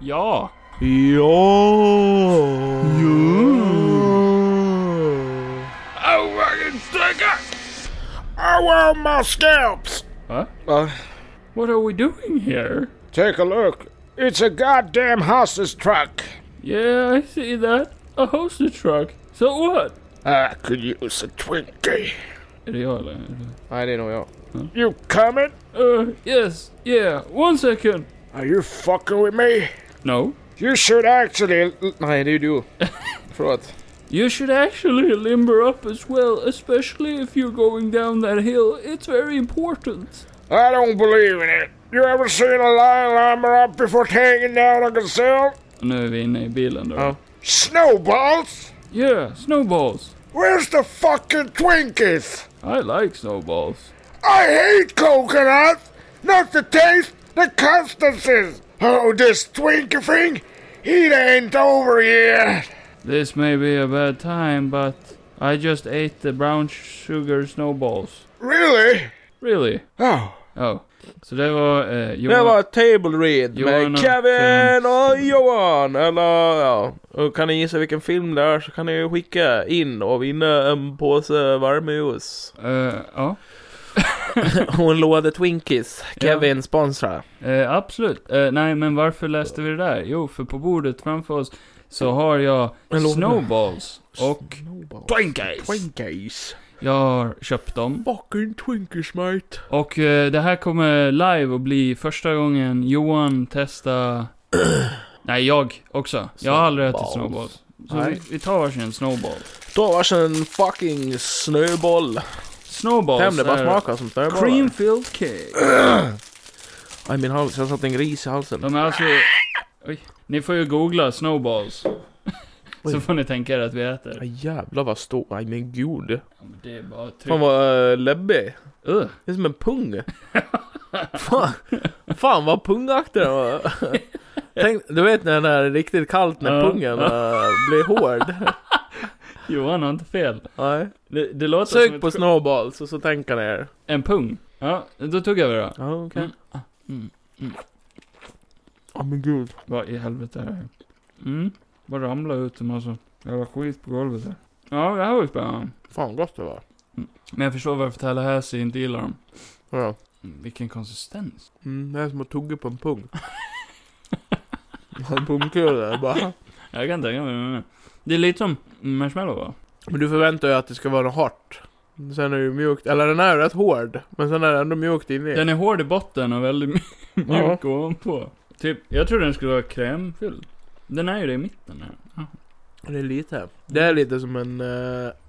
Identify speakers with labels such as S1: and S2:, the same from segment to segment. S1: Ja!
S2: I want my scalps!
S1: Huh?
S2: Uh,
S1: What are we doing here?
S2: take a look. It's a goddamn hostage truck.
S1: Yeah, I see that. A hostage truck. So what?
S2: I could use a Twinkie.
S1: Är det jag eller?
S2: Nej, det är nog jag. You coming?
S1: Uh, yes, yeah, one second.
S2: Are you fucking with me?
S1: No.
S2: You should actually... Nej, det är ju du. Förlåt.
S1: You should actually limber up as well, especially if you're going down that hill. It's very important.
S2: I don't believe in it. You ever seen a lion limber up before taking down a gazelle?
S1: Nu är vi inne i bilen då.
S2: Ja. Snowballs?
S1: Yeah, snowballs.
S2: Where's the fucking Twinkies?
S1: I like snowballs.
S2: I hate coconut! Not the taste, the consistencies! Oh, this Twinkie thing, it ain't over yet!
S1: This may be a bad time, but I just ate the brown sugar snowballs.
S2: Really?
S1: Really?
S2: Oh.
S1: Oh. Så det var... Eh,
S3: Det
S1: Johan-
S3: var Table Read
S1: Johan
S3: med
S1: och
S3: Kevin
S1: Kent.
S3: och Johan. Eller ja, och kan ni gissa vilken film det är så kan ni ju skicka in och vinna en påse varmjuice.
S1: Eh, ja.
S3: Och en låda Twinkies. Kevin sponsrar.
S1: Eh, absolut. Eh, nej, men varför läste vi det där? Jo, för på bordet framför oss så har jag
S3: En låda.
S1: snowballs och Twinkies.
S3: Twinkies.
S1: Jag har köpt dem.
S3: Fucking Twinkies mate.
S1: Och eh, det här kommer live att bli första gången Johan testa... nej, jag också. Jag har aldrig ätit
S3: Snowballs.
S1: snowballs. Så
S3: Nej.
S1: vi, vi tar varsin snowball.
S3: Då var det en fucking snöboll.
S1: Snowballs
S3: Tänk det bara
S1: är
S3: smakar som snöbollar.
S1: creamfield cake.
S3: Aj min hals, jag satte en gris i halsen.
S1: De är alltså... Oj. Ni får ju googla snowballs. Så får ni tänka er att vi äter.
S3: Aj jävlar vad stor, aj men gud.
S1: Ja, men Det är bara tryck.
S3: Fan vad uh, läbbig.
S1: Ugh.
S3: Det är som en pung. fan, fan vad pungaktig den var. Tänk, du vet när den är riktigt kallt när
S1: Ja,
S3: pungen eh, blir hård.
S1: Johan har inte fel.
S3: Nej.
S1: Det, det låter som
S3: Sök på
S1: ett,
S3: snowballs och så tänker ni er.
S1: en pung. Ja, då tog jag det då.
S3: Ja, okej.
S1: Mm. Mm.
S3: Ja men gud.
S1: Vad i helvete är det här? Mm. Bara ramla ut en massa jävla skit på golvet här. Ja, det här var ju spännande.
S3: Fan gott det var.
S1: Men jag förstår varför Tallahassee inte gillar dem.
S3: Ja.
S1: Mm, Vilken konsistens.
S3: Mm, det är som att tugga på en pung. en pungkula bara.
S1: Jag kan tänka mig det. Det är lite som marshmallow va?
S3: Men du förväntar dig att det ska vara något hårt. Sen är det ju mjukt, eller den är rätt hård. Men sen är den ändå mjukt inne.
S1: Den är hård i botten och väldigt mjuk
S3: Ja.
S1: ovanpå. Typ, jag trodde den skulle vara krämfylld. Den är ju det i mitten här. Ja.
S3: Det är lite. Det är lite som en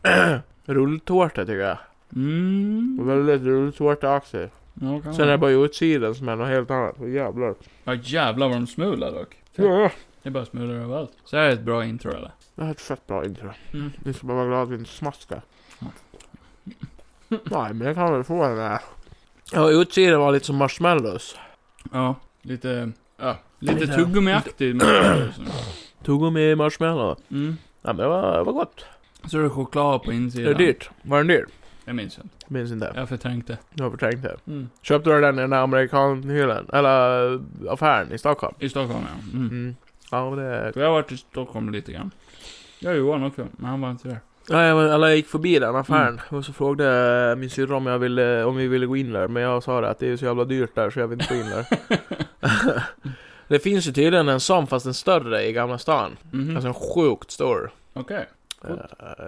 S3: eh, rulltårta tycker jag.
S1: Mm.
S3: Väldigt rulltårtaaktig.
S1: Ja, kan
S3: Sen är
S1: vara.
S3: det bara utsidan som är något helt annat. Åh jävlar.
S1: Ja jävlar vad de smular dock.
S3: Ja.
S1: Det bara smular överallt. Så här är ett bra intro eller?
S3: Det här är ett fett bra intro.
S1: Mm.
S3: Ni ska bara vara glada att vi inte smaskar.
S1: Mm.
S3: Nej men jag kan väl få den här. Ja utsidan var lite som marshmallows.
S1: Ja, lite... Ja, lite
S3: Lite-
S1: tuggummiaktig.
S3: Tuggummi marshmallow.
S1: Mm.
S3: Ja men det var, det var gott.
S1: Så är det choklad på insidan.
S3: Är det dyrt? Var den dyr?
S1: Jag minns inte.
S3: Jag Minns inte.
S1: Jag förträngde.
S3: Jag har förträngt det.
S1: Mm.
S3: Köpte du den i den här amerikanhyllan? Eller äh, affären i Stockholm?
S1: I Stockholm ja. Mm.
S3: Mm. Ja men det...
S1: Jag har varit i Stockholm lite grann. Jag och Johan också, men han var inte där.
S3: Nej, men, eller jag gick förbi den affären
S1: Mm.
S3: och så frågade eh, min syrra om, jag ville, om vi ville gå in där, men jag sa det att det är så jävla dyrt där så jag vill inte gå in där. det finns ju tydligen en sån fast en större i Gamla stan.
S1: Mhm.
S3: Alltså en sjukt stor.
S1: Okej.
S3: Eh,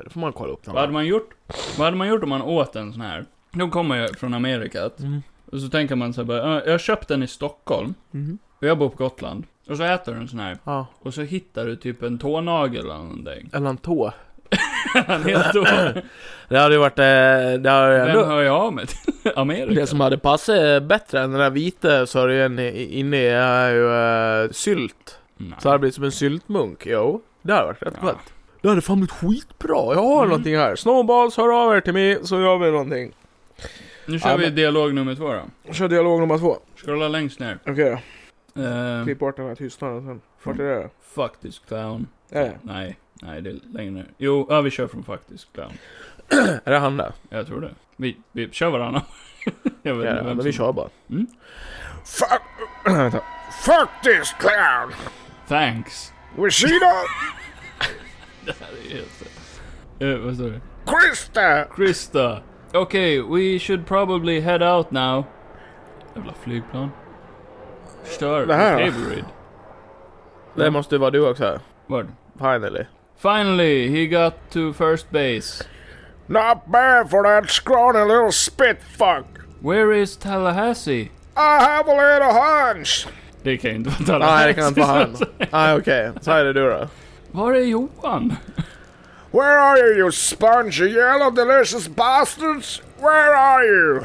S3: Det får man kolla upp. någon
S1: Vad hade
S3: gång.
S1: man gjort? Vad hade man gjort om man åt en sån här? De kommer ju från Amerika.
S3: Mm.
S1: Och så tänker man så här bara, "Ah, jag köpte den i Stockholm.
S3: Mhm.
S1: Och jag bor på Gotland. Och så äter du en sån här.
S3: Ja,
S1: Och så hittar du typ en tånagel eller någonting.
S3: eller en tå.
S1: Han är då.
S3: Det hade ju varit... eh, Det, hade
S1: Vem
S3: ändå,
S1: hör jag av mig till? Amerika?
S3: det som hade passat bättre än den där vita sörjan i- inne i är ju eh, sylt.
S1: Nej.
S3: Så det hade blivit som en syltmunk, jo. Det hade varit rätt
S1: Ja.
S3: gott. Det hade fan blivit skitbra, jag har
S1: Mm.
S3: någonting här. Snowballs, hör av er till mig så gör vi någonting.
S1: Nu kör
S3: Ja,
S1: vi
S3: men-
S1: dialog nummer två då.
S3: Kör dialog nummer två.
S1: Scrolla längst ner.
S3: Okej då. Typ.
S1: Eh,
S3: Klipp bort den här tystnaden sen. Fortare det.
S1: fuck this clown.
S3: Är det?
S1: Nej, nej det är längre ner. Jo, ja, vi kör från fuck this clown.
S3: Är det han där?
S1: Jag tror det. Vi, vi kör varannan. jag vet
S3: Ja,
S1: inte vem
S3: men
S1: som-
S3: vi kör bara.
S2: Fuck... Vänta. Fuck this clown!
S1: Thanks.
S2: Wishida,
S1: Eh, vad står det?
S2: Krista.
S1: Krista. Okej, we should probably head out now. Jävla flygplan. Stör
S2: Det här då?
S1: Averid.
S3: Det måste ju vara du också.
S1: Vad?
S3: Finally.
S1: Finally, he got to first base.
S2: Not bad for that scrawny little spit fuck.
S1: Where is Tallahassee?
S2: I have a little hunch.
S1: Det kan ju inte vara
S3: Nej,
S1: Tallahassee.
S3: det kan inte vara han. Nej, okej. Så är det du då.
S1: Var är Johan?
S2: Where are you, you spongy yellow delicious bastards? Where are you?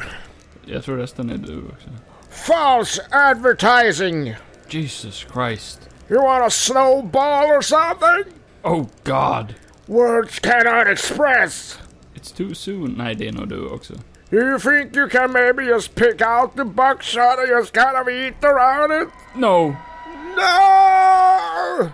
S1: Jag tror resten är du också.
S2: False advertising.
S1: Jesus Christ.
S2: You want a snowball or something?
S1: Oh God.
S2: Words cannot express.
S1: It's too soon. Nej, det är nog du också.
S2: You think you can maybe just pick out the buckshot and just kind of eat around it?
S1: No.
S2: No!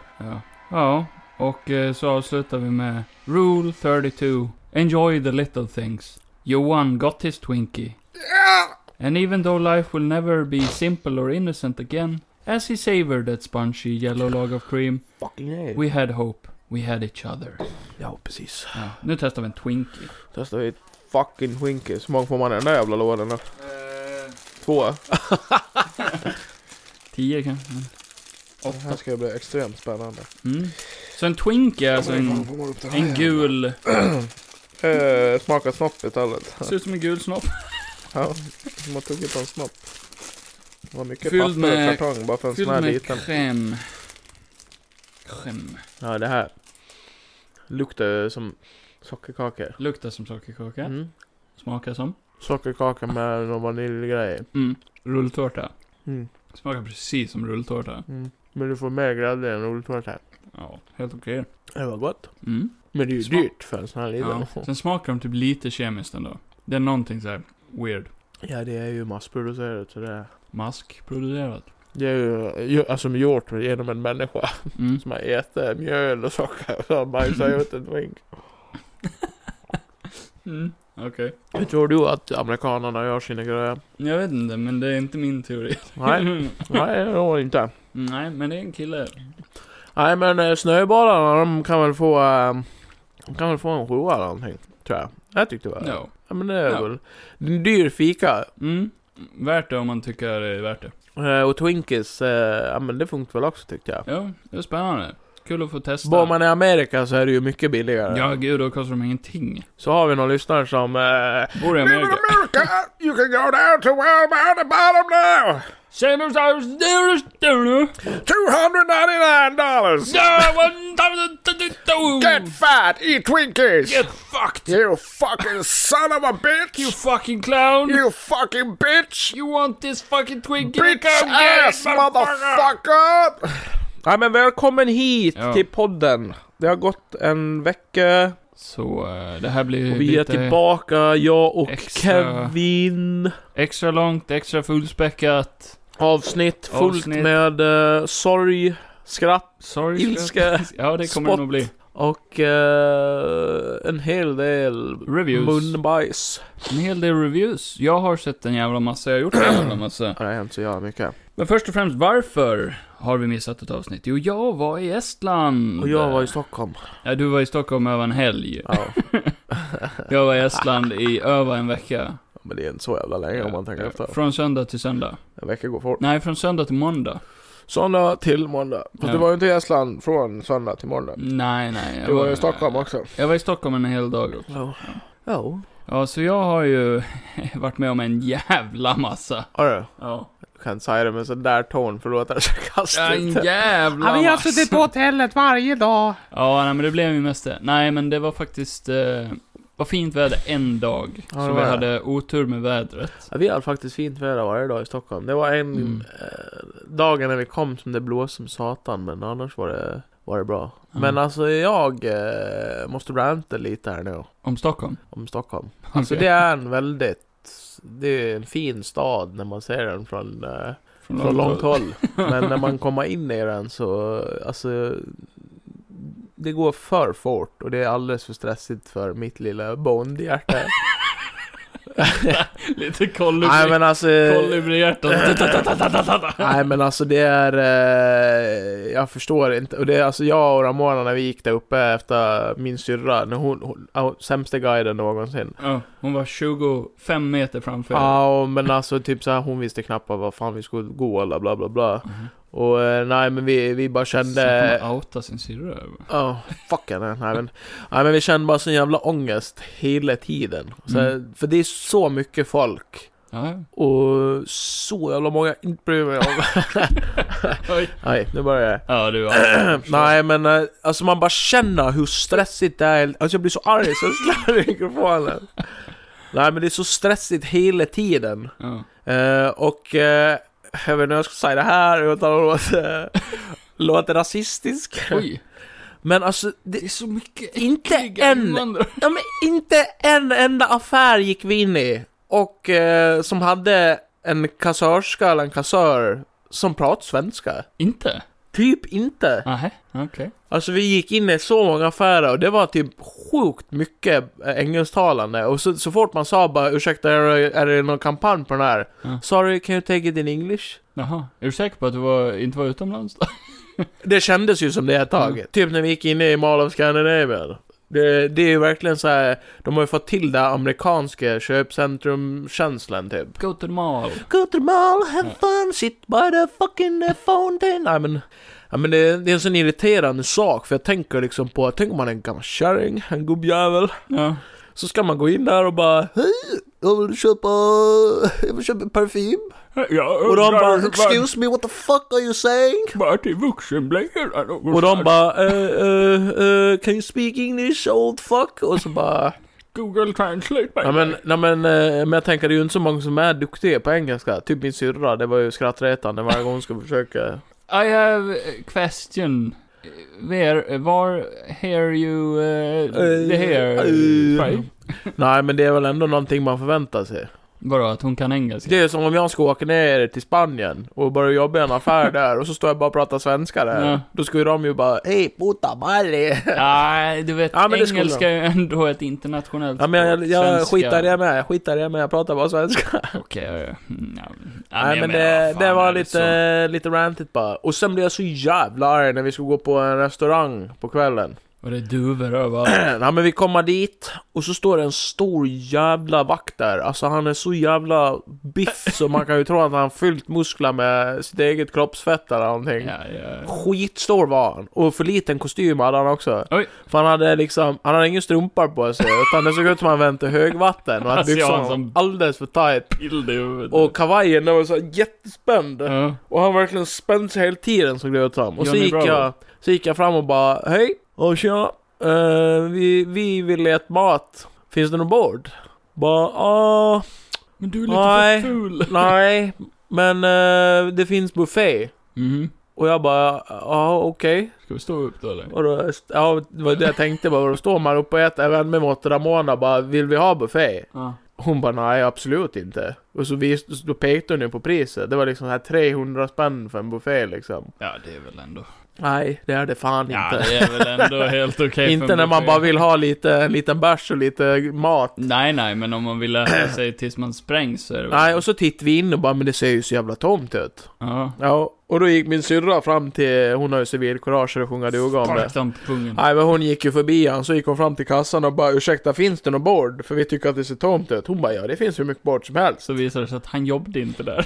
S1: Ja, och eh, så avslutar vi med Rule 32. Enjoy the little things. Johan got his Twinkie.
S2: Yeah!
S1: And even though life will never be simple or innocent again, as he savored that spongy yellow log of cream,
S3: Fucking nej.
S1: we had hope. We had each other.
S3: Ja, precis.
S1: Ja, nu testar vi en Twinkie.
S3: Testar vi ett fucking Twinkies. Hur många får man i den där jävla lådan då? Eh. Två?
S1: Tio kanske? men-
S3: Det här ska ju bli extremt spännande.
S1: Mm. Så en Twinkie är alltså en, en gul...
S3: Eh, smaka snopp istället.
S1: Ser ut som en gul snopp.
S3: Ja, som har tuggit på en snopp. Det var mycket
S1: Fylld
S3: papper och
S1: med-
S3: kartong bara för en
S1: Fylld
S3: sån här
S1: med
S3: liten.
S1: crème. Crème.
S3: Ja, det här luktar ju som sockerkakor.
S1: Luktar som sockerkaka.
S3: Mm.
S1: Smakar som.
S3: Sockerkaka med någon vaniljgrej.
S1: Mm. Rulltårta.
S3: Mm.
S1: Smakar precis som rulltårta.
S3: Mm. Men du får mer grädde än rulltårta.
S1: Ja, helt okej.
S3: Det var gott.
S1: Mm.
S3: Men det är ju
S1: Smak-
S3: dyrt för en sån här liten.
S1: Ja.
S3: Ja.
S1: Sen smakar de typ lite kemiskt ändå. Det är någonting så här weird.
S3: det är ju massproducerat så det är...
S1: Maskproducerat.
S3: Det är ju- ju alltså gjort genom en människa
S1: Mm.
S3: som har ätit mjöl och socker och så har bajsat ut en drink.
S1: Mm. Okej.
S3: Hur tror du att amerikanerna gör sina grejer?
S1: Jag vet inte, men det är inte min teori.
S3: Nej, nej det tror jag inte.
S1: Nej, men det är en kille.
S3: Nej men eh, snöbollarna de kan väl få... eh, De kan väl få en sjua eller någonting. Tror jag. Jag tyckte det var...
S1: No.
S3: Ja men det är
S1: Ja.
S3: väl... Det är en dyr fika.
S1: Mm. Värt det om man tycker det är värt det.
S3: Eh, Och Twinkies, eh, ja men det funkar väl också tyckte jag.
S1: Ja, det är spännande. Kul att få testa.
S3: Bor man i Amerika så är det ju mycket billigare.
S1: Ja, gud, då kostar de ingenting.
S3: Så har vi någon lyssnare som... Eh,
S1: Bor i
S2: Live
S1: Amerika.
S2: in America! You can go down to where I'm at the bottom now!
S1: Seven thousand dollars, dollar.
S2: $299!
S1: Yeah, one thousand, do- do- do.
S2: Get fat! Eat Twinkies!
S1: Get fucked.
S2: You fucking son of a bitch!
S1: You fucking clown.
S2: You fucking bitch!
S1: You want this fucking Twinkie?
S2: Bitch
S1: Come get it,
S2: ass motherfucker!
S3: ja men välkommen hit
S1: Ja.
S3: till podden. Det har gått en vecka.
S1: Så eh, det här blir
S3: Vi är
S1: lite
S3: tillbaka, jag och
S1: extra-
S3: Kevin.
S1: extra långt, extra fullspäckat.
S3: Avsnitt fullt
S1: Avsnitt.
S3: med eh, sorg, skratt
S1: Sorry.
S3: Ilska.
S1: skratt. Ja, det kommer det
S3: Spott.
S1: nog bli.
S3: och eh, en hel del
S1: Reviews.
S3: munbajs.
S1: En hel del reviews. Jag har sett en jävla massa, jag har gjort en jävla massa.
S3: Ja, det har hänt så jävla mycket.
S1: Men först och främst, varför har vi missat ett avsnitt? Jo, jag var i Estland.
S3: Och jag
S1: Mm.
S3: var i Stockholm.
S1: Ja, du var i Stockholm över en helg.
S3: Ja.
S1: Jag var i Estland i över en vecka.
S3: Men det är inte så jävla länge om man tänker efter.
S1: Från söndag till söndag.
S3: En vecka går fort.
S1: Nej, från söndag till måndag.
S3: Söndag till måndag. Fast
S1: Ja.
S3: du var ju inte i Estland från söndag till måndag.
S1: Nej, nej. jag
S3: Du var ju i Stockholm också.
S1: Jag var i Stockholm en hel dag också.
S3: Ja. Ja.
S1: Ja, så jag har ju varit med om en jävla massa.
S3: Hörru,
S1: Ja.
S3: jag kan inte säga det med sån där ton för då låter det så
S1: En
S3: kastigt.
S1: jävla
S3: Ja,
S1: massa.
S3: vi har
S2: alltså,
S3: suttit på hotellet varje dag.
S1: Ja, nej, men det blev ju mest det. Nej, men det var faktiskt... Eh, var fint väder en dag.
S3: Ja, det
S1: så
S3: var
S1: vi
S3: det.
S1: hade otur med vädret.
S3: Ja, vi har faktiskt fint väder varje dag i Stockholm. Det var en
S1: Mm.
S3: eh, dagen när vi kom som det blåste som satan, men annars var det, var det bra.
S1: Ja.
S3: Men alltså jag eh, måste ranta lite här nu
S1: Om Stockholm.
S3: om Stockholm. Alltså
S1: Okej.
S3: det är en väldigt, det är en fin stad när man ser den från, eh, från långt håll. Men när man kommer in i den så, eh, alltså det går för fort och det är alldeles för stressigt för mitt lilla bondhjärta.
S1: Lite
S3: Nej
S1: kolibri.
S3: men alltså...
S1: Kolibrihjärtan.
S3: Nej men alltså det är... Eh, jag förstår inte. Och det är alltså jag och Ramona när vi gick där uppe efter min syrra, när hon, hon, hon sämsta guiden någonsin.
S1: Ja, hon var 25 meter framför er.
S3: Ja men alltså typ så här, hon visste knappt vad fan vi skulle gå eller bla bla bla.
S1: Mhm.
S3: Och eh, nej men vi, vi bara
S1: Sen
S3: kände...
S1: kommer outa sin syrra.
S3: Ja, fuck henne. Nej men, nej men vi kände bara sån jävla ångest hela tiden. Så,
S1: Mm.
S3: För det är så mycket folk.
S1: Ja,
S3: Och så jävla många jag inte bryr mig om.
S1: ja.
S3: nej, nu börjar jag.
S1: Ja, du. ja.
S3: Nej men eh, alltså man bara känner hur stressigt det är. Alltså jag blir så arg så jag slår i mikrofonen. Nej men det är så stressigt hela tiden.
S1: Ja.
S3: Eh, och eh, jag vet inte hur jag ska säga det här utan att låta, låta rasistisk.
S1: Oj,
S3: Men alltså, det,
S1: det är så mycket
S3: Inte
S1: äckliga
S3: än.
S1: invandrare.
S3: ja, men inte en enda affär gick vi in i. Och eh, som hade en kassörska eller en kassör som pratade svenska.
S1: Inte?
S3: Typ inte.
S1: Nähä, okej.
S3: Alltså vi gick in i så många affärer och det var typ sjukt mycket eh, engelsktalande. Och så, så fort man sa bara ursäkta, är det, är det någon kampanj på den här?
S1: Ja.
S3: Sorry, can you take it in English?
S1: Jaha. Är du säker på att du var, inte var utomlands då?
S3: Det kändes ju som det ett tag.
S1: Mm.
S3: Typ när vi gick in i Mall of Scandinavia. Det, det är ju verkligen så här. de har ju fått till det amerikanska köpcentrum-känslan typ.
S1: Go to the mall.
S3: Go to the mall, have
S1: Ja.
S3: fun, sit by the fucking eh, fountain. Nej men, ja, men det, det är en sån irriterande sak för jag tänker liksom på, tänk om man är en gammal kärring, en gubbjävel.
S1: Ja.
S3: Så ska man gå in där och bara Hej, jag vill köpa, jag vill köpa parfym.
S1: ja
S3: Och de bara Excuse me, what the fuck are you saying?
S1: Bara till vuxenblöjor.
S3: Och de bara eh, eh, eh, Can you speak English old fuck? Och så bara
S1: Google translate
S3: Ja men, nej, men, eh, men jag tänker det är ju inte så många som är duktiga på engelska. Typ min syrra, det var ju skrattretande varje gång hon skulle försöka.
S1: I have a question. Where, var here you, uh, the here,
S3: Eh,
S1: uh,
S3: Nej men det är väl ändå någonting man förväntar sig.
S1: Vadå, att hon kan engelska?
S3: Det är som om jag ska åka ner till Spanien och börja jobba i en affär där och så står jag bara och pratar svenska där.
S1: Ja.
S3: Då skulle de ju bara Hej puta madre!
S1: Nej, du vet,
S3: Ja, men det skulle
S1: engelska är ju ändå ett internationellt
S3: Ja men jag, jag
S1: Svenska-
S3: skitar i det med, jag skitar i det med, jag pratar bara svenska.
S1: Okej, ja, ja. Mm, ja. Ja,
S3: Nej
S1: jag
S3: men
S1: menar,
S3: det,
S1: vad fan
S3: det var
S1: är så?
S3: lite, lite rantigt bara. Och sen blev jag så jävla arg när vi skulle gå på en restaurang på kvällen.
S1: Och det är duvor överallt.
S3: Nej men vi kommer dit och så står det en stor jävla vakt där. Alltså han är så jävla biff så man kan ju tro att han fyllt muskler med sitt eget kroppsfett eller någonting.
S1: ja, ja.
S3: Skitstor var han. Och för liten kostym hade han också.
S1: Oj.
S3: För han hade liksom, han hade ingen strumpor på sig. Utan det såg ut som han vänt till högvatten. Och att
S1: Alltså, jag har
S3: byxorna
S1: en sån-
S3: var alldeles för tight.
S1: Bild i huvudet.
S3: Och kavajen den var så här jättespänd.
S1: Ja.
S3: Och han verkligen spänd sig hela tiden såg det ut som. Och så
S1: Johnny
S3: gick,
S1: Bravo.
S3: jag, så gick jag fram och bara Hej! Och tjena! Eh, vi, vi vill äta mat. Finns det någon bord? Bara ah,
S1: Men du är lite
S3: Nej.
S1: för ful.
S3: nej. Men eh, det finns buffé.
S1: Mhm.
S3: Och jag bara ja ah, okej.
S1: Ska vi stå upp då eller?
S3: Och då, ja, det var det jag tänkte bara, då står man upp och äter, jag vänder mig mot Ramona och bara, vill vi ha buffé?
S1: Ja.
S3: Hon bara, nej absolut inte. Och så vis, då pekade hon ju på priset, det var liksom så här 300 spänn för en buffé liksom.
S1: Ja, det är väl ändå...
S3: Nej, det är det fan
S1: Ja,
S3: inte.
S1: det är väl ändå helt okej för
S3: inte
S1: en
S3: när man
S1: buffé.
S3: bara vill ha lite, en liten bärs och lite mat.
S1: Nej, nej, men om man vill lära sig tills man sprängs så är det väl...
S3: Nej, och så tittade vi in och bara, men det ser ju så jävla tomt ut.
S1: Ja.
S3: Ja, och då gick min syrra fram till, hon har ju civilkurage och sjunga duga om det.
S1: Spark dem på pungen.
S3: Nej men hon gick ju förbi han så gick hon fram till kassan och bara ursäkta finns det något bord? För vi tycker att det ser tomt ut. Hon bara ja det finns hur mycket bord som helst.
S1: Så visar det sig att han jobbade inte där.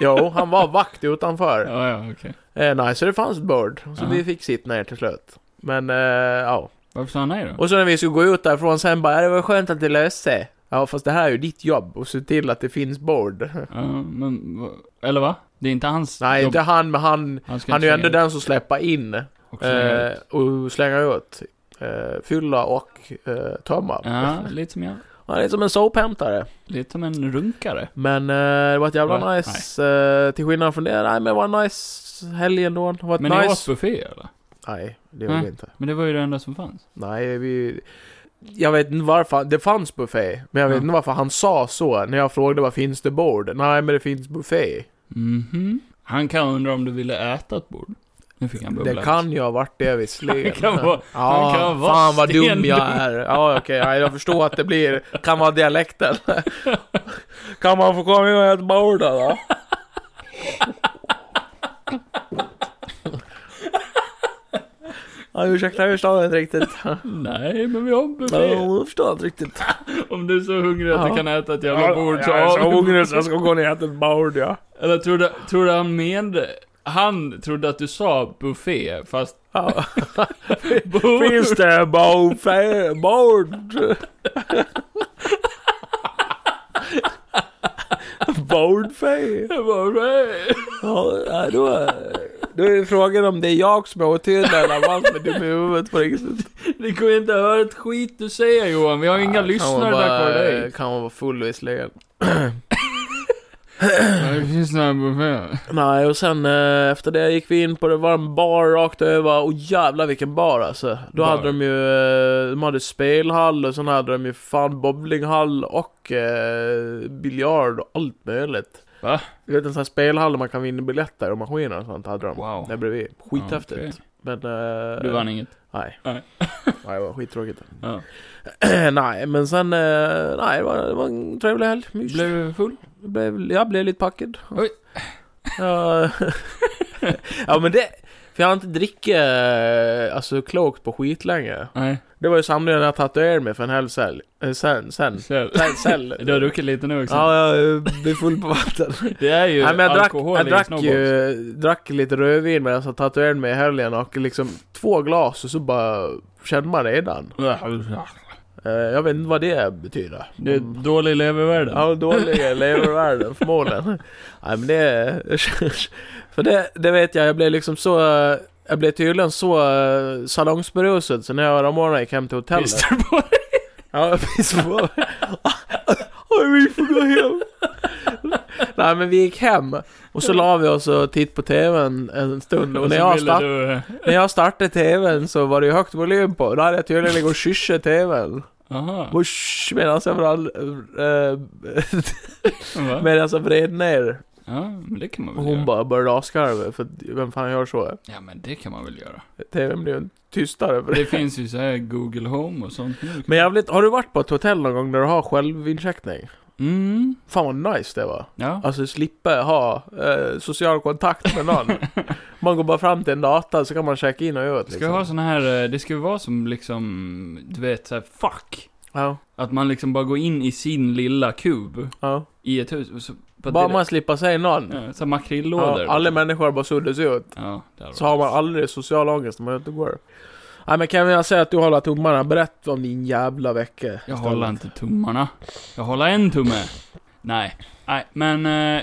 S3: Jo han var vakt utanför.
S1: ja, ja, okej.
S3: Eh, nej så det fanns ett bord. Så
S1: Ja.
S3: vi fick sitta ner till slut. Men eh, ja.
S1: Varför sa han nej då?
S3: Och så när vi skulle gå ut därifrån sen bara "Ja, det var skönt att det löste sig. Ja fast det här är ju ditt jobb att se till att det finns bord.
S1: Ja, men... va- Eller va? Det är inte hans
S3: Nej
S1: jobb.
S3: inte han men han,
S1: Han, ska
S3: han
S1: inte
S3: är ju
S1: slänga
S3: ändå
S1: ut
S3: den som släpper in
S1: och slänga
S3: eh,
S1: ut.
S3: och slänger ut. Eh, fylla och eh, tömma.
S1: Ja, lite som jag.
S3: Han är som en sophämtare.
S1: Lite som en runkare.
S3: Men eh, det var ett jävla
S1: Va?
S3: nice, eh, till skillnad från det, nej men det var en nice helg ändå. Det var ett
S1: Men ni Mm. åt
S3: nice...
S1: buffé eller?
S3: Nej, det gjorde
S1: Nej.
S3: vi inte.
S1: Men det var ju det enda som fanns.
S3: Nej, vi... Jag vet inte varför, det fanns buffé. Men jag vet
S1: Ja.
S3: inte varför han sa så när jag frågade vad finns det bord? Nej men det finns buffé.
S1: Mhm. Han kan undra om du ville äta ett bord. Nu fick han bubbla.
S3: Det kan ju ha varit det
S1: Det
S3: visserligen.
S1: kan vara-
S3: ja,
S1: det kan vara
S3: fan vad dum
S1: stendum.
S3: jag är. Ja, okej, ja, jag förstår att det blir, kan vara dialekten. kan man få komma in och äta bord då, då? Ja, ursäkta, jag förstår inte riktigt.
S1: Nej, men vi har en
S3: Ja,
S1: buffé.
S3: Jag förstår inte riktigt.
S1: Om du är så hungrig att
S3: Ja.
S1: du kan äta ett jävla bord så
S3: jag är så
S1: har vi...
S3: hungrig så jag ska gå ner och äta ett bord, ja.
S1: Eller tror du, tror du han menade... Han trodde att du sa buffé, fast
S3: ja.
S1: bord.
S3: Finns det buffé, bord? Bordfé?
S1: Buffé.
S3: Ja, ja, då, är- då är frågan om det är jag som är otydlig eller vad som är dum i huvudet på riktigt.
S1: Det går inte att höra ett skit du säger Johan, vi har inga lyssnare tack vare dig.
S3: Kan man vara full visserligen.
S1: Det finns några buffé.
S3: Nej, och sen eh, efter det gick vi in på det var en bar rakt över och jävlar vilken bar alltså. Då
S1: Bar.
S3: hade de ju, eh, de hade spelhall och sen hade de ju fan bowlinghall och eh, biljard och allt möjligt.
S1: Va?
S3: Du vet en sån här spelhall där man kan vinna biljetter och maskiner och sånt hade de.
S1: Wow.
S3: Där bredvid. Skithäftigt.
S1: Okej.
S3: Men... Eh,
S1: Du vann inget.
S3: Nej.
S1: Nej.
S3: nej, det var skittråkigt.
S1: Ja.
S3: nej, men sen, eh, nej det var, det var en trevlig helg. Mys.
S1: Blev du full?
S3: Jag blev, jag blev lite packad.
S1: Oj.
S3: ja, ja men det... För jag har inte drickit eh, alltså, klokt på skitlänge.
S1: Nej.
S3: Det var ju samlingen jag tatuerade mig för en halv cell. Eh, Sen, sen.
S1: Så.
S3: Sen, sen.
S1: Du liksom. har druckit lite nu också.
S3: Ja, jag blir full på vatten.
S1: Det är ju
S3: Nej, men jag drack,
S1: alkohol
S3: jag
S1: i
S3: drack,
S1: snowballs.
S3: ju, drack lite rödvin medan jag tatuerade mig i helgen och liksom två glas och så bara kände man redan. Eh, Jag vet inte vad det betyder. Mm.
S1: Det är dålig levervärde.
S3: Ja, dåliga levervärden förmodligen. Nej men det... För det, det vet jag, jag blev liksom så... eh, Jag blev tydligen så eh, salongsberusad så när jag och morgonen gick hem till hotellet.
S1: Visst är det bara-
S3: Ja, jag pissade på mig. Aj, vi får gå hem. Nej men vi gick hem och så la vi oss och tittade på TVn en stund och
S1: Och
S3: när
S1: så
S3: jag,
S1: ville
S3: start,
S1: du, eh,
S3: när jag startade TVn så var det ju högt volym på. Då hade jag tydligen legat och kyssat TVn.
S1: Aha.
S3: Wush, Medan jag vral, eh,
S1: Va?
S3: Medan jag vred ner
S1: Ja, men det kan man
S3: och
S1: väl
S3: hon
S1: göra.
S3: bara började asgarva för att vem fan gör så?
S1: Ja, men det kan man väl göra.
S3: TVn blev ju tystare för det.
S1: Det finns ju så här Google Home och sånt nu.
S3: Men jävligt, har du varit på ett hotell någon gång där du har självincheckning?
S1: Mm,
S3: Fan vad nice det var.
S1: ja.
S3: Alltså slippa ha eh, social kontakt med någon. man går bara fram till en data så kan man checka in och ut
S1: Ska vi
S3: liksom.
S1: ha sån här, eh, det ska ju vara som liksom, du vet såhär, fuck.
S3: Ja,
S1: Att man liksom bara går in i sin lilla kub
S3: ja.
S1: i ett hus. och Så, på
S3: Bara
S1: det-
S3: man slipper säga någon.
S1: ja, liksom? så här makrillådor.
S3: Ja, alla människor bara suddas ut.
S1: Ja, där
S3: Så har man
S1: alla...
S3: aldrig social ångest när man inte går. Nej men kan jag säga att du håller tummarna? Berätta om din jävla vecka.
S1: Jag
S3: istället.
S1: håller inte tummarna. Jag håller en tumme. Nej, nej, men eh,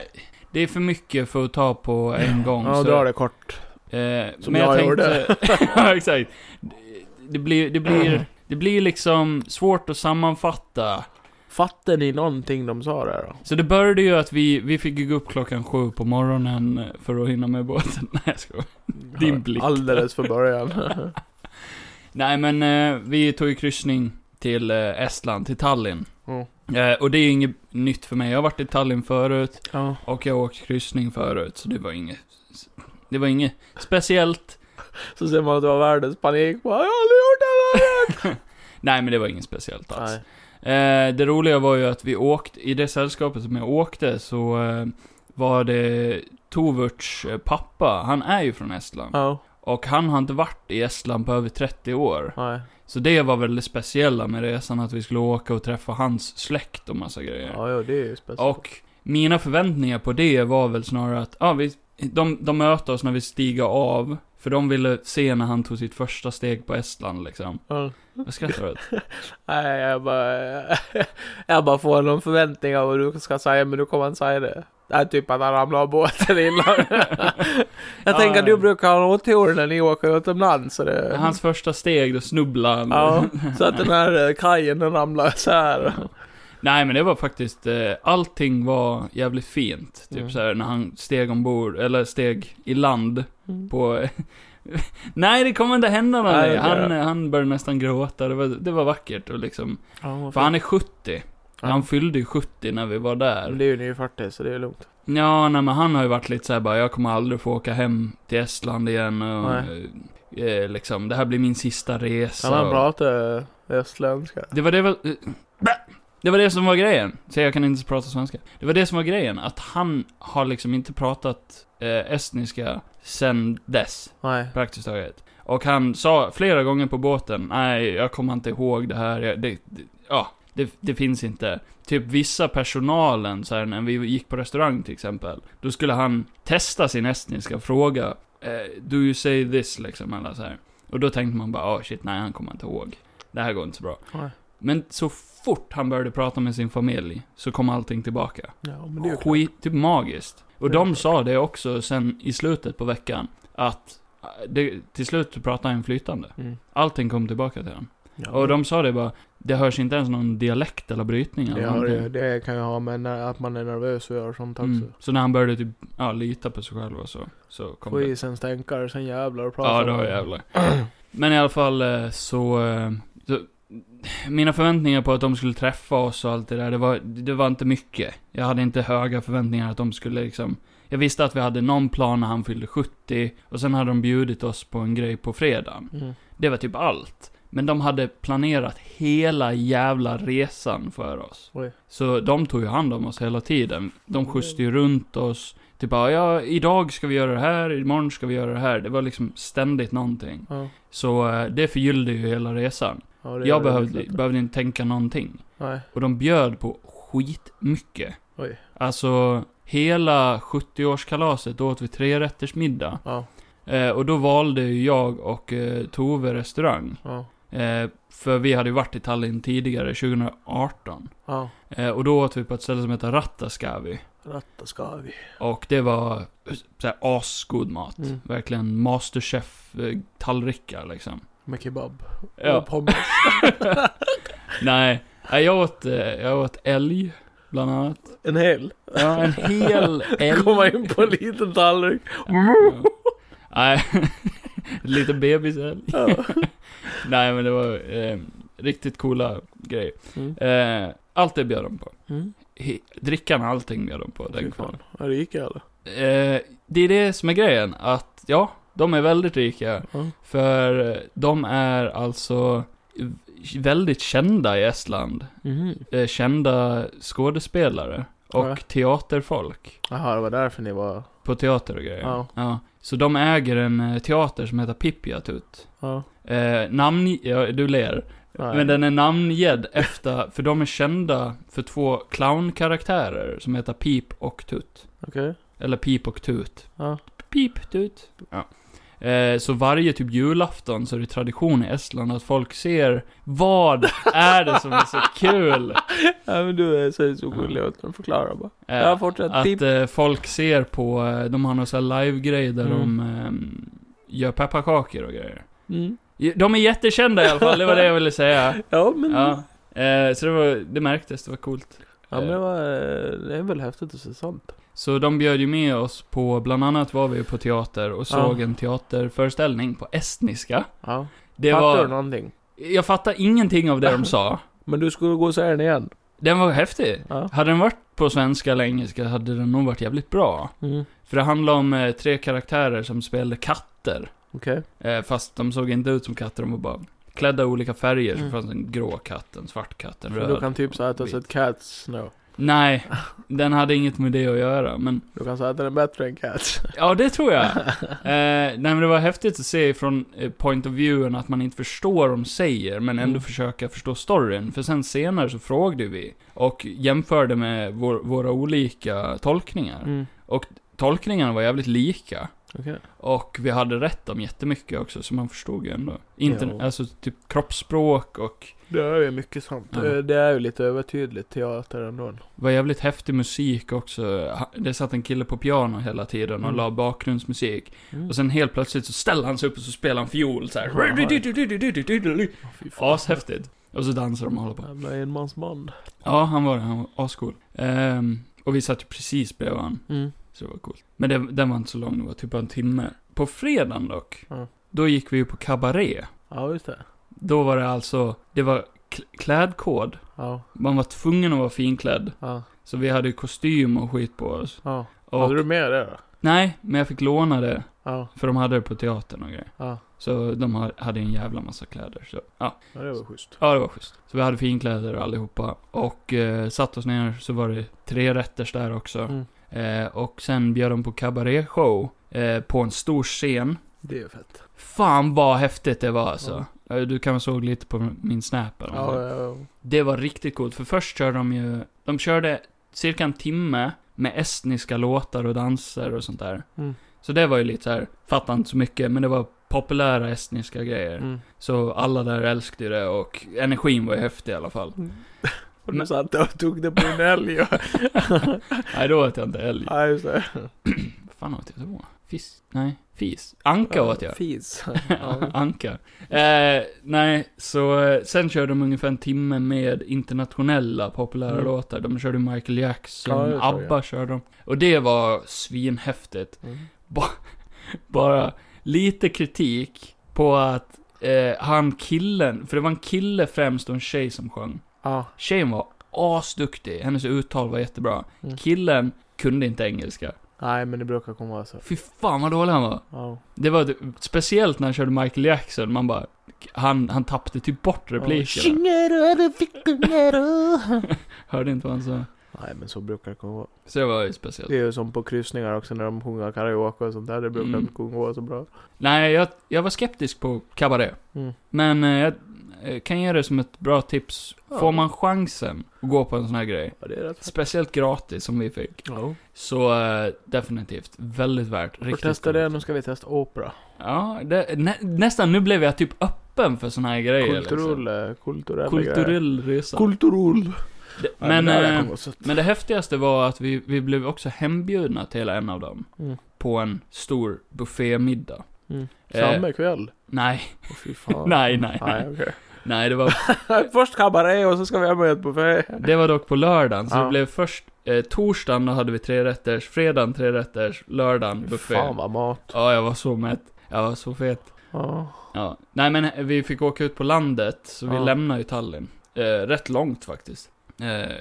S1: det är för mycket för att ta på en gång.
S3: Ja,
S1: så-
S3: dra det kort.
S1: Eh,
S3: Som
S1: men
S3: jag
S1: jag,
S3: gjorde.
S1: tänkte... ja, exakt. Det blir, det, blir, det blir liksom svårt att sammanfatta.
S3: Fattar ni någonting de sa där då?
S1: Så det började ju att vi, vi fick ju gå upp klockan sju på morgonen för att hinna med båten. Nej, jag skojar. Din blick.
S3: Alldeles för början.
S1: Nej, men eh, vi tog ju kryssning till eh, Estland, till Tallinn.
S3: Mm.
S1: Eh, och det är ju inget nytt för mig. Jag har varit i Tallinn förut
S3: ja.
S1: och jag har åkt kryssning förut, så det var inget... Det var inget speciellt.
S3: Så ser man att det var världens panik. Bara, jag har aldrig gjort det här!
S1: Nej, men det var inget speciellt alls.
S3: Nej.
S1: Eh, det roliga var ju att vi åkte, i det sällskapet som jag åkte så eh, var det Toverts eh, pappa, han är ju från Estland.
S3: Ja,
S1: Och han har inte varit i Estland på över 30 år.
S3: nej.
S1: Så det var väl det speciella med resan, att vi skulle åka och träffa hans släkt och massa grejer.
S3: Ja, ja, det är ju speciellt.
S1: Och mina förväntningar på det var väl snarare att, ja, vi, de, de möter oss när vi stiger av. För de ville se när han tog sitt första steg på Estland liksom.
S3: Ja.
S1: Vad skrattar du åt?
S3: Mm. Nej, jag bara... jag bara får någon förväntning av vad du ska säga, men du kommer inte säga det. Det är typ att han ramlar av båten innan. jag
S1: Ja,
S3: tänker att
S1: ja.
S3: du brukar ha otur när ni åker utomlands. Så det...
S1: Hans första steg, då snubblade han.
S3: Ja, så att den här eh, kajen den ramlar så här.
S1: Nej men det var faktiskt, eh, allting var jävligt fint. Typ
S3: Mm.
S1: såhär när han steg ombord, eller steg i land
S3: Mm.
S1: på... Nej det kommer inte hända något.
S3: Nej,
S1: Nej,
S3: okej
S1: han,
S3: då.
S1: eh, han började nästan gråta, det var, det var vackert och liksom.
S3: Ja,
S1: För han är 70.
S3: Ja. Mm.
S1: Han fyllde ju 70 när vi var
S3: Men
S1: där.
S3: det är ju ny 40 så det är lugnt.
S1: Ja, nej, men han har ju varit lite såhär bara, jag kommer aldrig få åka hem till Estland igen och... Eh, liksom, det här blir min sista resa.
S3: Han har eh,
S1: och...
S3: pratat estländska.
S1: Det var det var... Det var det som var grejen. Så jag kan inte prata svenska. Det var det som var grejen, att han har liksom inte pratat eh, estniska sen dess,
S3: Nej.
S1: praktiskt taget. Och han sa flera gånger på båten, nej, jag kommer inte ihåg det här, jag, det, det, ja, det, det finns inte. Typ vissa personalen, så här, när vi gick på restaurang till exempel, då skulle han testa sin estniska och fråga, eh, do you say this, liksom, eller så här. Och då tänkte man bara, ah shit, nej, han kommer inte ihåg. Det här går inte så bra.
S3: Nej.
S1: Men så fort han började prata med sin familj så kom allting tillbaka.
S3: Ja, men det är ju klart.
S1: Skit, typ magiskt. Och
S3: Det är
S1: de
S3: klart.
S1: sa det också sen i slutet på veckan. Att eh, det, till slut så pratade han flytande.
S3: Mm.
S1: Allting kom tillbaka till honom.
S3: Ja,
S1: Och de sa det bara, det hörs inte ens någon dialekt eller brytning eller
S3: Ja,
S1: någonting.
S3: det, det kan jag ha, men när- att man är nervös och gör sånt också.
S1: Mm. Så när han började typ, ja, lita på sig själv och så, så kom
S3: Få
S1: det.
S3: i sig en stänkare, sen jävlar och prata
S1: Ja,
S3: om
S1: då
S3: det.
S1: jävlar. Men i alla fall eh, så, eh, så... Mina förväntningar på att de skulle träffa oss och allt det där, det var, det var inte mycket. Jag hade inte höga förväntningar att de skulle liksom... Jag visste att vi hade någon plan när han fyllde 70, och sen hade de bjudit oss på en grej på fredagen.
S3: Mm.
S1: Det var typ allt. Men de hade planerat hela jävla resan för oss.
S3: Oj.
S1: Så de tog ju hand om oss hela tiden. De skjutsade ju runt oss. Typ bara, ja, idag ska vi göra det här, imorgon ska vi göra det här. Det var liksom ständigt någonting.
S3: Ja.
S1: Så eh, det förgyllde ju hela resan.
S3: Ja, det gör
S1: Jag
S3: det
S1: behövde,
S3: lätt.
S1: behövde inte tänka någonting.
S3: Nej.
S1: Och de bjöd på skitmycket.
S3: Oj.
S1: Alltså, hela 70-årskalaset då åt vi trerättersmiddag.
S3: Ja.
S1: Eh, och då valde ju jag och eh, Tove restaurang.
S3: Ja.
S1: Eh, för vi hade ju varit i Tallinn tidigare, 2018.
S3: Ja.
S1: Eh, och då åt vi på ett ställe som heter Rattaskavi.
S3: Ratta ska vi.
S1: Och det var såhär asgod mat.
S3: Mm.
S1: Verkligen masterchef-tallrikar liksom.
S3: Med kebab.
S1: Ja.
S3: Och pommes.
S1: Nej, nej, jag åt, eh, jag åt älg, bland annat.
S3: En hel.
S1: Ja, en hel älg.
S3: Komma in på en liten tallrik.
S1: Ja. Nej, lite bebisälg.
S3: Ja.
S1: Nej, men det var eh, riktigt coola grejer.
S3: Mm.
S1: Eh, allt det bjöd de på.
S3: Mm.
S1: He- drickan och allting bjöd de på den
S3: Fy
S1: kvällen.
S3: fan. Ja, det gick eller?
S1: Eh, det är det som är grejen, att ja, de är väldigt rika.
S3: Ja.
S1: För eh, de är alltså väldigt kända i Estland.
S3: Mhm.
S1: Eh, kända skådespelare och
S3: Ja.
S1: teaterfolk.
S3: Jaha, det var därför ni var...
S1: På teater och grejer.
S3: Ja.
S1: Så de äger en eh, teater som heter Pipjatut.
S3: Ja.
S1: Eh, namn... Ja, du ler.
S3: Nej.
S1: Men den är namngedd efter... För de är kända för två clownkaraktärer som heter Pip och Tut.
S3: Okej.
S1: Eller Pip och Tut.
S3: Ja.
S1: Pip, Tut. Ja. Eh, så varje typ julafton så är det tradition i Estland att folk ser vad är det som är så kul?
S3: Ja, men du är så, så gullig att du förklarar bara.
S1: Eh,
S3: Ja, typ. fortsätt. Pip.
S1: Att eh, folk ser på, eh, de har någon sån här live-grej där
S3: Mm.
S1: de ehm, gör pepparkakor och grejer.
S3: Mm.
S1: De är jättekända i alla fall, det var det jag ville säga.
S3: Ja, men...
S1: Ja.
S3: Ja.
S1: Eh, så det, var, det märktes, det var coolt.
S3: men det, var, eh, det är väl häftigt att se sånt.
S1: Så de bjöd ju med oss på, bland annat var vi ju på teater och såg en teaterföreställning på estniska.
S3: Ja.
S1: Det
S3: Fattar du
S1: var,
S3: någonting?
S1: jag fattar ingenting av det de sa.
S3: Men du skulle gå och säga den igen.
S1: Den var häftig.
S3: Ja.
S1: Hade den varit på svenska eller engelska hade den nog varit jävligt bra.
S3: Mm.
S1: För det handlade om eh, tre karaktärer som spelade katter.
S3: Okej.
S1: Eh, fast de såg inte ut som katter, de var bara klädda i olika färger. Så
S3: Mm.
S1: fanns en grå katt, en svart katt, en
S3: För
S1: röd.
S3: Du kan typ säga att du har
S1: vit.
S3: sett Cats nu.
S1: Nej, den hade inget med det att göra, men...
S3: Du kan säga att den är bättre än Cats.
S1: Ja, det tror jag. eh, nej, men det var häftigt att se från eh, point of viewen att man inte förstår vad de säger, men ändå
S3: Mm.
S1: försöka förstå storyn. För sen senare så frågade vi och jämförde med vår, våra olika tolkningar.
S3: Mm.
S1: Tolkningarna var jävligt lika.
S3: Okej.
S1: Och vi hade rätt om jättemycket också, så man förstod ju ändå. Inte,
S3: Jo.
S1: Alltså typ kroppsspråk och
S3: Det är ju mycket sånt. Eh,
S1: Ja.
S3: Det- Det är ju lite övertydligt teater ändå.
S1: Det var jävligt häftig musik också. Ha- Det satt en kille på piano hela tiden och
S3: Mm.
S1: la bakgrundsmusik.
S3: Mm.
S1: Och sen helt plötsligt så ställde han sig upp och så spelade han fiol så här.
S3: Åh, fy fan.
S1: Ashäftigt. Och så dansar de och håller på.
S3: Jävla enmansband.
S1: Ja, han var det. Han var ascool. Ehm, och vi satt ju precis bredvid han.
S3: Mm.
S1: Så det var coolt. Men det, den var inte så lång, det var typ bara en timme. På fredagen dock,
S3: Ja.
S1: då gick vi ju på cabaret.
S3: Ja, just det.
S1: Då var det alltså, det var kl- klädkod.
S3: Ja.
S1: Man var tvungen att vara finklädd.
S3: Ja.
S1: Så vi hade ju kostym och skit på oss.
S3: Ja.
S1: Och,
S3: Hade du med det då?
S1: Nej, men jag fick låna det.
S3: Ja.
S1: För de hade det på teatern och grejer.
S3: Ja.
S1: Så de har- hade en jävla massa kläder. Så, ja.
S3: ja, det var schysst.
S1: ja, det var schysst. Så vi hade finkläder allihopa. Och eh, satt oss ner så var det tre rätters där också.
S3: Mm.
S1: Eh, och sen bjöd de på kabaretshow eh, på en stor scen.
S3: Det är fett.
S1: Fan vad häftigt det var alltså. Eh, Du kanske såg lite på min snap eller något.
S3: Ja, ja, ja.
S1: Det var riktigt coolt, för först körde de ju... De körde cirka en timme med estniska låtar och danser och sånt där.
S3: Mm.
S1: Så det var ju lite så här, fattar inte så mycket, men det var populära estniska grejer.
S3: Mm.
S1: Så alla där älskade det och energin var ju häftig i alla fall.
S3: Mm. Och du sa att du tog det på en älg. och-
S1: Nej, då åt jag inte älg.
S3: Ja, just det.
S1: Vad fan åt jag då? Fisk? Nej, fis. Anka åt jag.
S3: Fis. Ja.
S1: Anka. Eh, nej, så eh, sen körde de ungefär en timme med internationella populära
S3: Mm.
S1: låtar. De körde Michael
S3: Ja,
S1: Jackson,
S3: det såg jag.
S1: ABBA körde de. Och det var svinhäftigt.
S3: Mm.
S1: Bara lite kritik på att eh, han killen, för det var en kille främst och en tjej som sjöng.
S3: Ja.
S1: Tjejen var asduktig, hennes uttal var jättebra.
S3: Mm.
S1: Killen kunde inte engelska.
S3: Nej, men det brukar komma så.
S1: Fy fan vad dålig han var.
S3: Ja.
S1: Det var det- speciellt när han körde Michael Jackson, man bara... Han, han tappade typ bort replikerna. Hörde inte vad han sa.
S3: Nej, men så brukar det komma.
S1: Så det var ju speciellt.
S3: Det är ju som på kryssningar också när de sjunger karaoke och sånt där. Det brukar
S1: Mm.
S3: inte gå så bra.
S1: Nej, jag, jag var skeptisk på Cabaret.
S3: Mm.
S1: Men eh, jag eh, kan ge det som ett bra tips.
S3: Ja.
S1: Får man chansen att gå på en sån här grej,
S3: Ja, det är rätt fett.
S1: speciellt gratis som vi fick,
S3: Ja.
S1: så eh, definitivt väldigt värt.
S3: Får
S1: Riktigt
S3: testa det,
S1: coolt.
S3: nu ska vi testa opera.
S1: Ja, det, nä, nästan nu blev jag typ öppen för såna här grejer.
S3: Kulturell, eh, kulturella
S1: Liksom.
S3: grejer.
S1: Kulturell resa.
S3: Kulturell.
S1: Det-
S3: Ja,
S1: men...
S3: det här
S1: eh,
S3: kommer gå sött.
S1: Men det häftigaste var att vi, vi blev också hembjudna till en av dem.
S3: Mm.
S1: På en stor buffémiddag.
S3: Mm.
S1: eh,
S3: Samma kväll?
S1: Nej,
S3: Åh, fy fan.
S1: nej, nej, nej.
S3: Nej, okej.
S1: Nej, det var,
S3: Först kabaré och så ska vi ha möte på fe-
S1: det var dock på lördagen. Så
S3: Ja.
S1: det blev först, eh, torsdagen då hade vi tre rätters, fredagen tre rätters, lördagen buffé.
S3: Fan vad mat.
S1: Ja, jag var så mätt. Jag var så fet.
S3: Ja.
S1: Ja. Nej men vi fick åka ut på landet, så vi
S3: Ja.
S1: lämnade ju Tallinn. Eh, rätt långt faktiskt. Eh,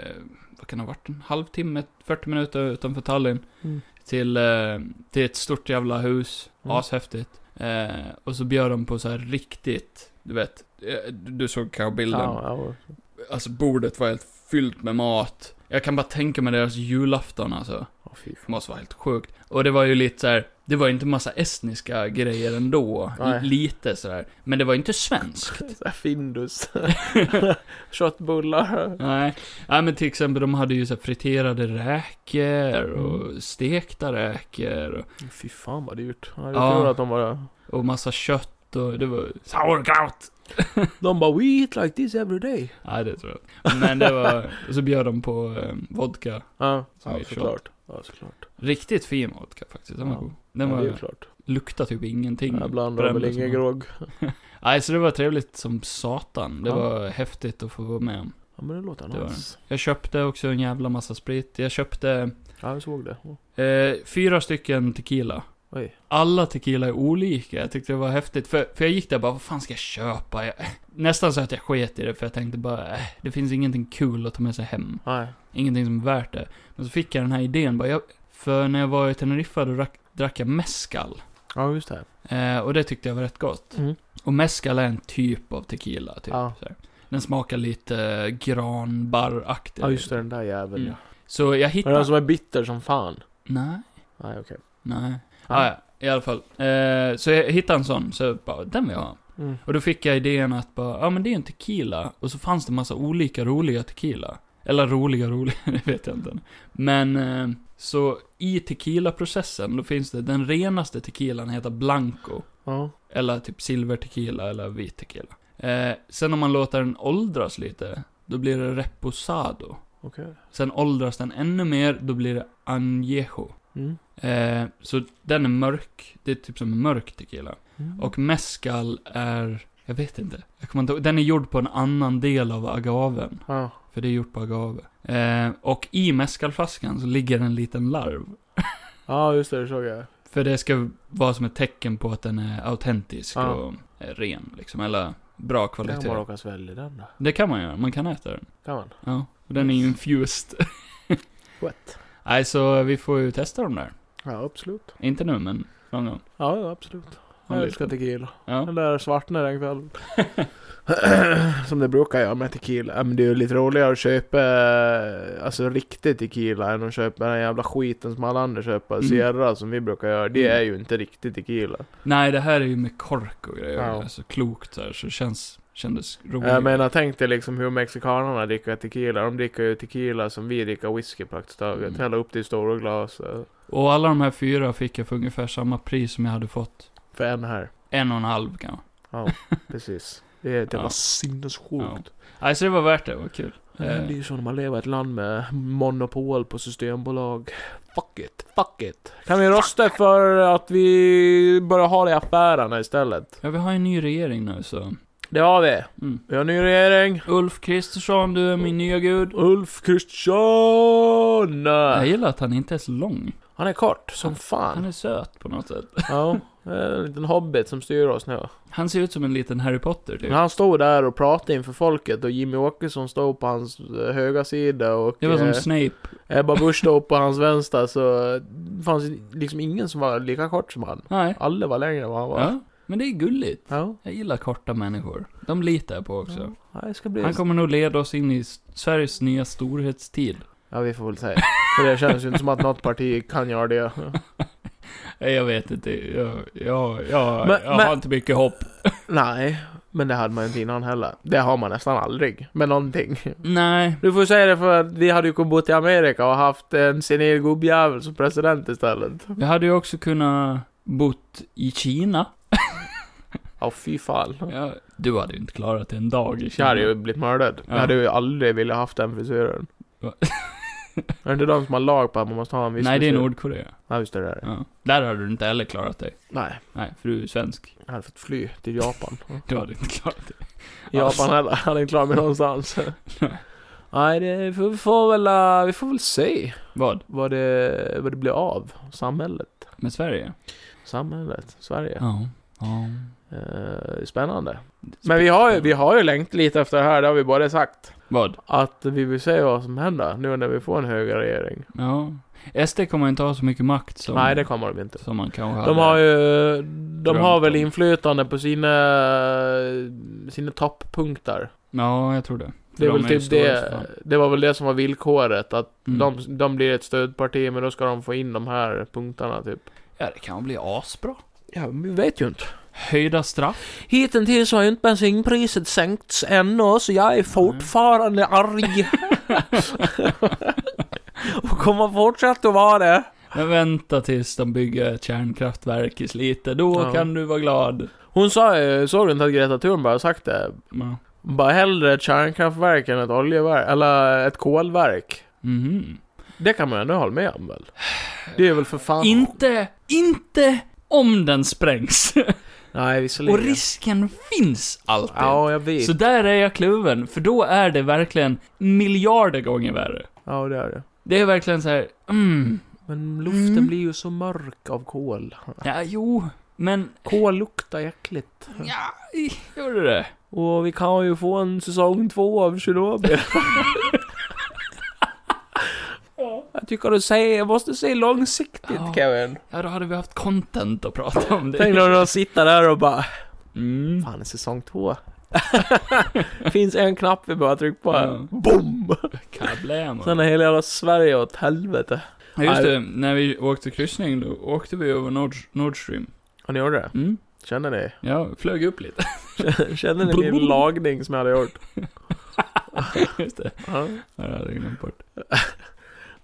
S1: vad kan det ha varit? En halvtimme, 40 minuter utanför Tallinn.
S3: Mm.
S1: Till, eh, till ett stort jävla hus.
S3: Mm.
S1: Ashäftigt. Eh, och så bjöd de på så här riktigt, du vet. eh, Du du såg kanske bilden.
S3: Ja,
S1: Alltså bordet var helt fyllt med mat. Jag kan bara tänka mig deras julafton alltså.
S3: ja. fy
S1: Det
S3: fan.
S1: måste vara helt sjukt. Och det var ju lite så här. det var ju inte massa estniska grejer ändå.
S3: Nej.
S1: L- lite sådär. Men det var ju inte svenskt.
S3: Så här Findus. Köttbullar.
S1: Nej. Nej, men till exempel de hade ju så här friterade räkor
S3: Mm.
S1: och stekta räkor och,
S3: Fy fan vad dyrt. Ja, jag
S1: Ja.
S3: tror att de bara...
S1: och massa kött och det var... Sauerkraut!
S3: De bara we eat like this every day.
S1: Nej, det tror jag inte. Men det var... Och så bjöd de på eh, vodka.
S3: Ja,
S1: Som vi
S3: ja
S1: köpt.
S3: såklart. Ja, såklart.
S1: Riktigt fin vodka faktiskt. Den var
S3: Ja.
S1: god. Den
S3: ja,
S1: var...
S3: det är ju klart.
S1: luktade typ ingenting.
S3: Jag
S1: på
S3: blandar
S1: den
S3: väl
S1: som
S3: ingen
S1: var.
S3: grogg.
S1: Nej, så det var trevligt som satan. Det
S3: Ja.
S1: var häftigt att få vara med om.
S3: Ja, men det låter
S1: Det var
S3: nice.
S1: Jag köpte också en jävla massa sprit. Jag köpte
S3: Ja, jag såg det. Ja.
S1: eh, fyra stycken tequila.
S3: Oj.
S1: Alla tequila är olika. Jag tyckte det var häftigt. För, för jag gick där och bara, vad fan ska jag köpa? Jag, nästan så att jag sket i det, för jag tänkte bara, äh, det finns ingenting kul att ta med sig hem.
S3: Nej.
S1: Ingenting som är värt det. Men så fick jag den här idén bara, jag, för när jag var i Teneriffa då drack, drack jag mezcal.
S3: Ja, just det.
S1: Eh, och det tyckte jag var rätt gott.
S3: Mm.
S1: Och mezcal är en typ av tequila, typ.
S3: Ja.
S1: Så här. Den smakar lite eh, granbarraktig.
S3: Ja, just det. alltså- Den där jäveln
S1: Mm.
S3: ja.
S1: Så jag
S3: Men
S1: hittade...
S3: den som är bitter som fan.
S1: Nej,
S3: Nej, okej.
S1: nej. Ah, ja, i alla fall. Eh, så jag hittade en sån, så jag bara, den vill jag ha.
S3: Mm.
S1: Och då fick jag idén att bara, ja men det är en tequila. Och så fanns det massa olika roliga tequila. Eller roliga, roliga, det vet jag inte. Men, eh, så i tequila-processen, då finns det, den renaste tequilan heter Blanco.
S3: Ja.
S1: Eller typ silver tequila eller vit tequila. Eh, sen om man låter den åldras lite, då blir det reposado.
S3: Okej.
S1: Sen åldras den ännu mer, då blir det añejo.
S3: Mm.
S1: Eh, så den är mörk, det är typ som en mörk tequila.
S3: Mm.
S1: Och mezcal är, jag vet inte, jag kommer inte ihåg. Den är gjord på en annan del av agaven.
S3: Ja.
S1: För det är gjort på agave. Eh, och i mezcalflaskan så ligger en liten larv.
S3: Ja, just det. Det såg jag.
S1: För det ska vara som ett tecken på att den är autentisk
S3: Ja.
S1: och eh, ren liksom, eller bra
S3: Kan
S1: kvalitet.
S3: man råka svälja den då?
S1: Det kan man göra, man kan äta den.
S3: Kan man?
S1: Ja. Och den är infused.
S3: What?
S1: Nej, så vi får ju testa dem där.
S3: Ja, absolut.
S1: Inte nu, men någon gång.
S3: Ja, ja, absolut.
S1: Om
S3: Jag
S1: det
S3: älskar
S1: är-
S3: tequila.
S1: Ja.
S3: Eller svartnar en kväll. Som det brukar jag med tequila. Ja, Men det är ju lite roligare att köpa eh, alltså riktig tequila än att köpa den jävla skiten som alla andra köper.
S1: Mm.
S3: Sierra som vi brukar göra. Det
S1: Mm.
S3: är ju inte riktig tequila.
S1: Nej, det här är ju med kork och grejer.
S3: Ja.
S1: Alltså klokt så här, så det känns, kändes roligt.
S3: Jag menar tänk dig liksom hur mexikanerna dricker tequila. De dricker ju tequila som vi dricker whisky praktiskt taget.
S1: Mm.
S3: Häller upp det i stora glas. eh,
S1: Och alla de här fyra fick jag för ungefär samma pris som jag hade fått.
S3: För en här.
S1: En och en halv kanske.
S3: Precis. Det är typ ett jävla
S1: Ja.
S3: sinnessjukt.
S1: Nej, så det var värt det. Det var kul.
S3: Eh,
S1: Eh,
S3: Det är ju så när man lever i ett land med monopol på systembolag. Fuck it, fuck it. Kan vi rösta för att vi börjar ha det i affärerna istället?
S1: Ja, vi har en ny regering nu så.
S3: Det har vi.
S1: Mm.
S3: Vi har en ny regering.
S1: Ulf Kristersson, du är min nya gud.
S3: Ulf Kristersson!
S1: Jag gillar att han inte är så lång.
S3: Han är kort som
S1: Han
S3: fan.
S1: är söt på något sätt.
S3: Ja, det är en liten hobbit som styr oss nu.
S1: Han ser ut som en liten Harry Potter typ.
S3: Men han stod där och pratade inför folket och Jimmy Åkesson stod på hans eh, höga sida och
S1: Det var som
S3: eh,
S1: Snape.
S3: Ebba Busch stod på hans vänstra så eh, det fanns liksom ingen som var lika kort som han.
S1: Nej.
S3: Alla var längre än vad han var.
S1: Ja, men det är gulligt.
S3: Ja.
S1: Jag gillar korta människor. De litar jag på också.
S3: Ja, det ska bli...
S1: Han kommer nog leda oss in i s- Sveriges nya storhetstid.
S3: Ja, vi får väl säga. För det känns ju inte som att något parti kan göra det.
S1: Nej, Jag vet inte. Jag, jag, jag,
S3: Men-
S1: jag
S3: men-
S1: har inte mycket hopp.
S3: Nej, men det hade man inte innan heller. Det har man nästan aldrig. Med någonting.
S1: Nej.
S3: Du får säga det för att vi hade ju kunnat bo till Amerika och haft en senil gubbjävel som president istället.
S1: Vi hade ju också kunnat bott i Kina.
S3: Ja, fy fan.
S1: Ja, du hade ju inte klarat en dag i
S3: Jag
S1: Kina.
S3: hade ju blivit mördad.
S1: Ja.
S3: Jag hade ju aldrig velat haft den frisyren.
S1: Va?
S3: är det inte de som har lag på att man måste ha en viss
S1: Nej, det är
S3: frisyr?
S1: Nordkorea.
S3: Ja, just det, det är det.
S1: Ja. Där hade du inte heller klarat dig.
S3: Nej,
S1: Nej, för du är svensk.
S3: jag hade fått fly till Japan.
S1: Du hade inte klarat dig.
S3: Japan
S1: Alltså.
S3: hade, hade inte klarat mig någonstans. Nej, det, vi får- vi får väl, eh, vi får väl se
S1: Vad?
S3: vad det, vad det blir av samhället.
S1: Med Sverige?
S3: Samhället, Sverige.
S1: Ja. Ja.
S3: Eh, spännande. Men vi har ju, vi har ju längt lite efter det här, det har vi bara sagt.
S1: Vad?
S3: Att vi vill se vad som händer nu när vi får en högerregering.
S1: Ja. SD kommer inte ha så mycket makt som,
S3: Nej, det kommer de inte.
S1: som man kanske hade.
S3: De har ju, de har
S1: drömt
S3: väl
S1: om.
S3: inflytande på sina, sina toppunkter.
S1: Ja, jag tror det. För
S3: Det är
S1: de
S3: väl
S1: ju
S3: typ
S1: stora
S3: det,
S1: som fan.
S3: det var väl det som var villkoret, att
S1: Mm.
S3: de, de blir ett stödparti, men då ska de få in de här punkterna typ.
S1: Ja, det kan bli asbra.
S3: Ja, vi vet ju inte.
S1: Höjda straff.
S3: Hittills har ju inte bensinpriset sänkts ännu, så jag är fortfarande arg. Och kommer fortsätta att vara det.
S1: Men vänta tills de bygger ett kärnkraftverk i Slite, då
S3: Ja.
S1: kan du vara glad.
S3: Hon sa ju, såg du inte att Greta Thunberg har sagt det?
S1: Ja.
S3: Bara hellre ett kärnkraftverk än ett oljeverk, eller ett kolverk.
S1: Mhm.
S3: Det kan man ändå hålla med om väl? Det är väl för fan...
S1: Inte, inte om den sprängs.
S3: Nej,
S1: Och
S3: visserligen.
S1: risken finns alltid.
S3: Ja, jag vet.
S1: Så där är jag kluven, för då är det verkligen miljarder gånger värre.
S3: Ja, det är det.
S1: Det är verkligen så här, mm,
S3: Men luften
S1: Mm.
S3: blir ju så mörk av kol.
S1: ja, jo, men,
S3: Kol luktar äckligt.
S1: ja, gör det det?
S3: Och vi kan ju få en säsong två av Tjernobyl. Jag tycker du säger, jag måste se långsiktigt
S1: Ja.
S3: Kevin.
S1: Ja, då hade vi haft content att prata om det.
S3: Tänk när de sitter där och bara,
S1: Mm.
S3: fan säsong två. Finns en knapp vi bara trycka på.
S1: Ja.
S3: Boom!
S1: Kablam.
S3: Sen är hela jävla Sverige åt helvete.
S1: Ja, just det. När vi åkte kryssning, då åkte vi över Nord, Nord Stream.
S3: Och ni gjorde det?
S1: Mm.
S3: Känner ni?
S1: Ja, flög upp lite.
S3: Känner ni min lagning som jag hade gjort?
S1: Just det.
S3: Ja.
S1: Ja, det hade jag glömt bort.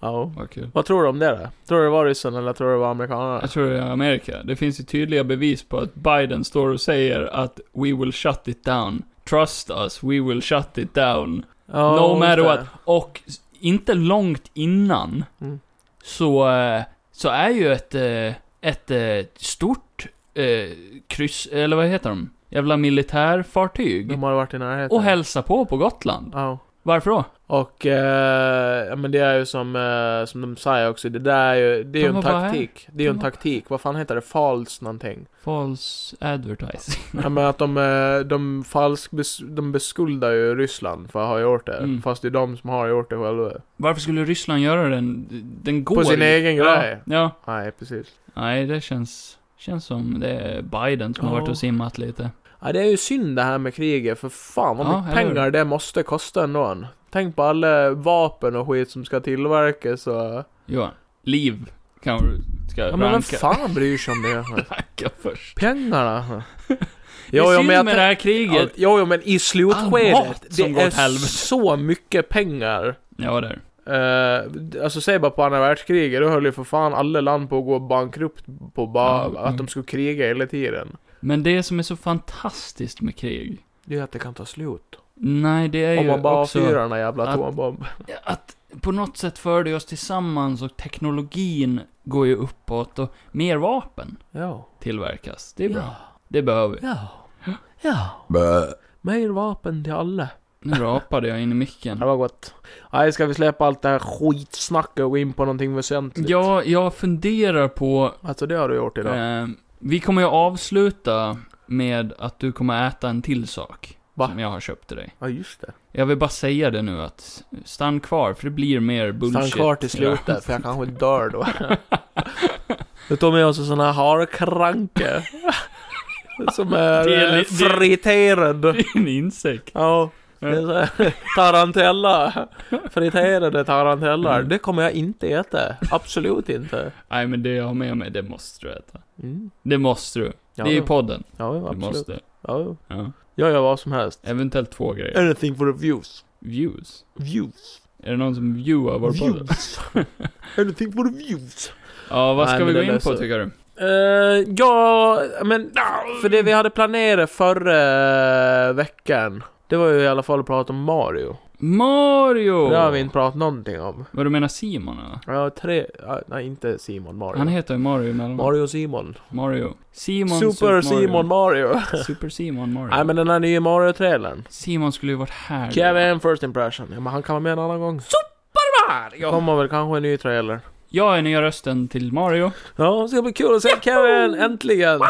S3: ja.
S1: Vad kul.
S3: Vad tror du om det då? Tror du det var ryssen eller tror du det var amerikanerna?
S1: Jag tror det är Amerika. Det finns ju tydliga bevis på att Biden står och säger att “We will shut it down”. Trust us, we will shut it down.
S3: Ja,
S1: no
S3: just
S1: matter
S3: det.
S1: what. Och s- inte långt innan
S3: Mm.
S1: så, eh, så är ju ett, eh, ett eh, stort eh, kryss, eller vad heter de? Jävla militärfartyg.
S3: De har varit i närheten.
S1: Och hälsa på på Gotland.
S3: Ja.
S1: Varför då?
S3: Och eh, ja, men det är ju som, eh, som de säger också, det där är ju, det är ju
S1: De
S3: en
S1: var bara
S3: taktik. Det är ju
S1: De
S3: en
S1: var-
S3: taktik, vad fan heter det? False någonting.
S1: False advertising.
S3: Ja men att de, eh, de falsk, bes- de beskuldar ju Ryssland för att ha gjort det.
S1: Mm.
S3: Fast det är de som har gjort det själva.
S1: Varför skulle Ryssland göra den? Den går
S3: På sin
S1: ju.
S3: egen
S1: ja,
S3: grej.
S1: Ja.
S3: Nej precis.
S1: Nej, det känns... Känns som det är Biden som har
S3: Ja.
S1: varit och simmat lite.
S3: Ja det är ju synd det här med kriget, för fan vad
S1: Ja,
S3: mycket
S1: eller hur?
S3: pengar det måste kosta ändå. Tänk på alla vapen och skit som ska tillverkas och...
S1: Johan, liv kan du... Ska
S3: Ja men vem
S1: Eh, ranka,
S3: fan bryr sig om det?
S1: ranka först.
S3: Pengarna?
S1: Det är synd med
S3: tänk-
S1: det här
S3: Ja,
S1: kriget.
S3: jo, jo, men i
S1: All mat
S3: slutskedet.
S1: som går
S3: Det
S1: åt
S3: är
S1: helvete.
S3: så mycket pengar.
S1: Ja, där.
S3: Eh, alltså säg bara på andra världskriget, då höll ju för fan alla land på att gå bankrupt på bara
S1: Ja,
S3: att
S1: mm.
S3: de skulle kriga hela tiden.
S1: Men det som är så fantastiskt med krig.
S3: Det är att det kan ta slut.
S1: Nej, det är
S3: Om
S1: ju
S3: man bara
S1: också...
S3: avfyrar den där jävla
S1: att-
S3: atombomb.
S1: att på något sätt förde oss tillsammans och teknologin går ju uppåt och mer vapen
S3: Ja.
S1: tillverkas. Det är bra.
S3: Ja.
S1: Det behöver vi.
S3: Ja. Ja. Mer vapen till alla.
S1: Nu rapade jag in i
S3: Det
S1: micken.
S3: var gott. Nej, ska vi släppa allt det här skitsnacket och gå in på någonting väsentligt?
S1: Jag, jag funderar på...
S3: Alltså det har du gjort idag.
S1: Eh, vi kommer ju avsluta med att du kommer äta en till sak.
S3: Va?
S1: Som jag har köpt till dig.
S3: Ja, just det.
S1: Jag vill bara säga det nu att stann kvar, för det blir mer bullshit.
S3: Stann kvar till slutet, för jag kanske dör då. Du tog med oss en sån här harkranke. Som är,
S1: Det är
S3: är
S1: li- det-
S3: friterad.
S1: en insekt.
S3: Ja. det är så här, Tarantella. Friterade tarantellar. Det kommer jag inte äta. Absolut inte.
S1: Nej, men det jag har med mig, det måste du äta.
S3: Mm.
S1: Det måste du.
S3: Ja,
S1: det är ju
S3: då.
S1: podden.
S3: ja, ja,
S1: Du
S3: absolut.
S1: måste.
S3: Ja, ja.
S1: Ja.
S3: jag gör vad som helst.
S1: Eventuellt två grejer.
S3: Anything for the views.
S1: Views.
S3: Views.
S1: Är det någon som viewar vår podd?
S3: Views. Anything for the views.
S1: Ja, vad
S3: Nej,
S1: ska
S3: men
S1: vi
S3: det
S1: gå in
S3: löser
S1: på
S3: det.
S1: tycker du?
S3: Eh, ja, men för det vi hade planerat förra eh, veckan, det var ju i alla fall att prata om Mario.
S1: Mario!
S3: Det har vi inte pratat någonting om.
S1: Vad du menar Simon eller?
S3: Ja, tre, ja, nej inte Simon Mario.
S1: Han heter ju Mario emellan.
S3: Mario Simon.
S1: Mario. Simon
S3: Super Simon Mario.
S1: Super Simon Mario.
S3: nej men den här nya Mario-trailern.
S1: Simon skulle ju varit här.
S3: Kevin First Impression. Ja, men han kan vara med en annan gång. Super Mario! Kommer väl kanske en ny trailer.
S1: Jag är nya rösten till Mario.
S3: Ja, det ska bli kul att se Kevin äntligen!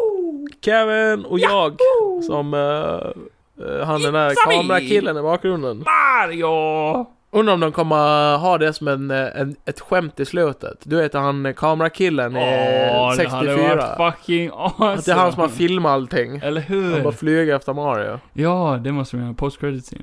S3: Oh, Kevin och jag som... eh, eh, han den där
S1: Pizza me!
S3: kamerakillen i bakgrunden.
S1: Mario!
S3: Undrar om de kommer ha det som en, eh, en, ett skämt i slutet. Du vet han eh, kamerakillen i
S1: Åh, det hade
S3: 64.
S1: varit fucking
S3: Att
S1: awesome.
S3: det är han som har filmat allting.
S1: Eller
S3: Han bara
S1: hur?
S3: flyger efter Mario.
S1: Ja, det måste vi göra. post credit scene.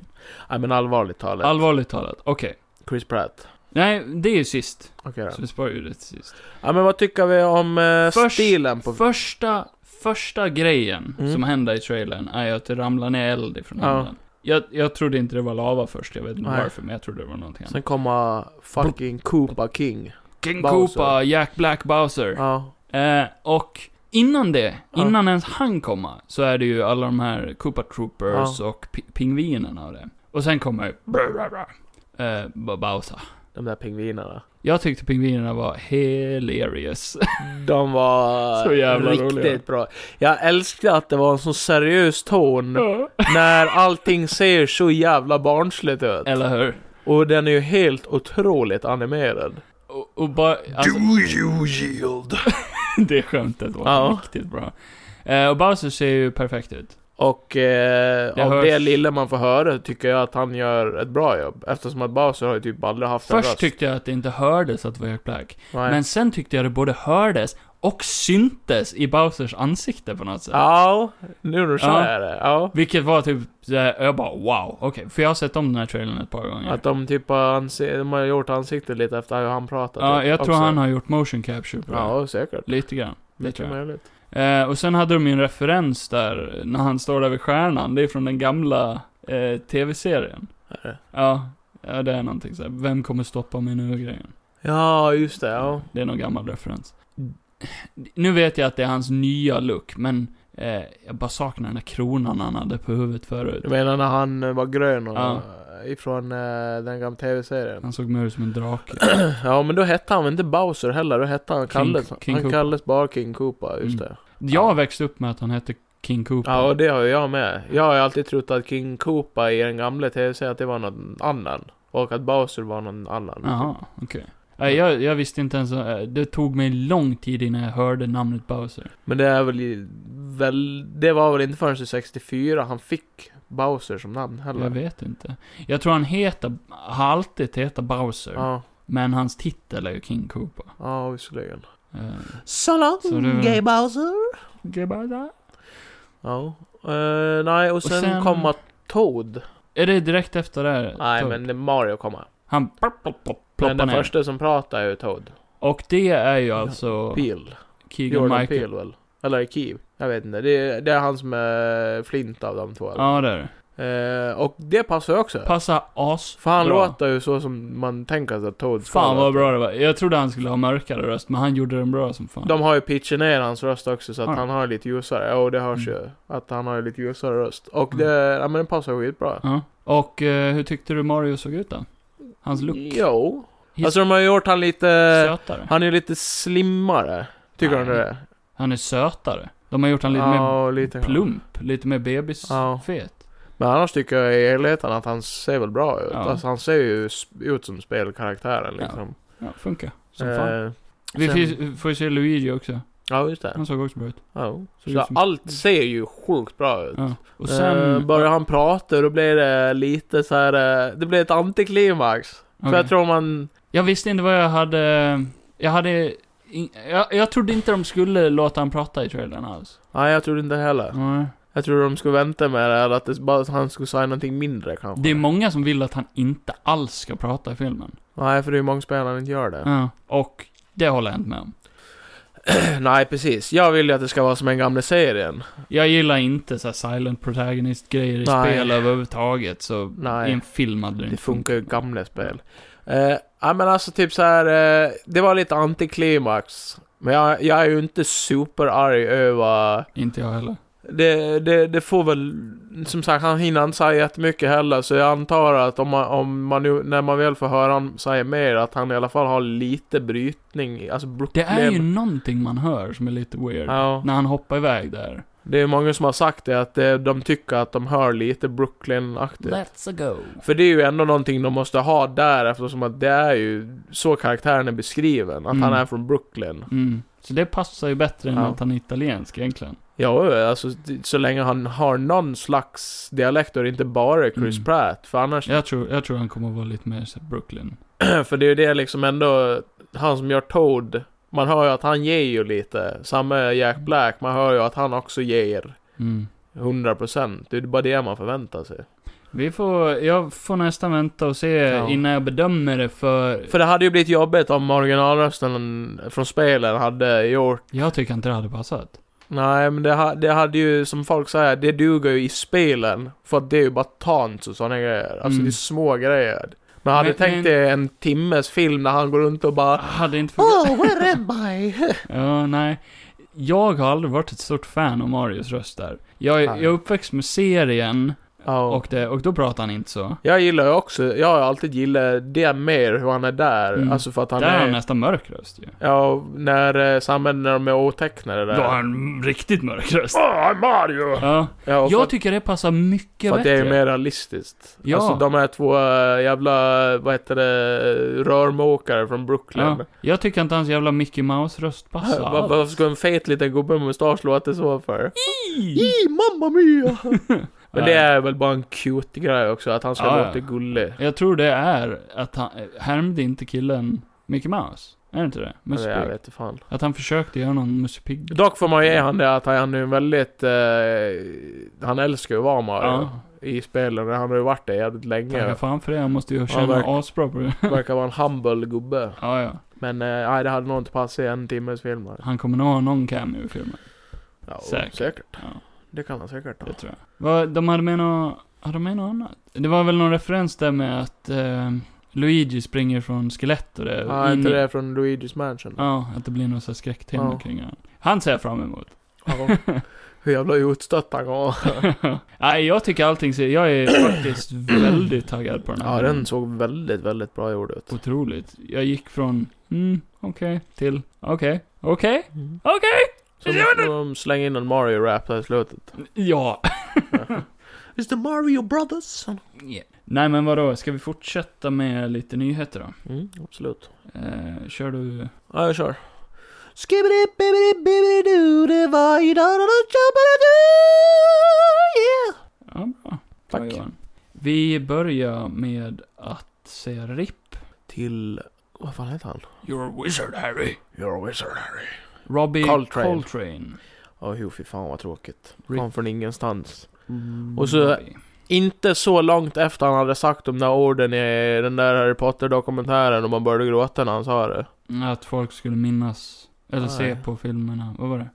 S3: Nej men allvarligt talat.
S1: Allvarligt talat, okej.
S3: Chris Pratt.
S1: Nej, det är ju sist.
S3: Okej
S1: Så
S3: då.
S1: vi sparar ju det till sist.
S3: Ja men vad tycker vi om eh,
S1: Först-
S3: stilen på...
S1: Första, första grejen
S3: Mm.
S1: som händer i trailern är att det ramlar ner eld ifrån
S3: Ja.
S1: handen. Jag, jag trodde inte det var lava först, jag vet inte
S3: Nej.
S1: varför, men jag trodde det var någonting
S3: Sen
S1: annat.
S3: kommer fucking Koopa King.
S1: King
S3: Bowser.
S1: Koopa, Jack Black Bowser.
S3: Ja.
S1: Eh, och innan det,
S3: Ja.
S1: innan ens han komma, så är det ju alla de här Koopa Troopers och pi- pingvinerna och det. Och sen kommer ju eh, B- Bowser.
S3: De där pingvinerna.
S1: Jag tyckte pingvinerna var hilarious.
S3: De var
S1: Så jävla
S3: riktigt
S1: roliga.
S3: bra. Jag älskade att det var en så seriös ton när allting ser så jävla barnsligt ut.
S1: Eller hur?
S3: Och den är ju helt otroligt animerad.
S1: Och, och bara, alltså,
S2: you yield?
S1: det skämtet var
S3: Ja.
S1: riktigt bra. Eh, och Bowser ser ju perfekt ut.
S3: Och eh,
S1: Det
S3: av
S1: hörs.
S3: det lilla man får höra tycker jag att han gör ett bra jobb. Eftersom att Bowser har ju typ aldrig haft en
S1: Först
S3: röst.
S1: tyckte jag att det inte hördes att det var Jack Black.
S3: Nej.
S1: Men sen tyckte jag det både hördes och syntes i Bowsers ansikte på något sätt.
S3: Ja, nu när du säger det. Ja.
S1: Vilket var typ, så här- jag bara wow, okej. För jag har sett om den här trailern ett par gånger.
S3: Att de typ har ansi- de har gjort ansiktet lite efter hur han pratar.
S1: ja,
S3: typ,
S1: jag tror
S3: också.
S1: han har gjort motion capture på det.
S3: Ja, säkert.
S1: Lite grann. Det
S3: Mycket
S1: tror jag.
S3: möjligt.
S1: Eh, och sen hade de ju en referens där, när han står där vid stjärnan. Det är från den gamla eh, tv-serien.
S3: Är det?
S1: Ja, ja, det är någonting såhär, vem kommer stoppa mig nu-grejen.
S3: Ja, just det. Ja.
S1: Det är någon gammal referens. Nu vet jag att det är hans nya look, men eh, jag bara saknar den där kronan han hade på huvudet förut.
S3: Du menar när han eh, var grön och
S1: Ja.
S3: ifrån eh, den gamla tv-serien?
S1: Han såg mer ut som en drake.
S3: ja, men då hette han väl inte Bowser heller? Då hette han
S1: King-
S3: Kalles.
S1: King
S3: han
S1: Koopa.
S3: kallades bara King Koopa, just
S1: Mm.
S3: det.
S1: Jag växte upp med att han hette King Cooper.
S3: Ja, och det har jag med. Jag har ju alltid trott att King Koopa i den gamla tv-serien att det var någon annan. Och att Bowser var någon annan.
S1: Jaha, okej. Nej, Jag, jag visste inte ens, eh, det tog mig lång tid innan jag hörde namnet Bowser.
S3: Men det är väl, i- väl... Det var väl inte förrän till 64 han fick Bowser som namn heller?
S1: Jag vet inte. Jag tror han heter, har alltid hetat Bowser.
S3: Ja,
S1: Men hans titel är ju King Cooper.
S3: ja visserligen.
S1: Eh,
S3: So long,
S1: Så det- gay
S3: Bowser! Ja. Eh, nej, och sen,
S1: sen-
S3: komma Toad.
S1: Är det direkt efter det här?
S3: Nej,
S1: Toad?
S3: men det är Mario komma.
S1: Han plopp, plopp, plopp,
S3: Men
S1: ploppar
S3: den
S1: ner.
S3: första som pratar är ju Toad.
S1: Och det är ju alltså
S3: Peel.
S1: Keegan
S3: Jordan
S1: Michael.
S3: Peel väl? Eller Keeve. Jag vet inte. Det är, det är han som är flint av de två. eller?
S1: Ja, det är det.
S3: Eh, och det passar ju också.
S1: Passar as.
S3: För han
S1: bra.
S3: låter ju så som man tänker sig att Toad ska
S1: Fan
S3: låta.
S1: vad bra det var. Jag trodde han skulle ha mörkare röst, men han gjorde den bra som fan.
S3: De har ju pitchat ner hans röst också så att
S1: Ja.
S3: han har lite ljusare. Och det hörs
S1: Mm.
S3: ju. Att han har lite ljusare röst. Och
S1: Mm.
S3: det, ja men den passar skitbra.
S1: Ja. Och eh, hur tyckte du Mario såg ut då? Hans look?
S3: Jo.
S1: His-
S3: Alltså de har ju gjort han lite...
S1: Sötare? Han,
S3: Han är ju lite slimmare. Tycker du
S1: Nej.
S3: inte det?
S1: är sötare. De har gjort han lite mer
S3: Ja, lite grann.
S1: plump, lite mer bebisfet.
S3: Men annars tycker jag i helheten att han ser väl bra ut.
S1: Ja.
S3: Alltså han ser ju sp- ut som spelkaraktären
S1: Ja,
S3: liksom.
S1: Ja, funkar. Som
S3: Eh,
S1: fan. Vi
S3: sen-
S1: får- får ju se Luigi också.
S3: Ja, just det.
S1: Han såg också bra ut.
S3: Ja.
S1: Så
S3: Så,
S1: det är som-
S3: allt ser ju sjukt bra ut.
S1: Ja. Och
S3: eh,
S1: sen...
S3: börjar han prata då blir det lite så här. eh, det blir ett antiklimax. För
S1: Okej.
S3: jag tror man...
S1: Jag visste inte vad jag hade... Jag hade... In, jag, jag trodde inte de skulle låta han prata i trailern alls.
S3: Nej, jag tror inte heller.
S1: Nej.
S3: Jag tror de skulle vänta med det, eller att det bara, han skulle säga någonting mindre kanske.
S1: Det är många som vill att han inte alls ska prata i filmen.
S3: Nej, för det är ju många spelare som inte gör det.
S1: Ja. Och det håller jag inte med om. Mm.
S3: Nej, precis. Jag vill ju att det ska vara som den gamla serien.
S1: Jag gillar inte så här silent protagonist-grejer i
S3: Nej.
S1: spel överhuvudtaget, så
S3: Nej.
S1: i en film hade det
S3: Det
S1: inte
S3: funkar ju i
S1: funkat.
S3: gamla spel. Eh, ja men alltså typ så här. eh, det var lite antiklimax. Men jag, jag är ju inte superarg över...
S1: Inte jag heller.
S3: Det, det, det får väl... Som sagt, han hinner inte säga jättemycket heller. Så jag antar att om man, om man nu, när man väl får höra han säga mer, att han i alla fall har lite brytning. Alltså
S1: Det
S3: Brooklyn.
S1: är ju någonting man hör som är lite weird.
S3: Ja.
S1: När han hoppar iväg där.
S3: Det är många som har sagt det, att eh, de tycker att de hör lite Brooklyn-aktigt.
S1: Let's go.
S3: För det är ju ändå någonting de måste ha där eftersom att det är ju så karaktären är beskriven. Att
S1: Mm.
S3: han är från Brooklyn.
S1: Mm. Så det passar ju bättre än
S3: Ja.
S1: att han är italiensk egentligen.
S3: Ja, alltså så länge han har någon slags dialekt och det inte bara är Chris
S1: Mm.
S3: Pratt. För annars,
S1: Jag tror, jag tror han kommer att vara lite mer så här Brooklyn.
S3: för det är ju det liksom ändå, han som gör Toad. Man hör ju att han ger ju lite. Samma Jack Black, man hör ju att han också ger
S1: Mm.
S3: 100%. Det är ju bara det man förväntar sig.
S1: Vi får, jag får nästan vänta och se
S3: Ja.
S1: innan jag bedömer det för...
S3: För det hade ju blivit jobbigt om originalrösten från spelen hade gjort
S1: Jag tycker inte det hade passat.
S3: Nej, men det, ha, det hade ju, som folk säger, det duger ju i spelen. För att det är ju bara tants och sådana grejer. Alltså
S1: Mm.
S3: det är små grejer. Men hade
S1: Men-
S3: du tänkt
S1: men-
S3: dig en timmes film när han går runt och bara
S1: Hade inte funkat.
S3: Oh, where am I?
S1: Ja, nej. Jag har aldrig varit ett stort fan av Marios röst där. Jag, jag
S3: Nej.
S1: är uppväxt med serien
S3: Ja.
S1: och, det, och då pratar han inte så.
S3: Jag gillar ju också, jag har alltid gillat det mer, hur han är där.
S1: Mm.
S3: Alltså för att han
S1: där har
S3: är...
S1: han nästan mörk röst ju.
S3: Ja, när, eh, samtidigt när de är otecknade där.
S1: Då har han riktigt mörk röst.
S2: Oh, I'm Mario!
S1: Ja.
S3: Ja, och för,
S1: Jag tycker det passar mycket
S3: för att det är ju
S1: bättre.
S3: mer realistiskt.
S1: Ja.
S3: Alltså de här två eh, jävla, vad heter det, rörmokare från Brooklyn.
S1: ja. Alltså, Jag tycker inte hans jävla Mickey Mouse-röst passar.
S3: Va- va-
S1: alls.
S3: Varför ska en fet liten gubbe med mustasch låta så för? I, mamma mia! Men det är väl bara en cute grej också, att han ska
S1: Ja, ja.
S3: låta gullig.
S1: Jag tror det är att han, härmde inte killen Mickey Mouse? Är det inte det? Musse
S3: Eller jag
S1: Pigg.
S3: vet inte fan.
S1: Att han försökte göra någon Musse Pigg.
S3: Dock får man ju ge han det att han är en väldigt... Eh, han älskar ju att vara Mario
S1: Ja,
S3: i spelen. Han har ju varit det jävligt länge.
S1: tacka fan för det. Jag måste ju känna
S3: verk-
S1: asbra på det.
S3: Verkar vara en humble gubbe.
S1: Ja, ja.
S3: Men eh, nej, det hade nog inte passat i en timmes film. här.
S1: Han kommer nog ha någon cameo i filmen.
S3: Ja,
S1: Säkert.
S3: säkert.
S1: Ja,
S3: Det kan han säkert ha.
S1: det tror jag. Vad, de hade med något... Hade de med något annat? Det var väl någon referens där med att eh, Luigi springer från skelett och det...
S3: Ja,
S1: in
S3: inte
S1: i-
S3: det från Luigi's Mansion?
S1: Ja, att det blir någon sån här skräcktema
S3: Ja.
S1: kring honom. Han ser jag fram emot.
S3: Ja. Hur jävla utstött han var.
S1: Nej, jag tycker allting ser... Jag är faktiskt väldigt taggad på den här
S3: Ja,
S1: filmen.
S3: den såg väldigt, väldigt bra gjord ut.
S1: Otroligt. Jag gick från, mm, okej, till, okej, okej, okej,
S3: Så de, de slänger in en Mario-rap där i slutet.
S1: Ja.
S3: It's the Mario Brothers!
S1: Nej men vadå, ska vi fortsätta med lite nyheter då?
S3: Mm, absolut.
S1: Eh, kör du...
S3: Ja, jag kör. Skibbidi bibbidi bibbidi doo det var ju da da da da yeah!
S1: Ja, bra.
S3: Tack.
S1: Bra, Johan. Vi börjar med att säga RIP.
S3: Till... Vad fan heter han?
S1: You're a wizard Harry.
S3: You're a wizard Harry.
S1: Robbie
S3: Coltrane.
S1: Coltrane.
S3: Ja, jo fy fan vad tråkigt.
S1: Rip.
S3: Kom från ingenstans. Och så- Inte så långt efter han hade sagt de där orden i den där Harry Potter-dokumentären och man började gråta när han sa det.
S1: Att folk skulle minnas, eller se
S3: Nej.
S1: på filmerna. Vad var det?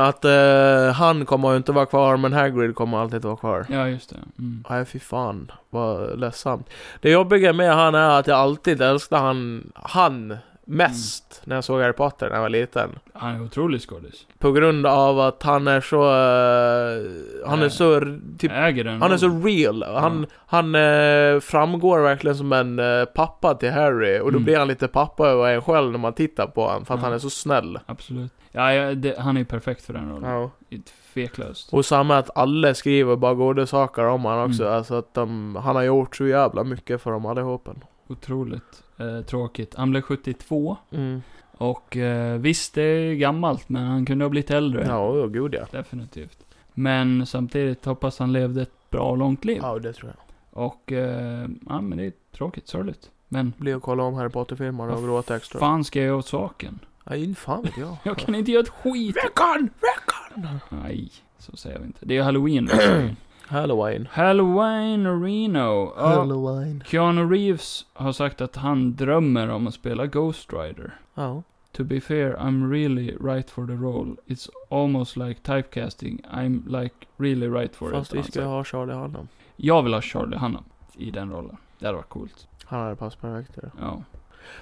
S3: Att eh, han kommer ju inte vara kvar men Hagrid kommer alltid vara kvar.
S1: Ja, just det. Mm.
S3: Nej fy fan, vad ledsamt. Det jobbiga med han är att jag alltid älskade han, han mest när jag såg Harry Potter när jag var liten.
S1: Han är otrolig skådis.
S3: På grund av att han är så... eh, han är
S1: Nej.
S3: så... r- Typ,
S1: Äger den
S3: han är så
S1: rollen.
S3: real. Han, han eh, framgår verkligen som en eh, pappa till Harry. Och då
S1: Mm.
S3: blir han lite pappa över en själv när man tittar på honom. För att
S1: Ja.
S3: han är så snäll.
S1: Absolut. Ja, ja det, han är ju perfekt för den rollen.
S3: Ja.
S1: Tveklöst.
S3: Och samma att alla skriver bara goda saker om han också.
S1: Mm.
S3: Alltså att de, han har gjort så jävla mycket för dem allihopa.
S1: Otroligt eh, tråkigt. Han blev 72.
S3: Mm.
S1: Och eh, visst, det är gammalt, men han kunde ha blivit äldre.
S3: Ja, oh, gud ja.
S1: Definitivt. Men samtidigt hoppas han levde ett bra och långt liv.
S3: Ja, det tror jag.
S1: Och, eh, ja men det är tråkigt, sorgligt. Men,
S3: Blir och kolla om Harry Potter-filmerna och
S1: Vad
S3: gråta extra.
S1: fan ska jag göra åt saken?
S3: Ja, inte fan vet jag.
S1: Jag kan inte göra ett skit!
S3: Veckan! Veckan!
S1: Nej, så säger vi inte. Det är halloween.
S3: Halloween.
S1: Halloween Reno. Ja,
S3: Halloween.
S1: Keanu Reeves har sagt att han drömmer om att spela Ghost Rider.
S3: Ja.
S1: To be fair, I'm really right for the role. It's almost like typecasting. I'm like really right for
S3: Fast
S1: it.
S3: vi
S1: har han sagt.
S3: ska ha Charlie Hunnam.
S1: Jag vill ha Charlie Hunnam i den rollen. Det hade varit coolt.
S3: Han hade passat perfekt i det.
S1: Ja.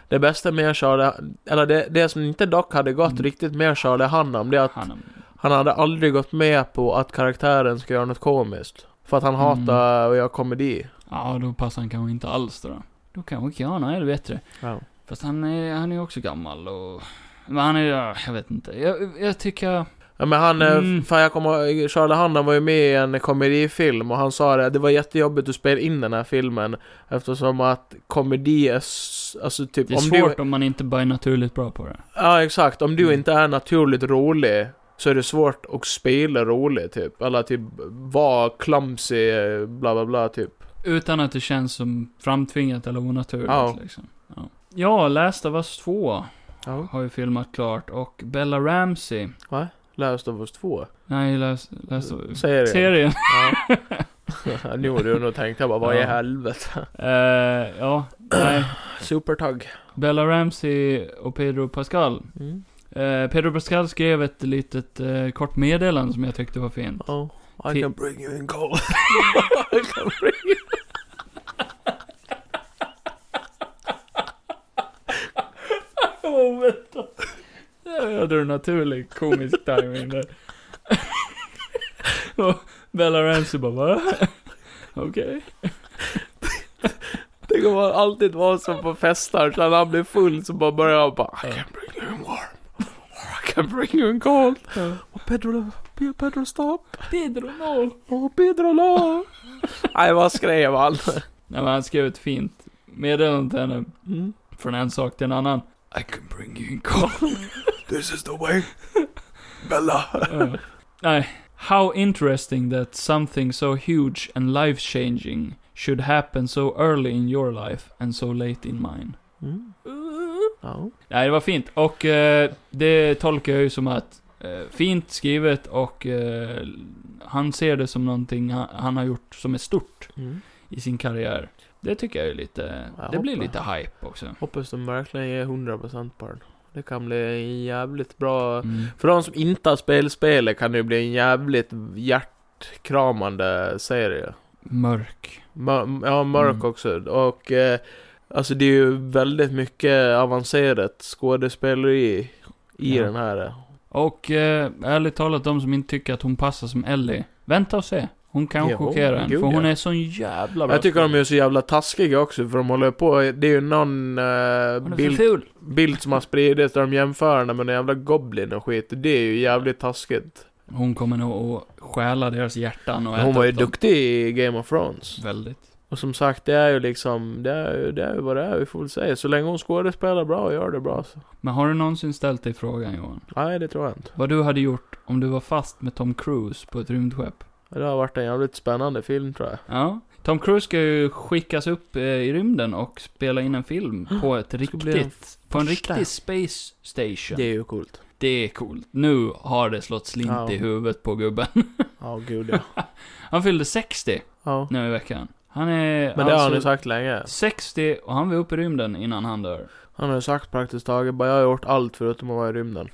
S3: Det bästa med Charlie, eller det, det som inte dock hade gått
S1: Mm.
S3: riktigt med Charlie Hunnam, det är att
S1: Hunnam.
S3: han hade aldrig gått med på att karaktären ska göra något komiskt. För att han
S1: Mm.
S3: hatar att göra komedi.
S1: Ja, då passar han kanske inte alls då. Då kanske Keanu är det bättre.
S3: Ja.
S1: Fast han är, han är också gammal och... Men han är, ja, jag vet inte. Jag, jag tycker...
S3: Ja, men han, eh,
S1: Mm.
S3: fan jag kommer Charlie Hunnam var ju med i en komedifilm och han sa det, det var jättejobbigt att spela in den här filmen eftersom att komedi är, s- alltså typ
S1: Det är
S3: om
S1: svårt
S3: du,
S1: om man inte bara är naturligt bra på det.
S3: ja exakt, om du
S1: Mm.
S3: inte är naturligt rolig så är det svårt att spela rolig typ, eller typ vara clumsy, eh, bla bla bla typ.
S1: Utan att det känns som framtvingat eller onaturligt
S3: Ja.
S1: liksom. Ja. ja, Last of Us 2
S3: Ja.
S1: har ju filmat klart och Bella Ramsey.
S3: Last of us 2.
S1: Nej, Last, Last of Us...
S3: Serien.
S1: Serien.
S3: Ja. nu har du nog tänkt, jag bara vad i
S1: Ja.
S3: helvete.
S1: Eh, ja, nej.
S3: Supertagg.
S1: Bella Ramsey och Pedro Pascal.
S3: Mm.
S1: Eh, Pedro Pascal skrev ett litet eh, kort meddelande som jag tyckte var fint.
S3: Oh, I
S1: Ti-
S3: can bring you in cold. I can bring you...
S1: Åh, vänta. Jag hade en naturlig komisk timing där. Och Bella Ramsey bara, va? Okej.
S3: Tänk om han alltid var som på fester, så när han blir full så bara börjar han bara I
S1: Ja.
S3: can bring you in warm. Or I can bring you in cold. Och Pedro, Pedro stopp.
S1: Pedro noll.
S3: Och Pedro la. Nej vad skrev han?
S1: Nej men han skrev ett fint meddelande till henne.
S3: Mm.
S1: Från en sak till en annan. I can bring you in call.
S3: This is the way. Bella.
S1: Ja. Eh, Nej. How interesting that something so huge and life changing should happen so early in your life and so late in mine.
S3: Mm. Ja.
S1: Nej, det var fint. Och eh, det tolkar jag ju som att eh, fint skrivet och eh, han ser det som någonting han, han har gjort som är stort
S3: Mm.
S1: i sin karriär. Det tycker jag är lite,
S3: Jag
S1: det blir
S3: hoppas.
S1: lite hype också.
S3: Hoppas de verkligen ger 100% på den. Det kan bli en jävligt bra.
S1: Mm.
S3: För de som inte har spelat spelet kan det ju bli en jävligt hjärtkramande serie.
S1: Mörk.
S3: Mör- Ja, mörk
S1: Mm.
S3: också. Och eh, alltså det är ju väldigt mycket avancerat skådespeleri i
S1: Ja.
S3: den här.
S1: Och eh, ärligt talat, de som inte tycker att hon passar som Ellie, vänta och se. Hon kan
S3: Jo,
S1: chockera en,
S3: gud,
S1: för hon
S3: ja.
S1: är sån jävla bra
S3: Jag tycker de är så jävla taskiga också för de håller på, det är ju någon eh,
S1: Hon är för
S3: bild,
S1: ful.
S3: bild som har spridits där de jämför henne med en jävla goblin och skit. Det är ju jävligt taskigt.
S1: Hon kommer nog att stjäla deras hjärtan och äta
S3: Hon var ju
S1: upp dem.
S3: duktig i Game of Thrones.
S1: Väldigt.
S3: Och som sagt, det är ju liksom, det är ju, det är ju vad det är, vi får väl säga. Så länge hon skådespelar bra och gör det bra så.
S1: Men har du någonsin ställt dig frågan Johan?
S3: Nej, det tror jag inte.
S1: Vad du hade gjort om du var fast med Tom Cruise på ett rymdskepp?
S3: Det har varit en jävligt spännande film tror jag.
S1: Ja. Tom Cruise ska ju skickas upp eh, i rymden och spela in en film på ett
S3: bli den
S1: riktigt, på en
S3: första.
S1: riktig space station.
S3: Det
S1: Det,
S3: är ju coolt.
S1: är coolt. Nu har det slått slint
S3: Ja.
S1: i huvudet på gubben.
S3: Ja, gud ja.
S1: Han fyllde 60
S3: ja.
S1: nu i veckan. Han är
S3: Men det har han ju sagt länge.
S1: 60 och han var uppe i rymden innan han dör.
S3: Han har ju sagt praktiskt taget bara jag har gjort allt förutom att vara i rymden.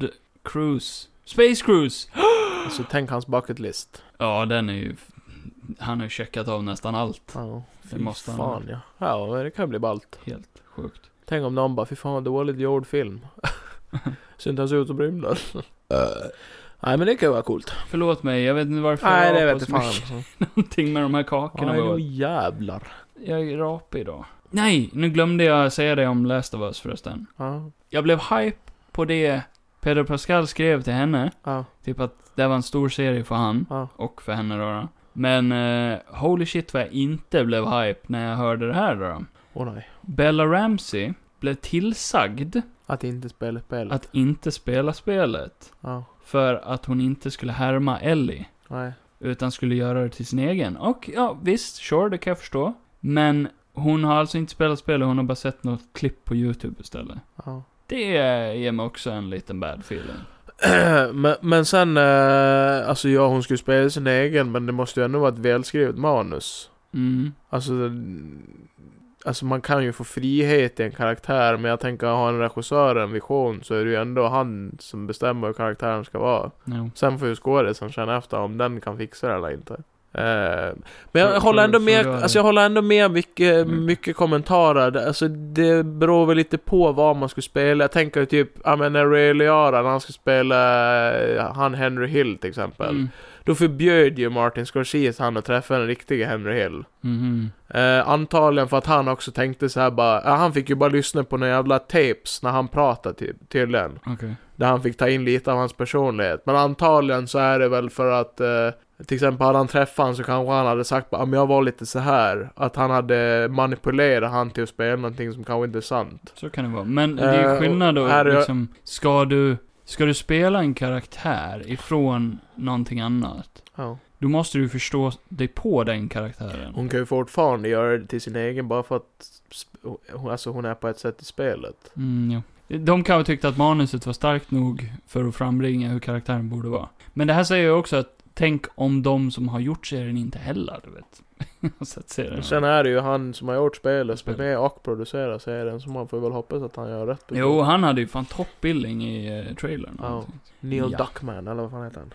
S1: Rymdcruise. Space Cruise!
S3: Alltså tänk hans bucket list.
S1: Ja, den är ju... Han har ju checkat av nästan allt.
S3: Ja,
S1: Det måste han
S3: fan ja. Ja, men det kan bli ballt.
S1: Helt sjukt.
S3: Tänk om någon bara, fy fan dåligt gjord film. Ser inte ens ut som rymden. Uh, Nej men det kan ju vara coolt.
S1: Förlåt mig, jag vet inte varför
S3: Nej det
S1: rapar
S3: vet
S1: så
S3: jag
S1: mycket
S3: fan.
S1: någonting med de här kakorna.
S3: Nej då
S1: Ja,
S3: jävlar.
S1: jag är rapig idag. Nej, nu glömde jag säga det om Last of Us förresten.
S3: Ja,
S1: Jag blev hype på det Pedro Pascal skrev till henne.
S3: ja,
S1: Typ att det var en stor serie för han.
S3: ja.
S1: Och för henne då. då. Men eh, holy shit vad jag inte blev hype när jag hörde det här då. då.
S3: Åh nej.
S1: Bella Ramsey blev tillsagd
S3: Att inte spela spel.
S1: att inte spela spelet.
S3: Ja,
S1: För att hon inte skulle härma Ellie.
S3: nej.
S1: Utan skulle göra det till sin egen. Och ja, visst, sure, det kan jag förstå. Men hon har alltså inte spelat spelet, hon har bara sett något klipp på YouTube istället.
S3: Ja.
S1: Det ger mig också en liten bad feeling.
S3: men, men sen, eh, alltså ja hon skulle spela sin egen men det måste ju ändå vara ett välskrivet manus.
S1: Mm.
S3: Alltså, den- alltså man kan ju få frihet i en karaktär men jag tänker har en regissör en vision så är det ju ändå han som bestämmer hur karaktären ska vara.
S1: Jo.
S3: Sen får ju skådisen känna efter om den kan fixa det eller inte. Eh, men jag
S1: Tror-
S3: håller ändå
S1: tror-
S3: med,
S1: tror du-
S3: alltså jag håller ändå med mycket,
S1: Mm.
S3: mycket kommentarer. Det- Alltså det beror väl lite på vad man ska spela. Jag tänker typ, ja men när Ray Liotta, när han ska spela eh, han Henry Hill till exempel.
S1: Mm.
S3: Då förbjöd ju Martin Scorsese han att träffa den riktiga Henry Hill.
S1: Mhm.
S3: Eh, antagligen för att han också tänkte så här bara, ja, han fick ju bara lyssna på några jävla tapes när han pratade ty- tydligen.
S1: Okej.
S3: Där han fick ta in lite av hans personlighet. Men antagligen så är det väl för att eh, till exempel hade han träffat han så kanske han hade sagt bara, "Ja, men jag var lite så här Att han hade manipulerat han till att spela någonting som kanske inte är sant.
S1: Så kan det vara. Men det är ju
S3: Eh,
S1: skillnad
S3: och här
S1: då,
S3: är-
S1: liksom, ska du, ska du spela en karaktär ifrån någonting annat,
S3: Ja.
S1: då måste du förstå dig på den karaktären.
S3: Hon kan ju fortfarande göra det till sin egen bara för att sp- hon- alltså hon är på ett sätt i spelet.
S1: Mm, ja. De kan ha tyckt att manuset var starkt nog för att frambringa hur karaktären borde vara. Men det här säger ju också att, tänk om de som har gjort serien inte heller, du vet. Har sett serien.
S3: Sen är det ju han som har gjort spelet som är
S1: Spel.
S3: med och producerar serien så man får väl hoppas att han gör rätt.
S1: Jo, han hade ju fan toppbildning i eh, trailern. och
S3: Ja.
S1: allting.
S3: Neil
S1: Ja.
S3: Duckman, eller vad fan heter han?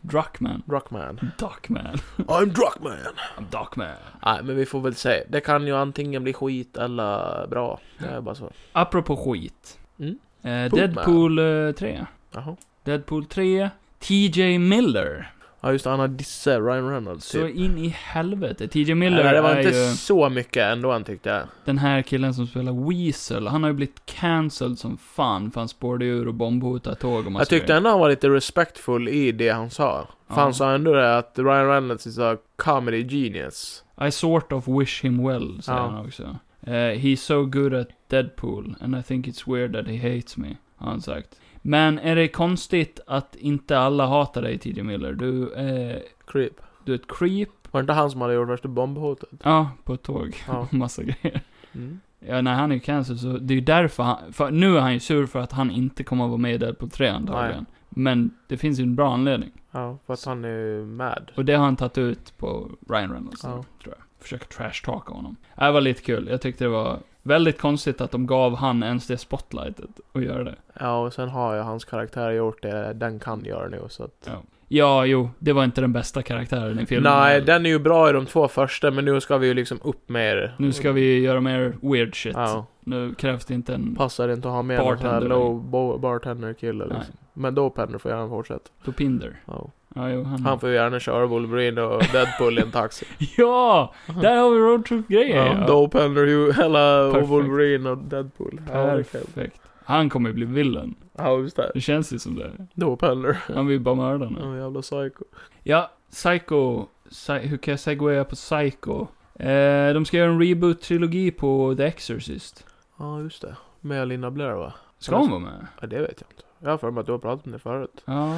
S1: Druckman.
S3: Druckman.
S1: Duckman.
S3: I'm Druckman!
S1: I'm Duckman.
S3: Nej, men vi får väl se. Det kan ju antingen bli skit eller bra. Det är bara så.
S1: Apropå skit.
S3: Mm.
S1: Eh,
S3: Poop
S1: Deadpool eh, 3.
S3: Jaha.
S1: Deadpool 3. TJ Miller.
S3: Ja, just det, han har dissat Ryan Reynolds
S1: Så
S3: typ.
S1: in i helvete. TJ
S3: Miller
S1: Miller
S3: Nej, det var
S1: är
S3: inte
S1: ju
S3: så mycket ändå han tyckte jag.
S1: den här killen som spelar Weasel. Han har ju blivit cancelled som fan för han spårade ur och bombhotade tåg och massa
S3: Jag tyckte
S1: grejer.
S3: ändå han var lite respectful i det han sa. För
S1: Ja.
S3: han sa ändå det att Ryan Reynolds is a comedy genius.
S1: I sort of wish him well, säger
S3: Ja.
S1: han också. Eh, he's so good at Deadpool, and I think it's weird that he hates me, har han sagt. Men är det konstigt att inte alla hatar dig, TJ Miller? Du, eh,
S3: Creep.
S1: du är ett creep,
S3: Var det inte han som hade gjort värsta bombhotet?
S1: ja, på ett tåg,
S3: Ja.
S1: massa grejer.
S3: Mm.
S1: Ja, när han är ju cancer så det är ju därför han, för nu är han ju sur för att han inte kommer att vara med i Deadpool 3 antagligen. Men det finns ju en bra anledning.
S3: Ja, för att han är ju mad.
S1: Och det har han tagit ut på Ryan Reynolds,
S3: Ja.
S1: tror jag. Försöker trashtalka honom. Äh, Det var lite kul. Jag tyckte det var väldigt konstigt att de gav han ens det spotlightet och göra det.
S3: Ja, och sen har ju hans karaktär gjort det den kan göra nu, så att...
S1: Ja, jo, det var inte den bästa karaktären i filmen.
S3: Nej, den är ju bra i de två första, men nu ska vi ju liksom upp med det.
S1: Nu ska vi göra mer weird shit.
S3: Ja,
S1: Nu krävs det inte en...
S3: passar det inte att ha med en sån här
S1: Bartender.
S3: low bo- bartender-kille
S1: Nej.
S3: liksom. Men då Penner får gärna fortsätta.
S1: Topinder.
S3: Ja.
S1: Ja, jo, han...
S3: Han får ju gärna köra Wolverine och Deadpool i en taxi.
S1: ja! Där har vi roadtrip-grejer!
S3: Ja, Dope Hellner, ju- hela och
S1: Perfekt.
S3: Wolverine och Deadpool. Ja, det kan-
S1: Perfekt. Han kommer ju bli villain.
S3: Ja, just det.
S1: Det känns ju som det.
S3: Dope Hellner.
S1: Han vill ju bara mörda nu.
S3: Ja, jävla psycho.
S1: Ja, Psycho. Psy- hur kan jag segwaya på Psycho? Eh, de ska göra en reboot-trilogi på The Exorcist.
S3: Ja, just det. Med Linda Blair va?
S1: Ska hon vara med?
S3: Ja, det vet jag inte. Jag har för mig att du har pratat om det förut.
S1: Ja,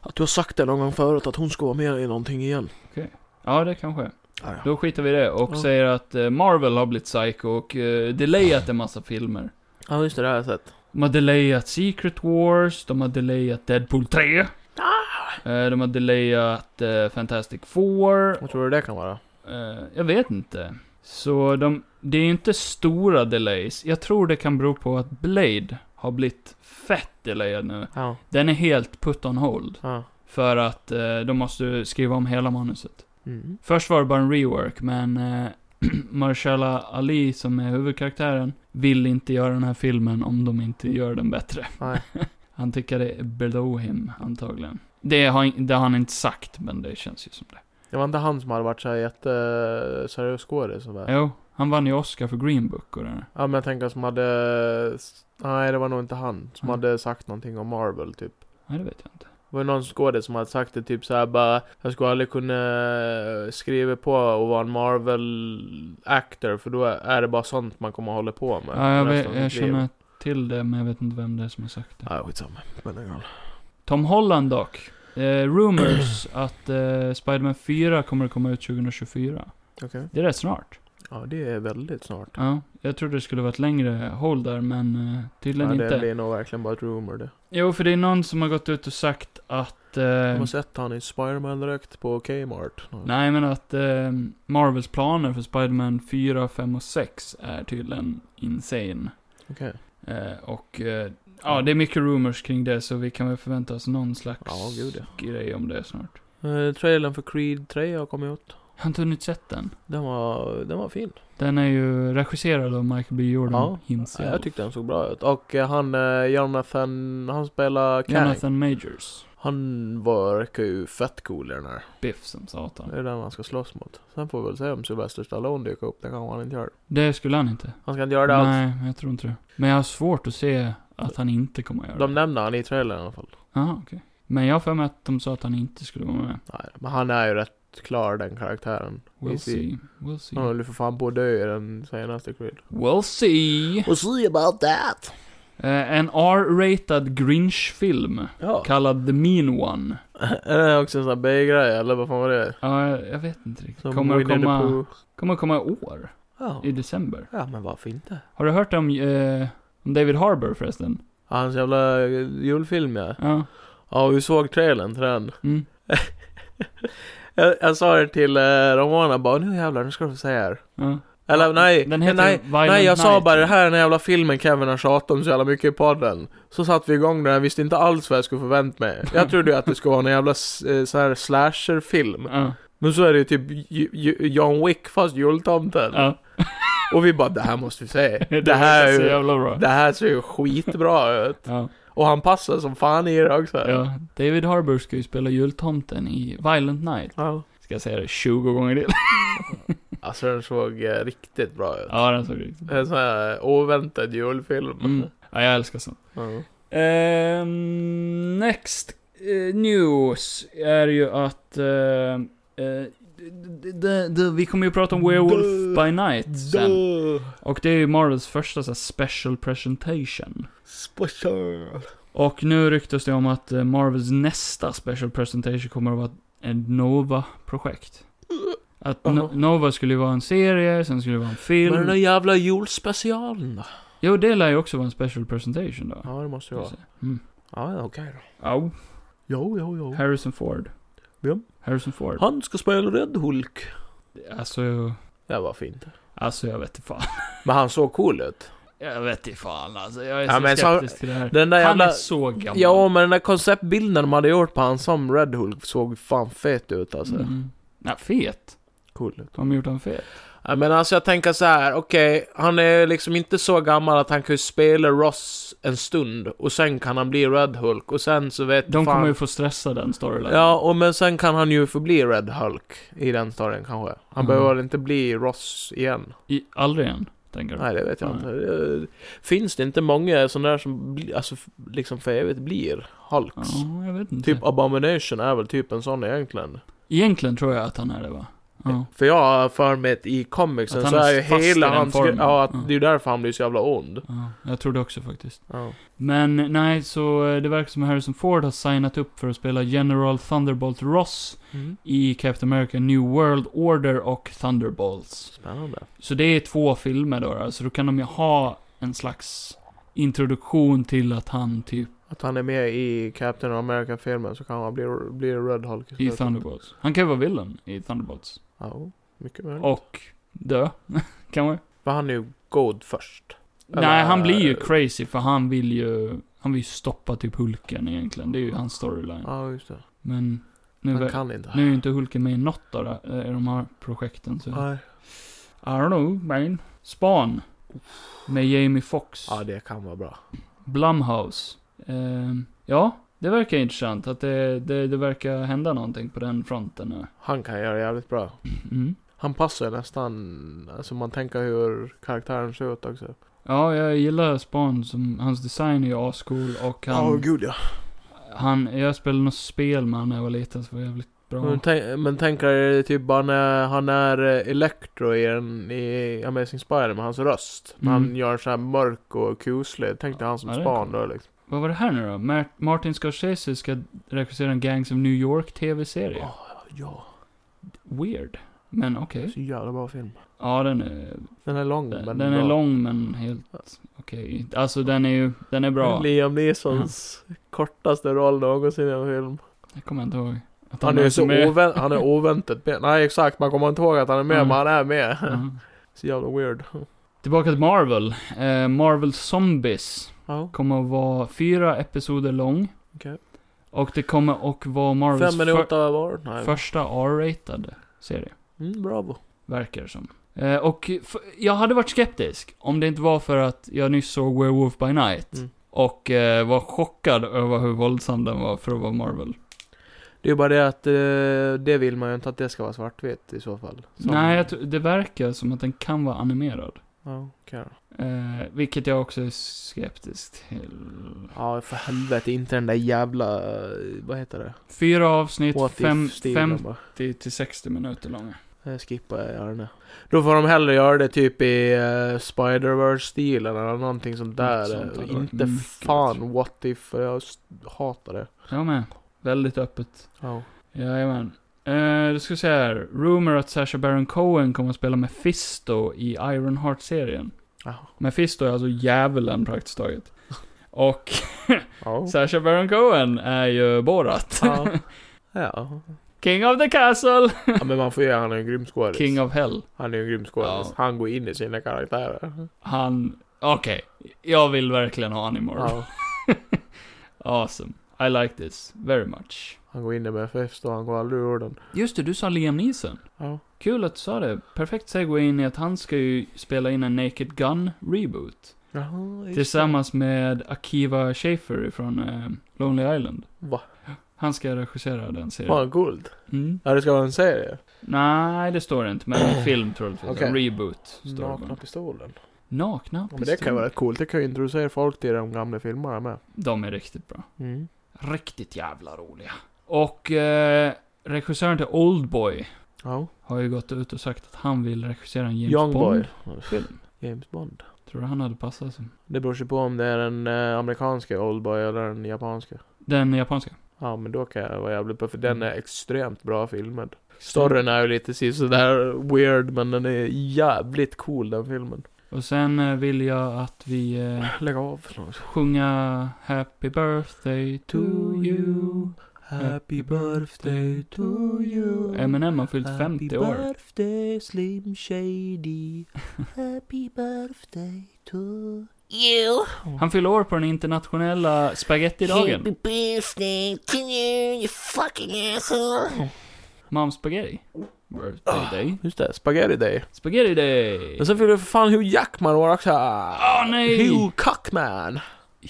S3: Att du har sagt det någon gång förut, att hon ska vara med i någonting igen.
S1: ja det kanske.
S3: Ja, ja.
S1: Då skiter vi i det och
S3: Ja.
S1: säger att eh, Marvel har blivit psycho och eh, delayat en massa filmer.
S3: ja, just det. Det har jag sett.
S1: De har delayat Secret Wars, de har delayat Deadpool 3. Eh, de har delayat eh, Fantastic Four.
S3: Vad tror du det kan vara?
S1: Eh, jag vet inte. Så de, det är ju inte stora delays. Jag tror det kan bero på att Blade har blivit fett delayad nu.
S3: Ja.
S1: Den är helt put on hold.
S3: ja.
S1: För att eh, de måste skriva om hela manuset.
S3: Mm.
S1: Först var det bara en rework, men eh, Marshala Ali, som är huvudkaraktären, vill inte göra den här filmen om de inte gör den bättre.
S3: Nej.
S1: han tycker det är below him, antagligen. Det har, in- det har han inte sagt, men det känns ju som det.
S3: Det var inte han som hade varit så här jätteseriös skådis som var.
S1: Jo, han vann ju Oscar för Green Book och det där.
S3: Ja men jag tänker som hade... Nej det var nog inte han. Som
S1: Nej.
S3: hade sagt någonting om Marvel typ.
S1: Nej, det vet jag inte.
S3: Det var någon skådis som hade sagt det typ så här bara Jag skulle aldrig kunna eh, skriva på och vara en Marvel actor för då är det bara sånt man kommer att hålla på med.
S1: Ja, jag,
S3: resten av
S1: vet, jag
S3: sitt liv.
S1: känner till det, men jag vet inte vem det är som har sagt det.
S3: Ja, skitsamma. Men det är galet.
S1: Tom Holland dock. Eh, rumors att eh, Spider-Man 4 kommer att komma ut 2024.
S3: Okej.
S1: Det är rätt snart.
S3: Ja, det är väldigt snart.
S1: Ja, jag trodde det skulle vara ett längre håll där, men eh,
S3: Ja,
S1: tydligen
S3: det
S1: inte.
S3: blir nog verkligen bara ett rumor det.
S1: Jo, för det är någon som har gått ut och sagt att...
S3: Jag
S1: Eh,
S3: har sett han i Spiderman direkt på Kmart.
S1: nej, men att eh, Marvels planer för Spider-Man 4, 5 och 6 är tydligen insane.
S3: Okej.
S1: Eh, och eh, ja, det är mycket rumors kring det, så vi kan väl förvänta oss någon slags
S3: Ja, gud,
S1: grej om det snart.
S3: Eh, trailern för Creed 3 har kommit ut.
S1: Jag har inte hunnit sett den.
S3: Den var, den var fin.
S1: Den är ju regisserad av Michael B. Jordan
S3: Ja,
S1: himself.
S3: Jag tyckte den såg bra ut. Och eh, han eh, Jonathan, han spelar Kang.
S1: Jonathan Majors.
S3: Han verkar ju fett cool i den här.
S1: Biff som satan.
S3: Det är den han ska slåss mot. Sen får vi väl se om Sylvester Stallone dyker upp. Det kanske han inte gör.
S1: Det skulle han inte.
S3: Han ska inte göra det alls.
S1: Nej, men jag tror inte det. Men jag har svårt att se att han inte kommer att göra
S3: De
S1: det.
S3: nämner han i trailern i alla fall.
S1: Jaha, okej. Men jag har för mig att de sa att han inte skulle vara med.
S3: Nej, men han är ju rätt klar den karaktären.
S1: We'll
S3: Vi ser.
S1: see. We'll see.
S3: Han höll ju för fan på att dö i den senaste Creed.
S1: We'll see.
S3: We'll see about that!
S1: Eh, en R-rated Grinch-film.
S3: Ja.
S1: Kallad The Mean One.
S3: Är det också en sån här B-grej eller vad fan var det?
S1: Ja, jag- jag vet inte riktigt.
S3: Som
S1: Kommer att
S3: Winnie the
S1: komma,
S3: Pooh.
S1: kommer att komma i år.
S3: Ja.
S1: I december.
S3: ja, men varför inte?
S1: Har du hört om, eh, om David Harbour förresten?
S3: Hans jävla eh, julfilm ja.
S1: Ja.
S3: Ja, vi såg trailern till den.
S1: Mm.
S3: Jag, jag sa det till eh, Romana bara, nu jävlar, nu ska du få säga här.
S1: ja.
S3: Eller nej,
S1: Den heter
S3: nej,
S1: Violent
S3: nej jag sa
S1: Night.
S3: bara det här är den här jävla filmen Kevin har tjatat om så jävla mycket i podden. Så satte vi igång den, jag visste inte alls vad jag skulle förvänta mig. Jag trodde ju att det skulle vara en jävla s- eh, så här slasherfilm.
S1: Ja.
S3: Men så är det ju typ Ju- Ju- John Wick fast jultomten.
S1: ja.
S3: Och vi bara, det här måste vi se. Det
S1: verkar
S3: här, är
S1: så
S3: ju,
S1: jävla bra.
S3: det här ser ju skitbra ut.
S1: Ja.
S3: Och han passar som fan i det också.
S1: ja. David Harbour ska ju spela jultomten i Violent Night.
S3: Ja.
S1: Ska jag säga det 20 gånger till?
S3: Alltså den såg eh, riktigt bra ut.
S1: ja, den såg riktigt
S3: En sån här oväntad julfilm.
S1: mm. Ja, jag älskar sånt.
S3: Ja.
S1: Ehm, next eh, news är ju att... eh, eh, d- d- d- vi kommer ju prata om Werewolf
S3: Duh.
S1: by Night sen.
S3: Duh.
S1: Och det är ju Marvels första så här, special presentation.
S3: Special.
S1: Och nu ryktas det om att eh, Marvels nästa special presentation kommer att vara ett Nova-projekt. Att no-
S3: Jaha.
S1: Nova skulle ju vara en serie, sen skulle det vara en film.
S3: Men den där jävla julspecialen då?
S1: Jo, det lär ju också vara en special presentation då.
S3: Ja, det måste det vara.
S1: Mm.
S3: Ja, ja, okej då.
S1: Ja,
S3: Jo, jo, jo.
S1: Harrison Ford.
S3: Vem?
S1: Harrison Ford.
S3: Han ska spela Red Hulk.
S1: Alltså,
S3: Det var fint.
S1: alltså jag vet inte fan.
S3: Men han såg cool ut.
S1: Jag vet inte fan alltså, jag är
S3: Ja,
S1: så
S3: men så-
S1: skeptisk till det här.
S3: Den där
S1: Han är
S3: jävla...
S1: så gammal.
S3: Ja, men den där konceptbilden de hade gjort på han som Red Hulk såg fan fet ut alltså.
S1: Mm. Ja, fet.
S3: cool ut.
S1: De har gjort han fel.
S3: Ja, Men alltså jag tänker så här, okej, han är liksom inte så gammal att han kan ju spela Ross en stund och sen kan han bli Red Hulk och sen så vet
S1: De
S3: fan...
S1: kommer ju få stressa den storylinen.
S3: Ja, och men sen kan han ju förbli Red Hulk i den storyn kanske. Han
S1: Mm.
S3: behöver inte bli Ross igen.
S1: I, aldrig än, tänker du?
S3: Nej, det vet jag
S1: Nej.
S3: inte. Det- Finns det inte många sådana där som bli, alltså, f- liksom för evigt blir Hulks?
S1: Ja, jag vet inte.
S3: Typ Abomination är väl typ en sån egentligen.
S1: Egentligen tror jag att han är det va? Ja.
S3: För jag har för mig att i comicsen
S1: Att
S3: så
S1: han
S3: är
S1: är
S3: ju
S1: fast i
S3: hela
S1: den
S3: hans...
S1: formen.
S3: Ja, att
S1: Ja.
S3: det är ju därför han blir så jävla ond.
S1: ja, jag tror det också faktiskt.
S3: Ja.
S1: Men nej, så eh, det verkar som Harrison Ford har signat upp för att spela General Thunderbolt Ross i Captain America New World Order och Thunderbolts.
S3: Spännande.
S1: Så det är två filmer då, alltså då, så då kan de ju ha en slags introduktion till att han typ
S3: Att han är med i Captain America-filmen så kan han bli, bli Red Hulk
S1: i
S3: slutet.
S1: Thunderbolts. Han kan ju vara villain i Thunderbolts.
S3: Ja, mycket möjligt.
S1: Och dö, kanske.
S3: För han är ju god först.
S1: Nej, han blir
S3: eh,
S1: ju crazy för han vill ju... Han vill ju stoppa typ Hulken egentligen. Det är ju hans storyline.
S3: Ja, just det.
S1: Men nu,
S3: Han
S1: ver-
S3: kan inte.
S1: nu är ju inte Hulken med i något av det- eh, de här projekten så...
S3: Nej.
S1: I don't know, man. Span. Med Jamie Foxx.
S3: Ja, det kan vara bra.
S1: Blumhouse. Ehm, ja, det verkar intressant att det, det, det verkar hända någonting på den fronten nu.
S3: Han kan göra jävligt bra.
S1: Mm.
S3: Han passar ju nästan, alltså man tänker hur karaktären ser ut också.
S1: Ja, jag gillar Spawn som, hans design är ju ascool och han,
S3: Ja, gud ja.
S1: han, jag spelade något spel med honom när jag var liten så det var jävligt bra.
S3: Men, tänk, men tänker det typ bara när han är eh, Electro i, en, i Amazing Spider med hans röst. När Han
S1: Mm.
S3: gör så här mörk och kuslig. Tänk dig han som
S1: Ja, det är
S3: span
S1: cool.
S3: då liksom.
S1: Vad var det här nu då? Mar- Martin Scorsese ska regissera en Gangs of New York TV-serie.
S3: Ja,
S1: Weird. Men okej.
S3: så jävla bra film.
S1: Ja, den är,
S3: Den är lång
S1: den,
S3: men
S1: den är
S3: bra.
S1: lång men helt okej. Alltså den är ju, den är bra.
S3: Liam Neesons kortaste roll någonsin i en film.
S1: Jag kommer inte ihåg. Att
S3: Han är ju
S1: ens
S3: så
S1: med.
S3: ovä- han är oväntat med. Nej exakt, man kommer inte ihåg att han är med
S1: Mm.
S3: men han är med.
S1: Ja.
S3: Så jävla weird.
S1: Tillbaka till Marvel. Eh, Marvel Zombies
S3: Ja,
S1: kommer att vara fyra episoder lång.
S3: Okej.
S1: Och det kommer att vara Marvels
S3: Fem minuter var.
S1: för,
S3: Nej.
S1: första R-ratade serie,
S3: Mm, bravo.
S1: verkar det som. Eh, och f- jag hade varit skeptisk om det inte var för att jag nyss såg Werewolf by Night.
S3: Mm.
S1: Och eh, var chockad över hur våldsam den var för att vara Marvel.
S3: Det är bara det att eh, det vill man ju inte att det ska vara svartvitt i så fall. Som-
S1: Nej, jag tror- det verkar som att den kan vara animerad.
S3: Ja, okej då.
S1: Eh, vilket jag också är skeptisk till.
S3: Ja, för helvete. Inte den där jävla... eh, Vad heter det?
S1: Fyra avsnitt,
S3: What
S1: fem,
S3: if-stilen bara.
S1: 50 till 60 minuter långa.
S3: Jag skippar jag gör det. Då får de hellre göra det typ i uh, Spider-Verse-stilen eller någonting sånt där.
S1: Något sånt hade varit
S3: inte
S1: mycket
S3: fan what if, för jag s- hatar det.
S1: Jag med. Väldigt öppet.
S3: Ja.
S1: Jajamän. Eh, då ska vi se här. Rumor att Sasha Baron Cohen kommer att spela Mephisto i Ironheart-serien.
S3: Jaha.
S1: Mephisto är alltså djävulen praktiskt taget. Och
S3: Ja.
S1: Sasha Baron Cohen är ju Borat.
S3: Ja. ja.
S1: King of the Castle!
S3: ja. Men man får ju, han är ju en grym skådis.
S1: King of Hell.
S3: Han är ju en grym skådis.
S1: Ja.
S3: Han går in i sina karaktärer.
S1: Han... Okej. Jag vill verkligen ha honom i Marvel.
S3: Ja.
S1: Awesome. I like this. Very much.
S3: Han går in i MFF och han går aldrig ur den.
S1: Just det, du sa Liam Neeson.
S3: Ja.
S1: Kul att du sa det. Perfekt segway in i att han ska ju spela in en Naked Gun reboot.
S3: Jaha, just det.
S1: Tillsammans med Akiva Schaffer från eh, Lonely Island.
S3: Va?
S1: Han ska regissera den
S3: Har
S1: serien.
S3: han guld?
S1: Mm.
S3: Ja, det ska vara en serie.
S1: Nej, det står det inte, men en film troligtvis.
S3: Okej.
S1: En reboot, står det
S3: Nakna
S1: bara.
S3: pistolen.
S1: Nakna
S3: Ja, men det kan ju vara rätt coolt. Det kan ju introducera folk till de gamla filmerna med.
S1: De är riktigt bra.
S3: Mm.
S1: Riktigt jävla roliga. Och eh, regissören till Oldboy
S3: Ja.
S1: har ju gått ut och sagt att han vill regissera en James
S3: Young
S1: Bond.
S3: Boy.
S1: Film.
S3: James Bond.
S1: Tror du han hade passat som...
S3: Det beror sig på om det är den eh, amerikanska Oldboy eller den japanska.
S1: Den japanska.
S3: Ja, men då kan jag vara jävligt bra för den
S1: Mm.
S3: är extremt bra filmad. Storyn är ju lite si- sådär weird, men den är jävligt cool den filmen.
S1: Och sen eh, vill jag att vi eh,
S3: Lägg av.
S1: sjunga Happy birthday to you.
S3: Happy birthday to you.
S1: Eminem har fyllt 50 år.
S3: birthday Slim Shady. Happy birthday to...
S4: You.
S1: Han fyller år på den internationella spagettidagen.
S4: Happy birthday to you, you fucking asshole.
S1: Mom Spaghetti. Birthday day.
S3: Just det, Spaghetti Day.
S1: Spaghetti day!
S3: Men sen fyllde för fan Hugh Jackman år också.
S1: Åh nej!
S3: Hugh Cockman.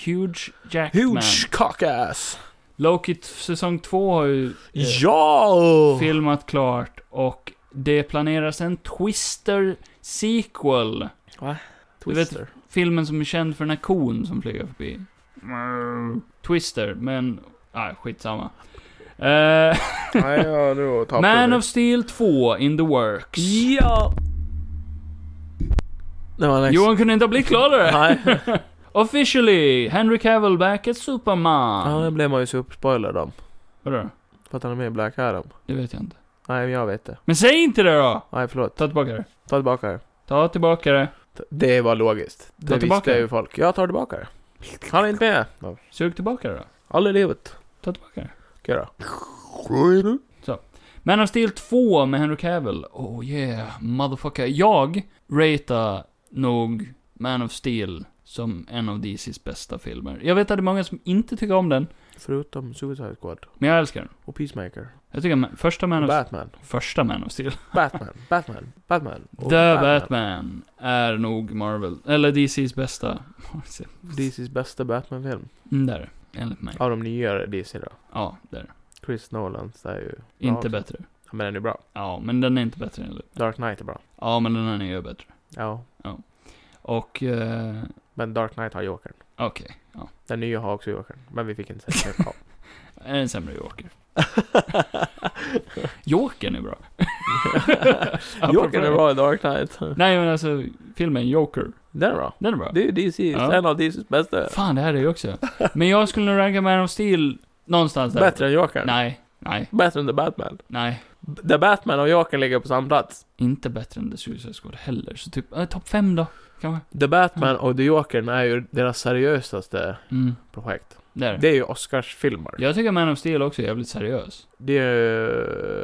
S1: Huge Jackman.
S3: Huge Cockass.
S1: Loki t- säsong två har ju eh,
S3: Ja!
S1: filmat klart och det planeras en Twister sequel.
S3: Twister.
S1: Filmen som är känd för den här kon som flyger förbi. Twister, men... Ah, skitsamma. Eh,
S3: Nej, ja, nu tappade
S1: Man
S3: vi.
S1: of Steel 2 in the works.
S3: Ja! Det var next.
S1: Johan kunde inte ha blivit gladare.
S3: Nej,
S1: Officially, Henry Cavill back as Superman.
S3: ja, det blev man ju så uppspoilad om.
S1: Vadå?
S3: För att han är med i Black Adam.
S1: Det vet jag inte.
S3: Nej, men jag vet det.
S1: Men säg inte det då!
S3: Nej, förlåt.
S1: Ta tillbaka det.
S3: Ta tillbaka det.
S1: Ta tillbaka det.
S3: T- Det var logiskt. Det
S1: tillbaka
S3: visste
S1: det.
S3: ju folk. Jag tar tillbaka det. Han är inte med. Ja,
S1: Sug tillbaka det då.
S3: Aldrig i livet.
S1: Ta tillbaka det.
S3: Okej då.
S1: Man of Steel 2 med Henry Cavill. Oh yeah, motherfucker. Jag ratear nog Man of Steel som en av DC's bästa filmer. Jag vet att det är många som inte tycker om den,
S3: Förutom Suicide Squad.
S1: men jag älskar den.
S3: Och Peacemaker.
S1: Jag tycker ma- första Man
S3: Och
S1: of...
S3: Batman.
S1: första Man of Steel.
S3: Batman. Batman. Oh, Batman.
S1: The
S3: Och
S1: Batman. är nog Marvel, eller DC's bästa.
S3: DC's bästa Batman-film.
S1: Mm, där, enligt mig.
S3: Av de nyare DC då.
S1: Ja, där.
S3: Chris Nolans är ju... bra
S1: Inte
S3: också.
S1: bättre.
S3: Ja, Men den är bra.
S1: Ja, men den är inte bättre enligt
S3: Dark Knight är bra.
S1: Ja, men den här nya är bättre.
S3: Ja.
S1: Och, eh,
S3: Men Dark Knight har Jokern.
S1: okej. ja.
S3: Den nya har också Jokern. Men vi fick inte se den. Ja.
S1: En sämre Joker. Jokern är bra.
S3: Jokern är bra i Dark Knight.
S1: Nej men alltså, filmen Joker,
S3: Den är bra.
S1: den är bra.
S3: Det är ju DC,
S1: Ja.
S3: en av DC's bästa.
S1: Fan, det här är ju också. Men jag skulle nog ranka Man of Steel någonstans där.
S3: Bättre än Jokern.
S1: Nej, nej,
S3: Bättre än The Batman.
S1: nej.
S3: B- The Batman och Jokern ligger på samma plats.
S1: Inte bättre än The Suicide Squad heller. Så typ, eh, topp fem då, kanske.
S3: The Batman och The Jokern är ju deras seriösaste
S1: Mm,
S3: projekt.
S1: där.
S3: Det är ju Oscarsfilmer.
S1: Jag tycker Man of Steel också är jävligt seriös.
S3: Det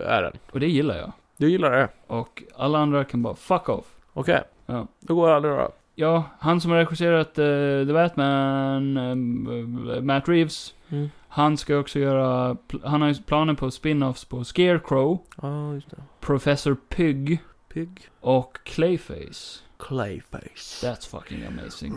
S3: är den.
S1: Och det gillar jag.
S3: Du gillar det?
S1: Och alla andra kan bara, fuck off.
S3: Okej.
S1: Ja.
S3: Då går jag nu då.
S1: Ja, han som har regisserat eh, The Batman, eh, Matt Reeves,
S3: Mm.
S1: han ska också göra, pl- han har ju planer på spin-offs på Scarecrow,
S3: Ja, just det.
S1: Professor Pig
S3: Pig.
S1: och Clayface.
S3: Clayface.
S1: That's fucking amazing.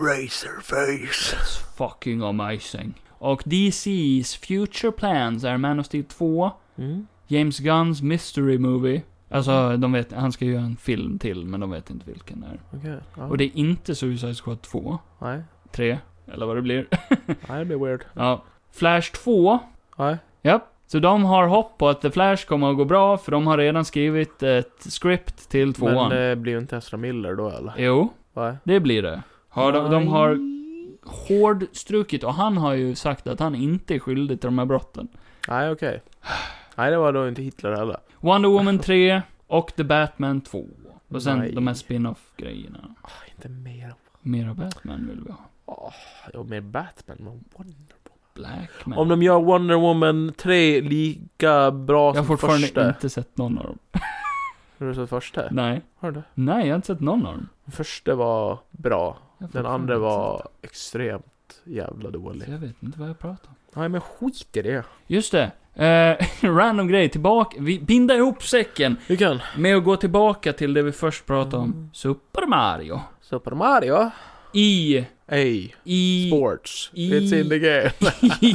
S3: Razorface.
S1: That's fucking amazing. Och DC's future plans är Man of Steel 2,
S3: Mm.
S1: James Gunns Mystery Movie. Alltså, de vet, han ska göra en film till, men de vet inte vilken det är.
S3: Okej. Ja.
S1: Och det är inte Suicide Squad 2,
S3: Nej.
S1: 3, eller vad det blir.
S3: Nej, det blir weird.
S1: Ja. Flash 2,
S3: Nej.
S1: ja. Så de har hopp på att The Flash kommer att gå bra, för de har redan skrivit ett script till
S3: Men eh,
S1: tvåan.
S3: det blir ju inte Ezra Miller då eller?
S1: Jo,
S3: Nej.
S1: det blir det. Har de, de har hårdstrukit, och han har ju sagt att han inte är skyldig till de här brotten.
S3: Nej, okej. Nej, det var då inte Hitler heller.
S1: Wonder Woman 3 och The Batman 2. Och sen
S3: Nej.
S1: de här spin-off-grejerna.
S3: Inte mer.
S1: Mer av Batman vill vi ha.
S3: Ja, mer Batman. Men Wonder Woman.
S1: Black Man.
S3: Om de gör Wonder Woman 3 lika
S1: jag
S3: bra
S1: har
S3: som
S1: fortfarande
S3: första.
S1: inte sett någon av dem.
S3: Har du sett första?
S1: Nej.
S3: Har du det?
S1: Nej, jag har inte sett någon av dem.
S3: Den första var bra.
S1: Jag har
S3: Den
S1: fortfarande
S3: andra
S1: inte
S3: var extremt jävla
S1: sett-
S3: dålig.
S1: Så jag vet inte vad jag pratar om.
S3: Nej, men skit i det.
S1: Just det. Eh, random grej, tillbaka, vi binder ihop säcken
S3: Vi kan.
S1: med att gå tillbaka till det vi först pratade om. Super Mario.
S3: Super Mario.
S1: I,
S3: Hey,
S1: i,
S3: sports.
S1: I-
S3: It's in the game.
S1: i,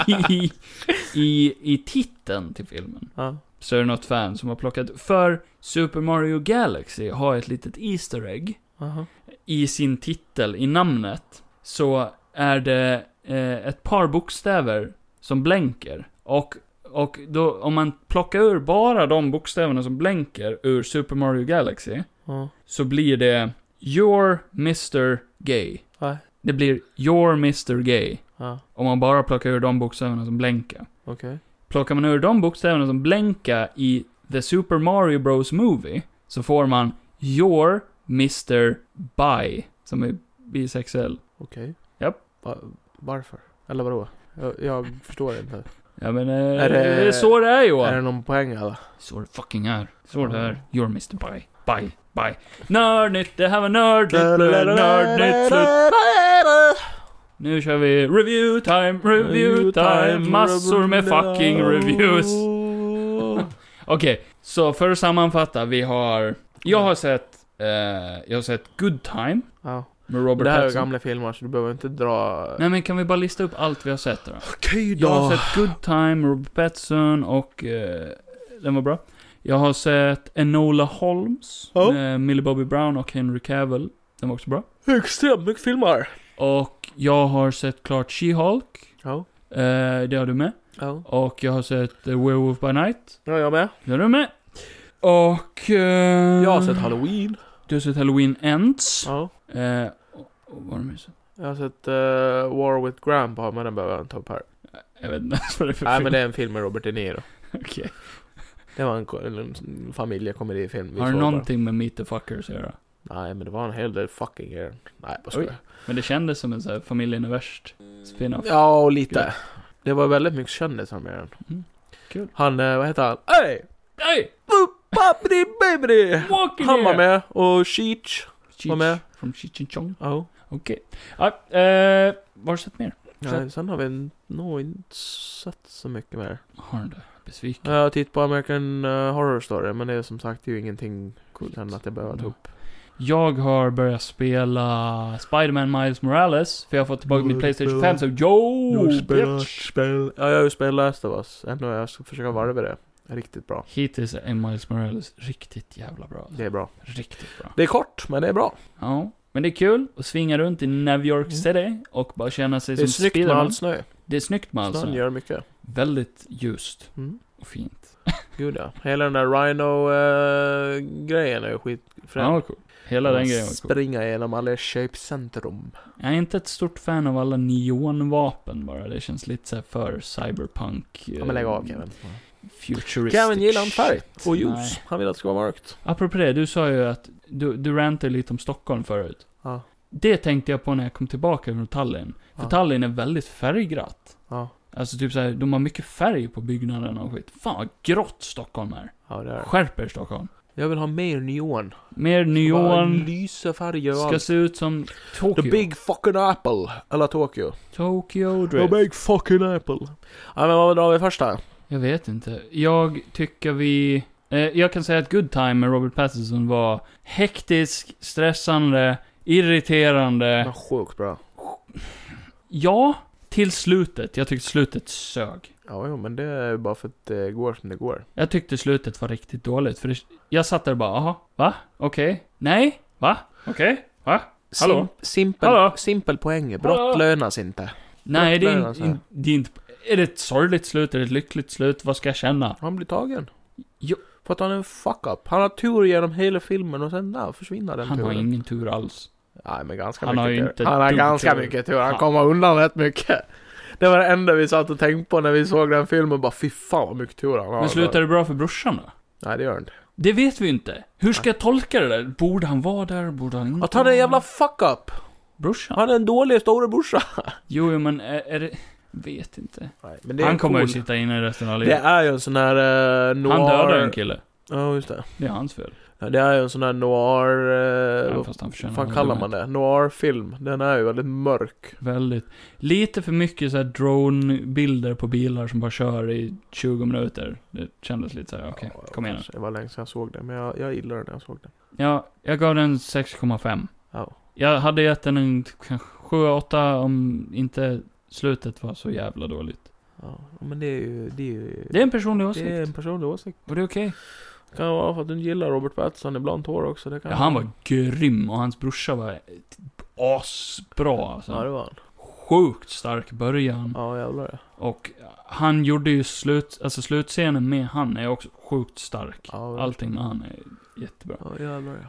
S1: i, i titeln till filmen.
S3: Ja.
S1: Så är det något fan som har plockat, för Super Mario Galaxy har ett litet Easter Egg
S3: Aha.
S1: i sin titel, i namnet, så är det eh, ett par bokstäver som blänker. Och, och då, om man plockar ur bara de bokstäverna som blänker ur Super Mario Galaxy,
S3: Ja.
S1: så blir det You're Mr. Gay.
S3: Nej.
S1: Det blir You're Mr. Gay,
S3: Ja.
S1: om man bara plockar ur de bokstäverna som blänkar.
S3: Okej.
S1: Plockar man ur de bokstäverna som blänkar i The Super Mario Bros Movie, så får man Your Mr. Bi, som är bisexuell.
S3: Okej.
S1: Japp.
S3: Va- varför? Eller vadå? Jag, jag förstår inte.
S1: Ja men, eh, det
S3: Är det-
S1: är så det är
S3: Är det
S1: Johan.
S3: någon poäng eller?
S1: Så det fucking är. Så det är. Your Mr. Bi. Bi. Bi. Nördnytt, det här var nördnytt, blev nördnytt slut. Nu kör vi review time, review time, massor med fucking reviews. Okej, så för att sammanfatta, vi har... Jag har sett... Eh, jag har sett Good Time
S3: Ja.
S1: med Robert
S3: Det här är
S1: Pattinson.
S3: gamla filmer så du behöver inte dra...
S1: Nej men kan vi bara lista upp allt vi har sett då?
S3: Okej
S1: Jag har sett Good Time, Robert Pattinson och... Eh, den var bra. Jag har sett Enola Holmes
S3: Ja.
S1: med Millie Bobby Brown och Henry Cavill. Den var också bra.
S3: Extremt mycket filmer.
S1: Och jag har sett klart She-Hulk.
S3: Ja.
S1: Eh, det har du med.
S3: Ja.
S1: Och jag har sett eh, Werewolf by Night.
S3: Ja, jag med.
S1: Det har du med. Och... Eh,
S3: Jag har sett Halloween.
S1: Du har sett Halloween Ends.
S3: Ja.
S1: Eh, och, och vad har du mer sett?
S3: Jag har sett eh, War with Grandpa, men den behöver jag inte ta upp här.
S1: Jag vet inte ens vad det är för
S3: Nej,
S1: film.
S3: men det är en film med Robert De Niro.
S1: Okej.
S3: Det var en, ko- en familjekomedifilm. vi
S1: Har det
S3: såg bara.
S1: någonting med Meet the Fuckers att göra?
S3: Nej, men det var en hel del fucking grejer. Nej, bara skoja.
S1: Men det kändes som en sån här familjen är värst spin-off.
S3: Ja, och lite.
S1: Gud.
S3: Det var väldigt mycket kändisar med den.
S1: Mm. Kul.
S3: Han, eh, vad heter han? Hej!
S1: Hey!
S3: Pappidi baby!
S1: Walking
S3: Han var
S1: here!
S3: med, och Cheech Oh.
S1: Cheech
S3: var med.
S1: From Cheech and Chong.
S3: Ja.
S1: Okej. Ja, eh, vad har du sett mer?
S3: Nej, sen har vi nog inte sett så mycket mer.
S1: Har du det? Besviken.
S3: Jag har tittat på American eh, Horror Story, men det är som sagt det är ju ingenting
S1: Coolt. Mm.
S3: sen att jag behöver ta upp.
S1: Jag har börjat spela Spider-Man Miles Morales, för jag har fått tillbaka mitt
S3: Du
S1: Playstation 5,
S3: spelar-
S1: så yo! bitch.
S3: spel. Ja, jag har ju spelat Last of Us. Ändå jag ska försöka varva det. Riktigt bra.
S1: Hittills är Miles Morales riktigt jävla bra.
S3: Det är bra.
S1: Riktigt bra.
S3: Det är kort, men det är bra.
S1: Ja. Men det är kul att svinga runt i New York City och bara känna sig
S3: Mm. Det är
S1: som
S3: snyggt med
S1: Spiderman. Alltså.
S3: all snö.
S1: Det är snyggt med allt
S3: Snön
S1: sånt.
S3: gör mycket.
S1: Väldigt ljust
S3: Mm.
S1: och fint.
S3: Gud ja. Hela den där Rhino-grejen är ju skitfrän.
S1: Ja, var cool. Hela den
S3: Man
S1: grejen var cool.
S3: Springa genom alla köpcentrum.
S1: Jag är inte ett stort fan av alla neonvapen bara. Det känns lite så här för cyberpunk. eh,
S3: Ja, men lägg av Kevin.
S1: Futuristic.
S3: Kevin gillar inte färg.
S1: shit.
S3: Och ljus.
S1: Nej.
S3: Han vill att det ska vara mörkt.
S1: Apropå det, du sa ju att du, du rantade lite om Stockholm förut.
S3: Ja.
S1: Det tänkte jag på när jag kom tillbaka från Tallinn. För
S3: Ja.
S1: Tallinn är väldigt färgglatt.
S3: Ja.
S1: Alltså typ såhär, de har mycket färg på byggnaderna och skit. Fan vad grått Stockholm är.
S3: Ja, det är det.
S1: Skärper Stockholm.
S3: Jag vill ha mer neon.
S1: Mer
S3: Bara
S1: neon.
S3: Lysa färger och
S1: Ska
S3: allt.
S1: se ut som
S3: The
S1: Tokyo.
S3: big fucking apple. Eller Tokyo.
S1: Tokyo
S3: The
S1: Drift.
S3: big fucking apple. Ja men vad drar vi först här?
S1: Jag vet inte. Jag tycker vi... Eh, jag kan säga att Good Time med Robert Pattinson var hektisk, stressande, irriterande.
S3: Den var sjukt bra.
S1: Ja, till slutet. Jag tyckte slutet sög.
S3: Ja jo men det är ju bara för att det går som det går.
S1: Jag tyckte slutet var riktigt dåligt, för det, jag satt där och bara, aha, va? Okej? Nej? Va? Okej? Va? Hallå?
S3: simpel,
S1: Hallå?
S3: simpel poäng. Brott
S1: Hallå?
S3: lönas inte.
S1: Nej, det
S3: Fruktansvärt,
S1: är,
S3: alltså.
S1: in, in, det är inte... Är det ett sorgligt slut? Är det ett lyckligt slut? Vad ska jag känna?
S3: Han blir tagen.
S1: Jo.
S3: För att han är en fuck-up. Han har tur genom hela filmen och sen där försvinner den
S1: Han har
S3: turen.
S1: ingen tur alls.
S3: Nej men ganska
S1: Han
S3: mycket
S1: har ju
S3: tur.
S1: inte
S3: Han har
S1: dugg
S3: ganska
S1: tur.
S3: mycket tur. Han
S1: Han-
S3: kommer undan rätt mycket. Det var det enda vi satt och tänkte på när vi såg den filmen. Bara fy fan vad mycket tur han har.
S1: Men slutar det bra för brorsan då?
S3: Nej det gör det inte.
S1: Det vet vi inte. Hur ska jag tolka det där? Borde han vara där? Borde han inte
S3: Att han är en jävla fuck-up.
S1: Brorsan?
S3: Han är en dålig storebrorsa.
S1: Jo, jo, men är, är det... Vet inte.
S3: Nej, men det är
S1: han kommer
S3: cool.
S1: ju sitta inne resten av
S3: Det
S1: livet.
S3: är ju en sån här eh, noir...
S1: Han dödar en kille.
S3: Ja, just det.
S1: Det är hans fel.
S3: Ja, det är ju en sån här noir... eh,
S1: Även
S3: vad
S1: fast han förtjänar
S3: fan
S1: den
S3: kallar
S1: dumheten.
S3: man det? Noir-film. Den är ju väldigt mörk.
S1: Väldigt. Lite för mycket så här drone-bilder på bilar som bara kör i 20 minuter. Det kändes lite så här, okej,
S3: Ja,
S1: kom igen nu.
S3: kanske. Det var länge sedan jag såg den, men jag, jag gillar den när jag såg den.
S1: Ja, jag gav den 6,5.
S3: Ja.
S1: Jag hade gett den en kanske 7-8 om inte slutet var så jävla dåligt.
S3: Ja, men det är ju... Det är ju...
S1: Det är en personlig åsikt.
S3: det är en personlig åsikt.
S1: Och det är okej.
S3: Det kan vara för att du inte gillar Robert Pattinson ibland tår också. Det kan
S1: Ja, han var grym och hans brorsa var ett asbra
S3: Ja, det
S1: alltså.
S3: var han.
S1: Sjukt stark början.
S3: Ja, jävlar ja.
S1: Och han gjorde ju slut, alltså slutscenen med han är också sjukt stark.
S3: Ja, verkligen.
S1: Allting med han är jättebra.
S3: Ja, jävlar ja.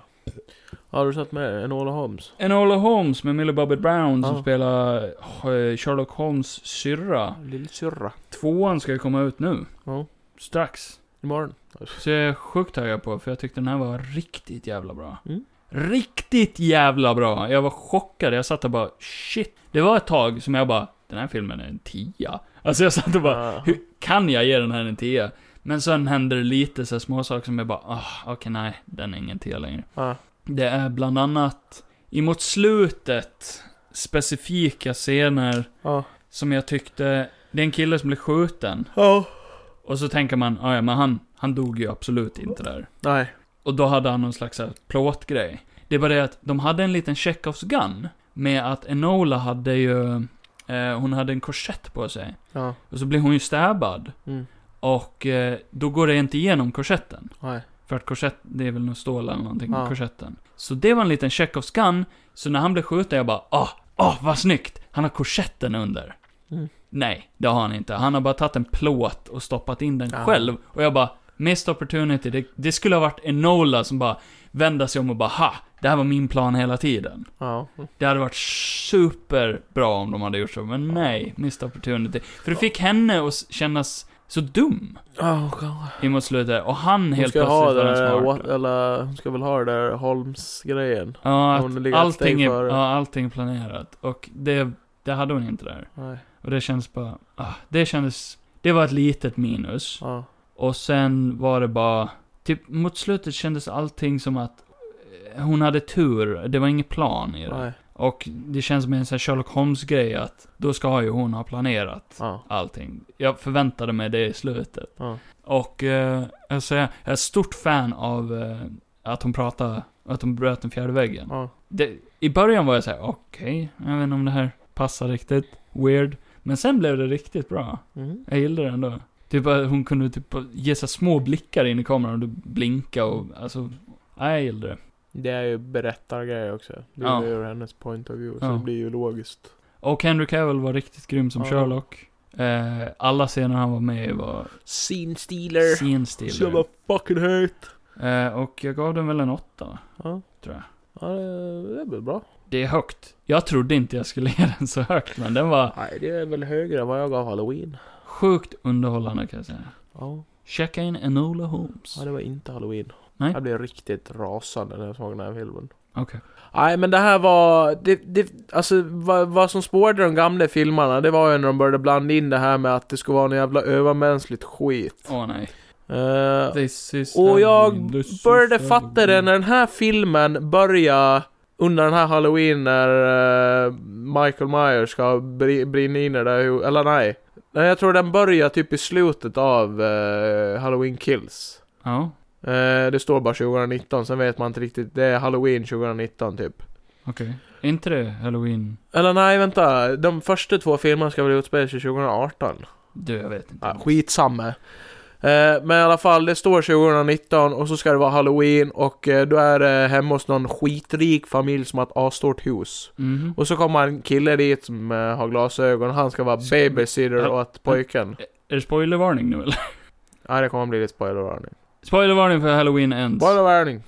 S3: Ja, Har du sett med Enola Holmes?
S1: Enola Holmes med Millie Bobby Brown som
S3: Ja.
S1: spelar eh, Sherlock Holmes syrra.
S3: Lillsyrra.
S1: Tvåan ska ju komma ut nu.
S3: Ja.
S1: Strax.
S3: Imorgon.
S1: Så jag är sjukt taggad på, för jag tyckte den här var riktigt jävla bra.
S3: Mm.
S1: Riktigt jävla bra! Jag var chockad, jag satt och bara shit. Det var ett tag som jag bara, den här filmen är en tia. Alltså jag satt och bara,
S3: Ja.
S1: hur kan jag ge den här en tia? Men sen händer det lite så här små saker som jag bara, ah, okej nej, den är ingen tia längre.
S3: Ja.
S1: Det är bland annat, emot slutet, specifika scener
S3: Ja.
S1: som jag tyckte, det är en kille som blir skjuten.
S3: Ja.
S1: Och så tänker man, "Ah, ja men han, Han dog ju absolut inte där.
S3: Nej.
S1: Och då hade han någon slags så här plåtgrej. Det var det att de hade en liten Chekhovs gun. Med att Enola hade ju... Eh, hon hade en korsett på sig.
S3: Ja.
S1: Och så blev hon ju stabbad.
S3: Mm.
S1: Och eh, då går det inte igenom korsetten.
S3: Nej.
S1: För att korsett, det är väl något stål eller någonting,
S3: Ja.
S1: korsetten. Så det var en liten Chekhovs gun. Så när han blev skjuten, jag bara ah, ah, vad snyggt! Han har korsetten under.
S3: Mm.
S1: Nej, det har han inte. Han har bara tagit en plåt och stoppat in den
S3: Ja.
S1: själv. Och jag bara, missed opportunity. Det, det skulle ha varit Enola som bara vända sig om och bara ha, det här var min plan hela tiden.
S3: Ja.
S1: Det hade varit superbra om de hade gjort så, men nej, missed opportunity. För det fick henne att kännas så dum
S3: Oh, God.
S1: i mot slutet, och han
S3: Hon
S1: helt
S3: ska ha
S1: plötsligt var
S3: det
S1: den
S3: där, what,
S1: smarta.
S3: eller hon ska väl ha det där Holmes-grejen.
S1: Ja, att
S3: Hon ligger ett
S1: allting
S3: steg
S1: är,
S3: före.
S1: ja, allting är planerat. Och det, det hade hon inte där.
S3: Nej.
S1: Och det känns bara, ah, det kändes, det var ett litet minus.
S3: Ja.
S1: Och sen var det bara, typ mot slutet kändes allting som att eh, hon hade tur, det var ingen plan i det.
S3: Nej.
S1: Och det känns som en sån här Sherlock Holmes-grej att då ska ju hon ha planerat
S3: Ja.
S1: allting. Jag förväntade mig det i slutet.
S3: Ja.
S1: Och eh, jag, säger, jag är ett stort fan av eh, att hon pratade, att hon bröt den fjärde väggen.
S3: Ja.
S1: Det, I början var jag så här: okej, jag vet inte om det här passar riktigt. Weird. Men sen blev det riktigt bra.
S3: Mm.
S1: Jag gillade det ändå. Typ att hon kunde typ ge sig små blickar in i kameran och typ blinka och alltså, nej, jag gillade det.
S3: Det är ju berättargrejer också. Det är
S1: Ja.
S3: ju ur hennes point of view. Så
S1: Ja.
S3: det blir ju logiskt.
S1: Och Henry Cavill var riktigt grym som
S3: Ja.
S1: Sherlock. Eh, alla scener han var med i var
S3: Scene stealer. Så jävla
S1: scenstiller.
S3: fucking högt.
S1: Eh, och jag gav den väl en åtta.
S3: Ja.
S1: Tror jag.
S3: Ja, det det är väl bra.
S1: Det är högt. Jag trodde inte jag skulle ge den så högt, men den var
S3: Nej, det är väl högre än vad jag gav Halloween.
S1: sjukt underhållande kan jag säga.
S3: Ja,
S1: Checka in Enola Holmes.
S3: ja det var inte Halloween.
S1: Nej.
S3: Jag blev riktigt rasande när jag såg den här filmen.
S1: Okej.
S3: Nej, men det här var... Det, det, alltså, vad, vad som spårade de gamla filmerna, det var ju när de började blanda in det här med att det skulle vara något jävla övermänskligt skit.
S1: Åh nej.
S3: Eh,
S1: This is
S3: Och jag
S1: Halloween, this is
S3: började fatta det
S1: Halloween.
S3: när den här filmen börjar under den här halloween när eh, Michael Myers ska bri- brinna in i det där hu- eller nej. Nej, jag tror den börjar typ i slutet av eh, Halloween Kills.
S1: Ja,
S3: Eh, det står bara 2019, sen vet man inte riktigt. Det är Halloween 2019 typ.
S1: okej. Är inte det Halloween?
S3: Eller nej, vänta. De första två filmerna ska väl utspela sig 2018.
S1: Du, jag vet inte.
S3: Ja, skitsamma. Eh, men i alla fall, det står 2019 och så ska det vara halloween och eh, då är det hemma hos någon skitrik familj som har ett asstort hus.
S1: Mhm.
S3: Och så kommer en kille dit som eh, har glasögon, han ska vara
S1: Ska-
S3: babysitter
S1: Ja.
S3: åt pojken.
S1: Är det spoilervarning nu eller?
S3: Nej, det kommer bli lite spoilervarning.
S1: Spoilervarning för Halloween Ends.
S3: Spoilervarning! Eh,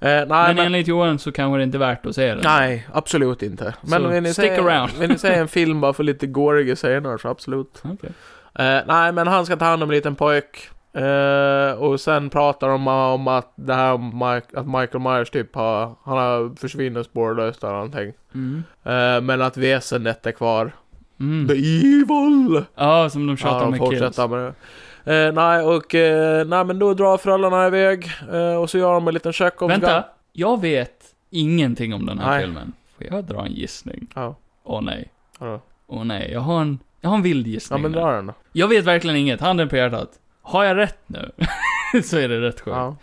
S3: nej,
S1: men,
S3: men,
S1: enligt Johan så kanske det inte är värt att se den.
S3: nej, absolut inte. Men
S1: Så,
S3: vill ni,
S1: stick
S3: se,
S1: around.
S3: vill ni se en film bara för lite goriga scener så absolut.
S1: Okej.
S3: Eh, nej, men han ska ta hand om en liten pojk. Eh, och sen pratar de om att det här Mike, att Michael Myers typ har, han har försvinner spårlöst eller någonting.
S1: Mm.
S3: Eh, men att väsendet är kvar.
S1: Mm.
S3: The evil!
S1: Ja, som de
S3: Ja,
S1: tjatar
S3: de
S1: med kills.
S3: fortsätter med det. Eh, nej, och eh, nej, men då drar föräldrarna iväg. Eh, och så gör de en liten check
S1: Vänta, jag vet ingenting om den här
S3: Nej.
S1: filmen. Får jag dra en gissning?
S3: Ja.
S1: Åh nej.
S3: Vadå?
S1: Åh nej, jag har en, jag har en vild
S3: Ja,
S1: gissning.
S3: men
S1: nu.
S3: dra den då.
S1: Jag vet verkligen inget, handen på hjärtat. Har jag rätt nu? så är det rätt sjukt.
S3: Ja.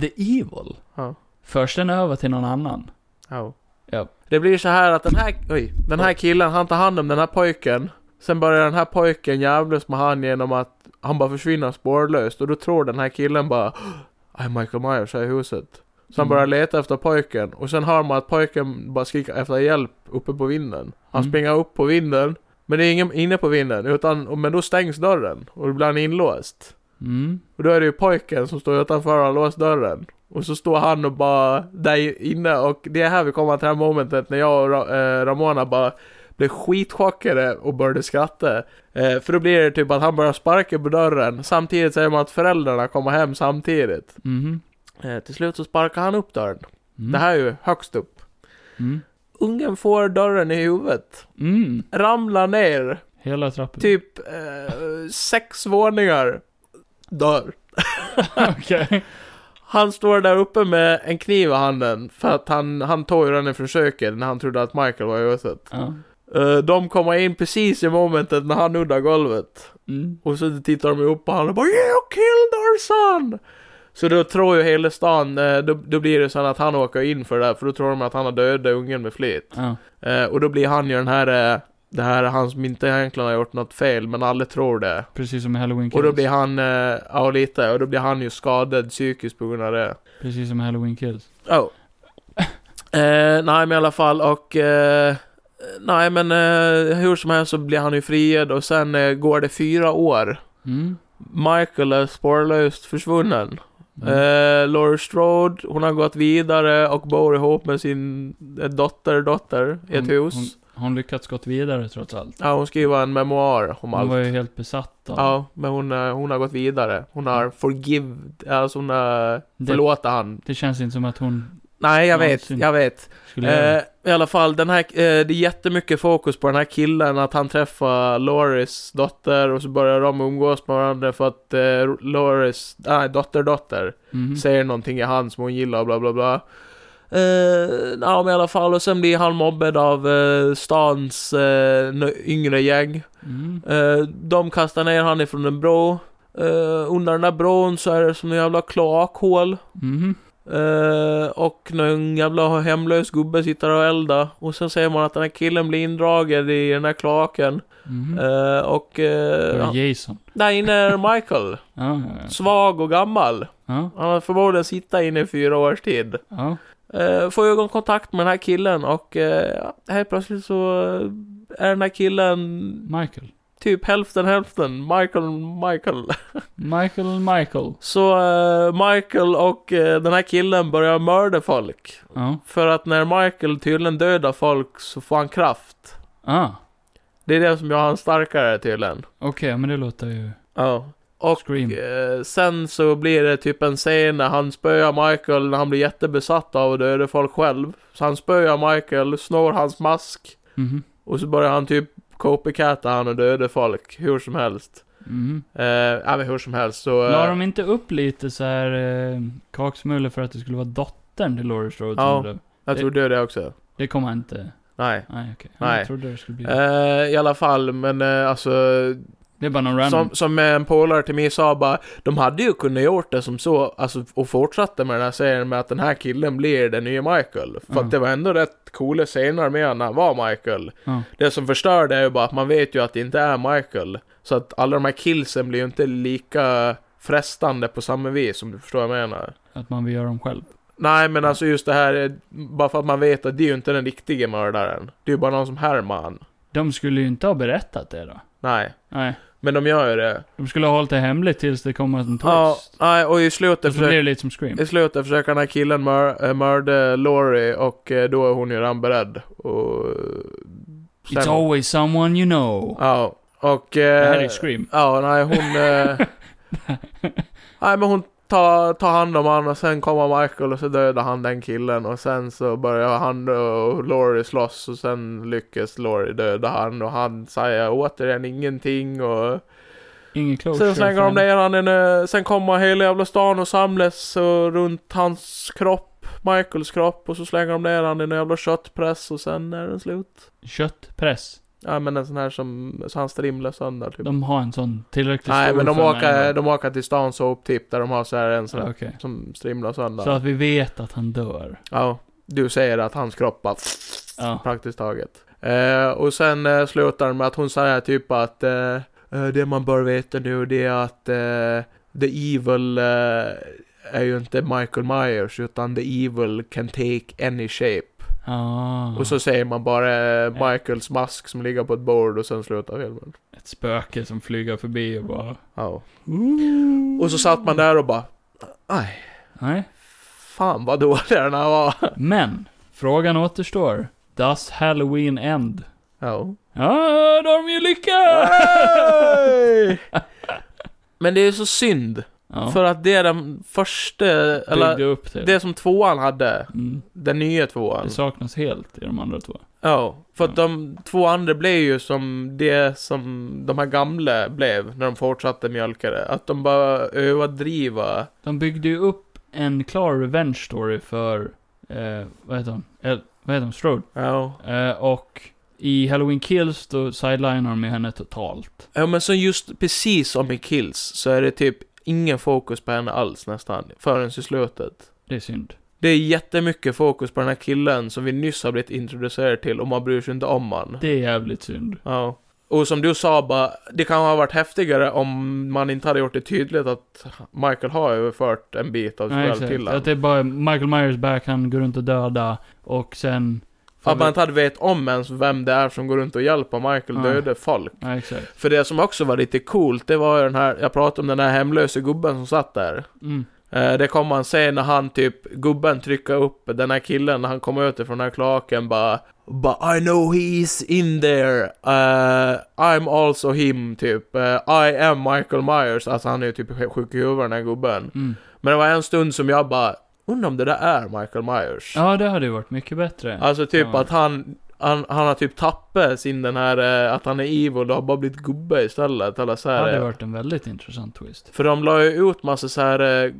S1: The Evil.
S3: Ja.
S1: Förs den över till någon annan?
S3: Ja.
S1: Ja.
S3: Det blir så här att den här, oj, den här killen, han tar hand om den här pojken. Sen börjar den här pojken jävlas med han genom att han bara försvinner spårlöst. Och då tror den här killen bara "Aj, Michael Myers här i huset. Så han
S1: Mm.
S3: börjar leta efter pojken. Och sen hör man att pojken bara skriker efter hjälp uppe på vinden. Han
S1: Mm.
S3: springer upp på vinden. Men det är ingen inne på vinden. Utan, men då stängs dörren. Och då blir han inlåst.
S1: Mm.
S3: Och då är det ju pojken som står utanför och har låst dörren. Och så står han och bara där inne och det är här vi kommer till det här momentet när jag och Ra- eh, Ramona bara blev skitchockade och började skratta. Eh, för då blir det typ att han börjar sparka på dörren samtidigt säger man att föräldrarna kommer hem samtidigt.
S1: Mhm.
S3: Eh, till slut så sparkar han upp dörren.
S1: Mm.
S3: Det här är ju högst upp.
S1: Mm.
S3: Ungen får dörren i huvudet.
S1: Mm.
S3: Ramlar ner.
S1: Hela trappan.
S3: Typ eh, sex våningar. Dör.
S1: Okej.
S3: Han står där uppe med en kniv i handen för att han, han tog ju den ifrån köket när han trodde att Michael var i huset.
S1: Ja.
S3: Eh, de kommer in precis i momentet när han nuddar golvet.
S1: Mm.
S3: Och så tittar de upp på honom och bara You killed our son! Så då tror ju hela stan, eh, då, då blir det så att han åker in för det här, för då tror de att han har dödat ungen med flit.
S1: Ja.
S3: Eh, och då blir han ju den här, eh, det här är han som inte egentligen har gjort något fel, men alla tror det.
S1: Precis som i Halloween Kills.
S3: Och då blir han, eh, ja lite, och då blir han ju skadad psykiskt på grund av det.
S1: Precis som i Halloween Kills.
S3: Oh. eh, nej men i alla fall och... Eh, nej men eh, hur som helst så blir han ju friad och sen eh, går det fyra år.
S1: Mm.
S3: Michael är spårlöst försvunnen.
S1: Mm.
S3: Eh, Laurie Strode, hon har gått vidare och bor ihop med sin eh, dotter, dotter i ett
S1: Hon-
S3: hus.
S1: Har hon lyckats gått vidare trots allt?
S3: Ja, hon skriver en memoar om
S1: Hon
S3: allt.
S1: var ju helt besatt av
S3: Ja, men hon, eh, hon har gått vidare. Hon har forgive, alltså hon har
S1: Mm. det.
S3: förlåtit han.
S1: Det känns inte som att hon
S3: Nej, jag vet,
S1: Någonsin.
S3: jag vet.
S1: skulle göra
S3: Eh,
S1: det.
S3: I alla fall, den här, eh, det är jättemycket fokus på den här killen, att han träffar Loris dotter och så börjar de umgås med varandra för att eh, Loris, nej, dotter, dotter
S1: Mhm.
S3: säger någonting i han som hon gillar, bla bla bla. Uh, ja, men i alla fall, och sen blir han mobbad av eh, stans eh, nö- yngre gäng.
S1: Mm.
S3: Eh, de kastar ner han ifrån en bro. Eh, under den där bron så är det som en jävla kloakhål.
S1: Mhm.
S3: Eh, och någon jävla hemlös gubbe sitter och eldar. Och sen ser man att den här killen blir indragen i den här kloaken.
S1: Mhm.
S3: Eh, och...
S1: Det
S3: Eh,
S1: var
S3: ja,
S1: Jason.
S3: där inne är Michael.
S1: Ja, ja, ja.
S3: Svag och gammal.
S1: ja.
S3: Han har förmodligen sittit inne i fyra års tid.
S1: ja.
S3: Eh, får ögonkontakt med den här killen och eh, ja, helt plötsligt så eh, är den här killen
S1: Michael.
S3: typ hälften hälften. Michael, Michael.
S1: Michael, Michael.
S3: Så eh, Michael och eh, den här killen börjar mörda folk.
S1: Ja.
S3: För att när Michael tydligen dödar folk så får han kraft.
S1: Ah.
S3: Det är det som gör han starkare tydligen.
S1: Okej, men det låter ju...
S3: Ja. Och
S1: Scream.
S3: eh, sen så blir det typ en scen när han spöar Michael när han blir jättebesatt av att döda folk själv. Så han spöar Michael, snor hans mask
S1: Mhm.
S3: och så börjar han typ copycatta han och döda folk hur som helst.
S1: Mhm.
S3: Eh, ja men hur som helst så... eh,
S1: La de inte upp lite så här eh, kaksmulor för att det skulle vara dottern till Laurie Strode
S3: Ja.
S1: som blev?
S3: jag tror det är det också.
S1: Det kommer han inte...
S3: Nej.
S1: Nej, okej.
S3: Nej.
S1: Jag trodde det skulle bli...
S3: Eh, I alla fall, men eh, alltså...
S1: det är bara någon random...
S3: Som, som en polare till mig sa bara, de hade ju kunnat gjort det som så, alltså, och fortsatte med den här serien med att den här killen blir den nya Michael. För
S1: Ja.
S3: att det var ändå rätt coola scener med när han var Michael.
S1: Ja.
S3: Det som förstör det är ju bara att man vet ju att det inte är Michael. Så att alla de här killsen blir ju inte lika frestande på samma vis, om du förstår vad jag menar.
S1: Att man vill göra dem själv.
S3: Nej, men alltså just det här, är- bara för att man vet att det är ju inte den riktiga mördaren. Det är ju bara någon som härmar han.
S1: De skulle ju inte ha berättat det då.
S3: Nej,
S1: Nej.
S3: men de gör ju det.
S1: De skulle ha hållit det hemligt tills det kom en twist.
S3: Ja, nej, och i
S1: det
S3: slutet
S1: så blir
S3: försöker,
S1: det lite som Scream.
S3: i slutet försöker den här killen mör, eh, mörda Laurie och eh, då är hon ju redan beredd. Och... eh,
S1: It's always someone you know.
S3: Ja, och... eh,
S1: det här är Scream.
S3: Ja, nej hon... eh, nej men hon tar, tar hand om honom och sen kommer Michael och så dödar han den killen och sen så börjar han och Laurie slåss och sen lyckas Laurie döda han och han säger återigen ingenting och...
S1: Ingen closure.
S3: Sen slänger de
S1: Oh, fan.
S3: ner han i en, eh, sen kommer hela jävla stan och samlas eh, runt hans kropp, Michaels kropp, och så slänger de ner han i en jävla köttpress och sen är den slut.
S1: Köttpress.
S3: Ja men en sån här som, så han strimlar sönder typ.
S1: De har en sån tillräckligt
S3: Nej
S1: stor
S3: men de
S1: för
S3: åker,
S1: mig.
S3: de åker till stan soptipp där de har så här en sån här
S1: Okej.
S3: som strimlar sönder.
S1: Så att vi vet att han dör.
S3: Ja, du säger att hans kropp bara
S1: Ja.
S3: praktiskt taget. Eh, och sen eh, slutar den med att hon säger typ att eh, eh, det man bör veta nu det är att eh, the evil eh, är ju inte Michael Myers utan the evil can take any shape.
S1: Ah.
S3: Och så säger man bara eh, Michaels mask som ligger på ett bord och sen slutar filmen.
S1: Ett spöke som flyger förbi och bara...
S3: Ja. Och så satt man där och bara
S1: Nej.
S3: fan vad dålig den här var.
S1: Men. Frågan återstår. Does Halloween end?
S3: Ja.
S1: Ja, då har de ju lyckats!
S3: Hey! Men det är så synd.
S1: ja.
S3: För att det är den första, eller
S1: Byggde upp till.
S3: Det Alltså. som tvåan hade,
S1: Mm.
S3: den nya tvåan.
S1: Det saknas helt i de andra två.
S3: Ja, för att
S1: Ja.
S3: de två andra blev ju som det som de här gamla blev när de fortsatte mjölka det. Att de bara överdriva.
S1: De byggde ju upp en klar revenge story för, eh, vad heter hon? El, vad heter hon? Strode.
S3: Ja.
S1: Eh, och I Halloween Kills, då sidelinar de ju henne totalt.
S3: Ja men så just precis som i Kills så är det typ ingen fokus på henne alls nästan. Förrän i slutet.
S1: Det är synd.
S3: Det är jättemycket fokus på den här killen som vi nyss har blivit introducerade till och man bryr sig inte om han.
S1: Det är jävligt synd.
S3: Ja. Och som du sa bara, det kan ha varit häftigare om man inte hade gjort det tydligt att Michael har överfört en bit av sig
S1: Nej,
S3: själv
S1: exakt.
S3: till
S1: Att
S3: honom.
S1: det är bara Michael Myers back, han går runt och döda och sen...
S3: Att man inte hade vet om ens vem det är som går runt och hjälper Michael
S1: Nej.
S3: döda folk.
S1: Ja, exakt.
S3: För det som också var lite coolt, det var ju den här, jag pratade om den här hemlöse gubben som satt där.
S1: Mm.
S3: Eh, Det kommer man se när han typ, gubben trycker upp den här killen när han kommer ut ifrån den här klaken bara But I know he's in there, Eh, I'm also him typ, Eh, I am Michael Myers, alltså han är ju typ sjuk i huvudet den här gubben.
S1: Mm.
S3: Men det var en stund som jag bara, undrar om det där är Michael Myers?
S1: Ja, det hade ju varit mycket bättre.
S3: Alltså typ
S1: Ja.
S3: att han, han, han har typ tappat sin den här, eh, att han är evil och har bara blivit gubbe istället eller så
S1: det
S3: här.
S1: hade
S3: eh,
S1: varit en väldigt intressant twist.
S3: För de la ju ut massa så här eh,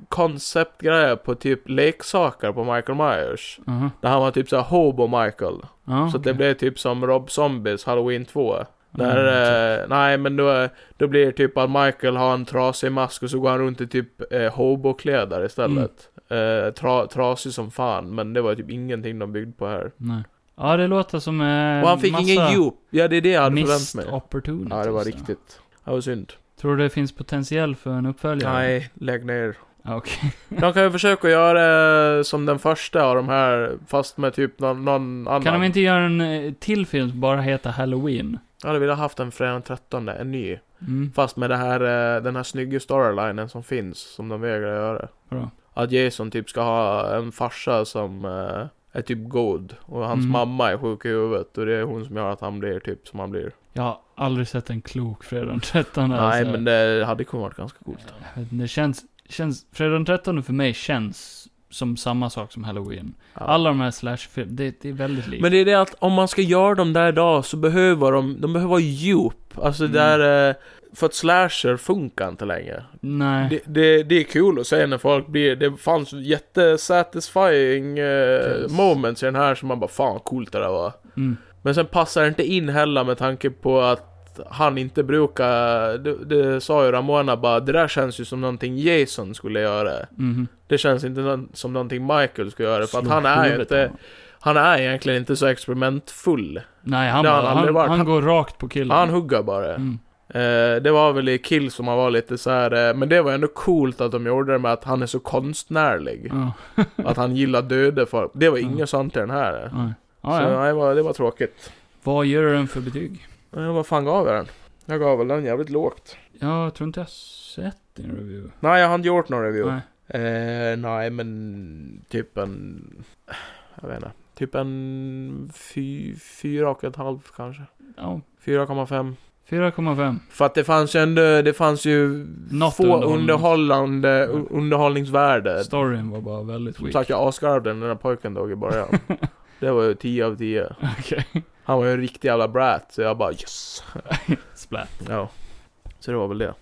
S3: konceptgrejer på typ leksaker på Michael Myers.
S1: Aha.
S3: Där han var typ så här Hobo Michael.
S1: Ja,
S3: Så att det
S1: Ah, okej.
S3: blev typ som Rob Zombies Halloween 2. Där,
S1: Mm,
S3: eh, nej men då, då blir det typ att Michael har en trasig mask och så går han runt i typ eh, Hobo-kläder istället.
S1: Mm.
S3: Eh, tra, trasig som fan, men det var typ ingenting de byggde på här.
S1: Nej. Ja, det låter som eh,
S3: Och han fick ingen djup. Ja, det är det jag hade förväntat
S1: missed
S3: mig.
S1: opportunities.
S3: Ja, det var
S1: där.
S3: riktigt. Det var synd.
S1: Tror du det finns potentiell för en uppföljare?
S3: Nej, lägg ner.
S1: Ja, Okej.
S3: De kan ju försöka göra som den första av de här, fast med typ någon, någon annan.
S1: Kan de inte göra en eh, till film som bara heter Halloween?
S3: Jag hade velat haft en fredag den 13, en ny.
S1: Mm,
S3: Fast med det här, eh, den här snygga storylinen som finns, som de vägrar göra.
S1: bra.
S3: Att Jason typ ska ha en farsa som eh, är typ god. Och hans
S1: Mm.
S3: mamma är sjuk i huvudet. Och det är hon som gör att han blir typ som han blir.
S1: Jag har aldrig sett en klok Fredag den 13.
S3: Nej,
S1: alltså.
S3: men det hade kunnat varit ganska coolt.
S1: Jag vet inte, Eh, Det känns, känns, Fredag den 13 för mig känns som samma sak som Halloween.
S3: Ja.
S1: Alla de här slasherfilmerna, det, det är väldigt likt.
S3: Men det är det att om man ska göra dem där idag så behöver de, de behöver djup. Alltså
S1: Mm.
S3: där, eh, för att slasher funkar inte längre.
S1: Nej.
S3: Det, det, det är kul att se när folk blir, det fanns jättesatisfying eh,
S1: Precis.
S3: moments i den här som man bara fan coolt det där var.
S1: Mm.
S3: Men sen passar det inte in heller med tanke på att han inte brukar, det, det sa ju Ramona bara, det där känns ju som någonting Jason skulle göra.
S1: mhm.
S3: Det känns inte nå- som någonting Michael skulle göra, för att
S1: Slog
S3: han är eh, ju
S1: huvudet
S3: inte,
S1: av honom.
S3: han är egentligen inte så experimentfull.
S1: Nej, han,
S3: Det har
S1: bara,
S3: han
S1: han,
S3: aldrig
S1: han,
S3: varit.
S1: går rakt på killen.
S3: Han hugger bara.
S1: Mm.
S3: Eh, det var väl i Kill som han var lite så här, eh, men det var ändå coolt att de gjorde det med att han är så konstnärlig.
S1: Ja,
S3: Att han gillar döda folk. Det var
S1: Mm.
S3: inget sånt i den här. eh.
S1: ja.
S3: Så
S1: Ja, ja.
S3: nej, det var, det var tråkigt.
S1: Vad ger du den för betyg?
S3: Eh, vad fan gav jag den? Jag gav väl den jävligt lågt.
S1: Jag tror inte jag har sett din review.
S3: Nej, jag har inte gjort någon review.
S1: Nej.
S3: Nej, eh, nej men typ en... Jag vet inte. Typ en fy, fyra och ett halvt kanske.
S1: Ja,
S3: 4,5.
S1: 4,5.
S3: För att det fanns ju ändå, det fanns ju
S1: Något
S3: få
S1: underhållnings-
S3: underhållande,
S1: Mm.
S3: underhållningsvärde.
S1: Storyn var bara väldigt
S3: Som
S1: weak.
S3: sagt, jag asgarvade den där pojken dog i början. det var ju 10 av 10.
S1: Okej.
S3: Han var ju en riktig jävla brat, så jag bara yes.
S1: Splat.
S3: Ja. Så det var väl det.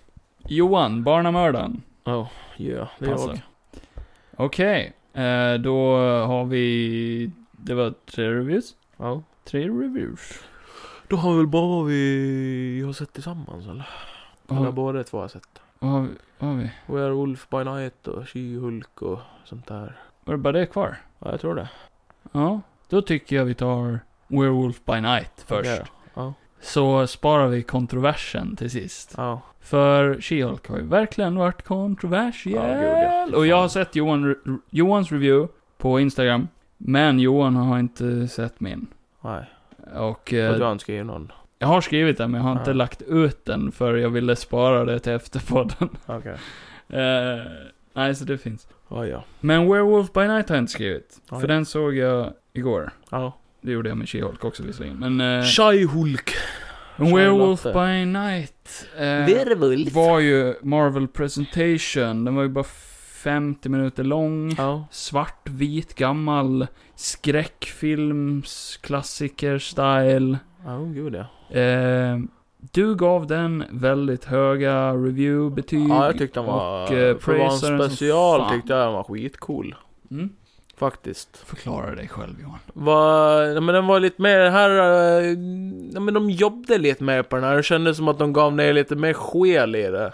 S1: Johan, barnamördaren.
S3: Ja, yeah, det är
S1: Passar.
S3: jag.
S1: Okej, eh, då har vi... Det var tre reviews.
S3: Ja.
S1: Tre reviews.
S3: Då har vi väl bara vad vi har sett tillsammans eller?
S1: Vad
S3: Eller
S1: har,
S3: båda två har sett.
S1: vad har, vi, vad har vi?
S3: Werewolf by Night och She-Hulk och sånt där.
S1: Var det bara det kvar?
S3: Ja, jag tror det.
S1: Ja, då tycker jag vi tar Werewolf by Night först.
S3: Okej. Ja.
S1: Så sparar vi kontroversen till sist.
S3: Ja.
S1: För She-Hulk har ju verkligen varit kontroversiell.
S3: Ja, gud, ja.
S1: Och jag har
S3: Fan.
S1: sett Johan, Johans review på Instagram. Men Johan har inte sett min.
S3: Nej.
S1: Och
S3: Och du
S1: eh,
S3: har inte skrivit någon?
S1: jag har skrivit den men jag har inte
S3: Ja.
S1: lagt ut den för jag ville spara det till efterpodden.
S3: Okej.
S1: Eh, nej, så det finns.
S3: Ja, ja.
S1: Men Werewolf by Night har jag inte skrivit.
S3: Ja.
S1: För den såg jag igår.
S3: Ja.
S1: Det gjorde jag med She-Hulk också visserligen. Men... eh,
S3: She-Hulk.
S1: Men Werewolf
S3: Charlotte.
S1: by Night eh,
S3: Werewolf.
S1: var ju Marvel Presentation. Den var ju bara 50 minuter lång.
S3: Ja.
S1: Svartvit, gammal skräckfilmsklassiker-style.
S3: Ja, oh, gud ja.
S1: Eh, du gav den väldigt höga review-betyg.
S3: Ja, jag tyckte den var...
S1: och, eh,
S3: för att vara
S1: praisar den
S3: en
S1: som
S3: special
S1: fan.
S3: tyckte jag den var skitcool.
S1: Mm.
S3: För Faktiskt.
S1: Förklara dig själv Johan.
S3: Var, ja, men den var lite mer här... eh, Ja, men de jobbade lite mer på den här. Det kändes som att de gav ner lite mer själ i det. Eh,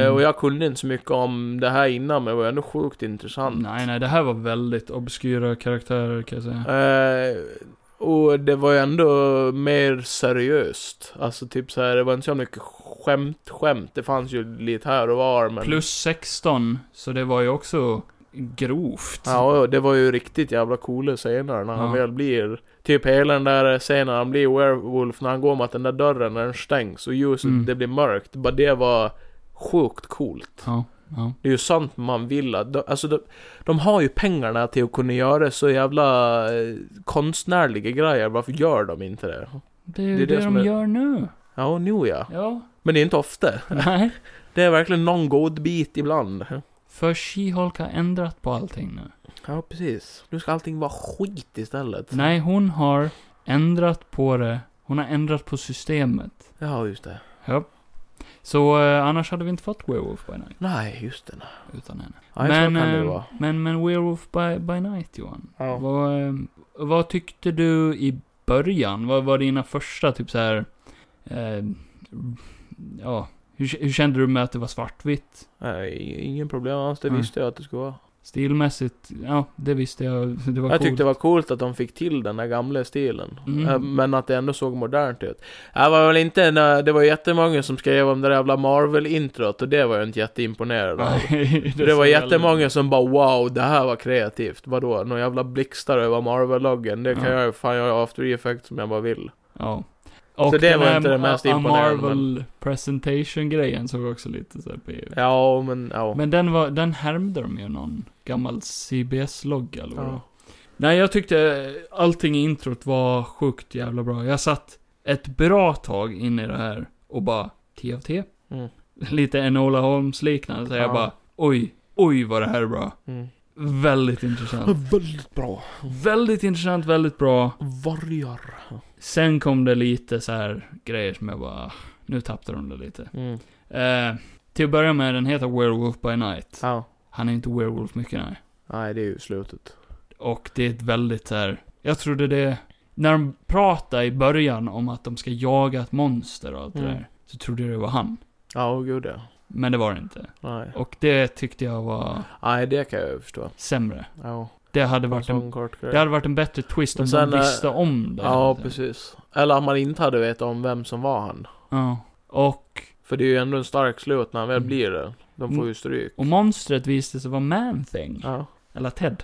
S1: Mm.
S3: Och jag kunde inte så mycket om det här innan, men det var ändå sjukt intressant.
S1: Nej, nej, det här var väldigt obskyra karaktärer kan jag säga.
S3: Eh, och det var ju ändå mer seriöst. Alltså typ så här, det var inte så mycket skämt, skämt. Det fanns ju lite här och var, men...
S1: Plus 16, så det var ju också grovt.
S3: Ja, ja, det var ju riktigt jävla coola scener när han
S1: Ja.
S3: väl blir... Typ hela den där scenen när han blir werewolf, när han går mot den där dörren när den stängs och ljuset,
S1: Mm.
S3: det blir mörkt. Bara det var sjukt coolt.
S1: Ja, ja.
S3: Det är ju sant man vill att... De, alltså de, de har ju pengarna till att kunna göra så jävla eh, konstnärliga grejer. Varför gör de inte det?
S1: Det är ju
S3: Det är
S1: det,
S3: det som
S1: de
S3: är-
S1: gör nu.
S3: Ja, nu ja.
S1: Ja.
S3: Men det är inte ofta.
S1: Nej.
S3: Det är verkligen någon god bit ibland.
S1: För She-Hulk har ändrat på allting nu.
S3: Ja, precis. Nu ska allting vara skit istället.
S1: Nej, hon har ändrat på det. Hon har ändrat på systemet.
S3: Ja, just det.
S1: Ja. Så eh, annars hade vi inte fått Werewolf by Night
S3: Nej, just det.
S1: utan henne.
S3: Ja,
S1: men,
S3: men, så kan det
S1: eh,
S3: vara.
S1: men, men Werewolf by, by Night, Johan.
S3: Ja.
S1: Vad, eh, vad tyckte du i början? Vad var dina första, typ så här... Eh, ja, hur, hur kände du med att det var svartvitt?
S3: Nej, ingen problem alls. Det
S1: Nej.
S3: visste jag att det skulle vara.
S1: Stilmässigt, ja, det visste jag. Det var
S3: jag
S1: coolt.
S3: tyckte det var coolt att de fick till den där gamla stilen.
S1: Mm.
S3: Eh, Men att det ändå såg modernt ut. Det var väl inte en, eh, det var jättemånga som skrev om det där jävla Marvel-introt och det var jag inte jätteimponerad av.
S1: Nej,
S3: Det var
S1: ser jag
S3: jättemånga som bara wow, det här var kreativt. Vadå? Någon jävla blixtar över Marvel-loggen. Det kan
S1: Ja.
S3: jag ju fan göra after effects som jag bara vill.
S1: Ja. Och
S3: Så det
S1: den
S3: var
S1: här
S3: inte det mest
S1: A- A
S3: imponerande,
S1: Marvel presentation-grejen såg också lite så här på E EU.
S3: Ja, men ja.
S1: Men den var, den härmde de ju någon gammal CBS-logga eller vad det var.
S3: ja.
S1: Nej, jag tyckte allting i introt var sjukt jävla bra. Jag satt ett bra tag in i det här och bara, T av T.
S3: Mm.
S1: Lite Enola Holmes-liknande, så jag
S3: Ja.
S1: bara, oj, oj vad det här är bra.
S3: Mm.
S1: Väldigt intressant.
S3: Väldigt bra.
S1: väldigt intressant, väldigt bra.
S3: Vargar.
S1: Sen kom det lite så här grejer som jag bara, "Ah, nu tappade de det lite.
S3: Mm.
S1: Eh, till att börja med, den heter Werewolf by Night.
S3: Ja.
S1: Han är inte werewolf mycket, nej.
S3: Nej, det är ju slutet.
S1: Och det är ett väldigt så här, jag trodde det, när de pratade i början om att de ska jaga ett monster och allt det
S3: Mm.
S1: där, så trodde jag det var han.
S3: Ja, åh gud ja.
S1: Men det var det inte.
S3: Nej.
S1: Och det tyckte jag var
S3: Nej, det kan jag ju förstå.
S1: sämre.
S3: Ja,
S1: Det hade
S3: en
S1: varit en,
S3: sån kort grej.
S1: det hade varit en bättre twist om
S3: Men sen,
S1: de
S3: eh,
S1: visste om det.
S3: Ja, precis. Eller om man inte hade vetat om vem som var han.
S1: Ja. Och,
S3: För det är ju ändå en stark slut när han väl
S1: Mm.
S3: blir det. De får ju stryk.
S1: och monstret visade sig vara Man-Thing.
S3: Ja,
S1: Eller Ted.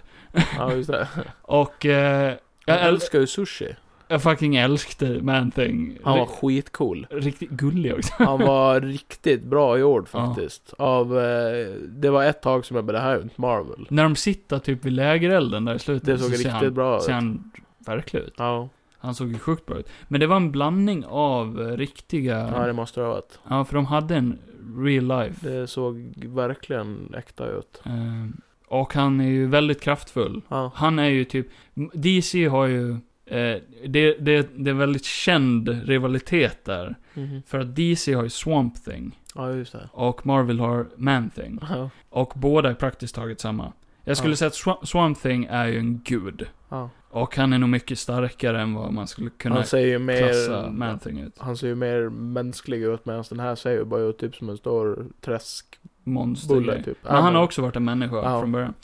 S3: ja just det.
S1: Och eh, jag,
S3: Jag
S1: äl-
S3: älskar ju sushi.
S1: jag fucking älskade Man-Thing.
S3: Han var
S1: Ri-
S3: skitcool.
S1: Riktigt gullig också.
S3: Han var riktigt bra gjord
S1: Ja.
S3: faktiskt. Av, eh, det var ett tag som jag bara, det här är ju inte Marvel.
S1: När de sitter typ vid lägerelden där i slutet
S3: Det såg riktigt
S1: han,
S3: bra
S1: Mm, ser
S3: ut.
S1: han verklig ut.
S3: Ja,
S1: Han såg ju sjukt bra ut. Men det var en blandning av eh, riktiga...
S3: ja, det måste det ha varit.
S1: Ja, för de hade en real life.
S3: Det såg verkligen äkta ut.
S1: Eh, och han är ju väldigt kraftfull.
S3: Ja,
S1: Han är ju typ... DC har ju... Eh, det, det, det är en väldigt känd rivalitet där.
S3: mhm.
S1: För att DC har ju Swamp Thing.
S3: ja just det.
S1: Och Marvel har Man Thing.
S3: Ja,
S1: Och båda är praktiskt taget samma. Jag skulle
S3: Ja.
S1: säga att Swa- Swamp Thing är ju en gud.
S3: ja.
S1: Och han är nog mycket starkare än vad man skulle kunna
S3: Han ser ju
S1: klassa
S3: mer
S1: Man-Thing ut.
S3: Han ser ju mer mänsklig ut medan den här ser ju bara ut typ som en stor träskbulle
S1: Monster
S3: typ.
S1: Men
S3: Ja,
S1: han har också varit en människa
S3: Ja.
S1: från början.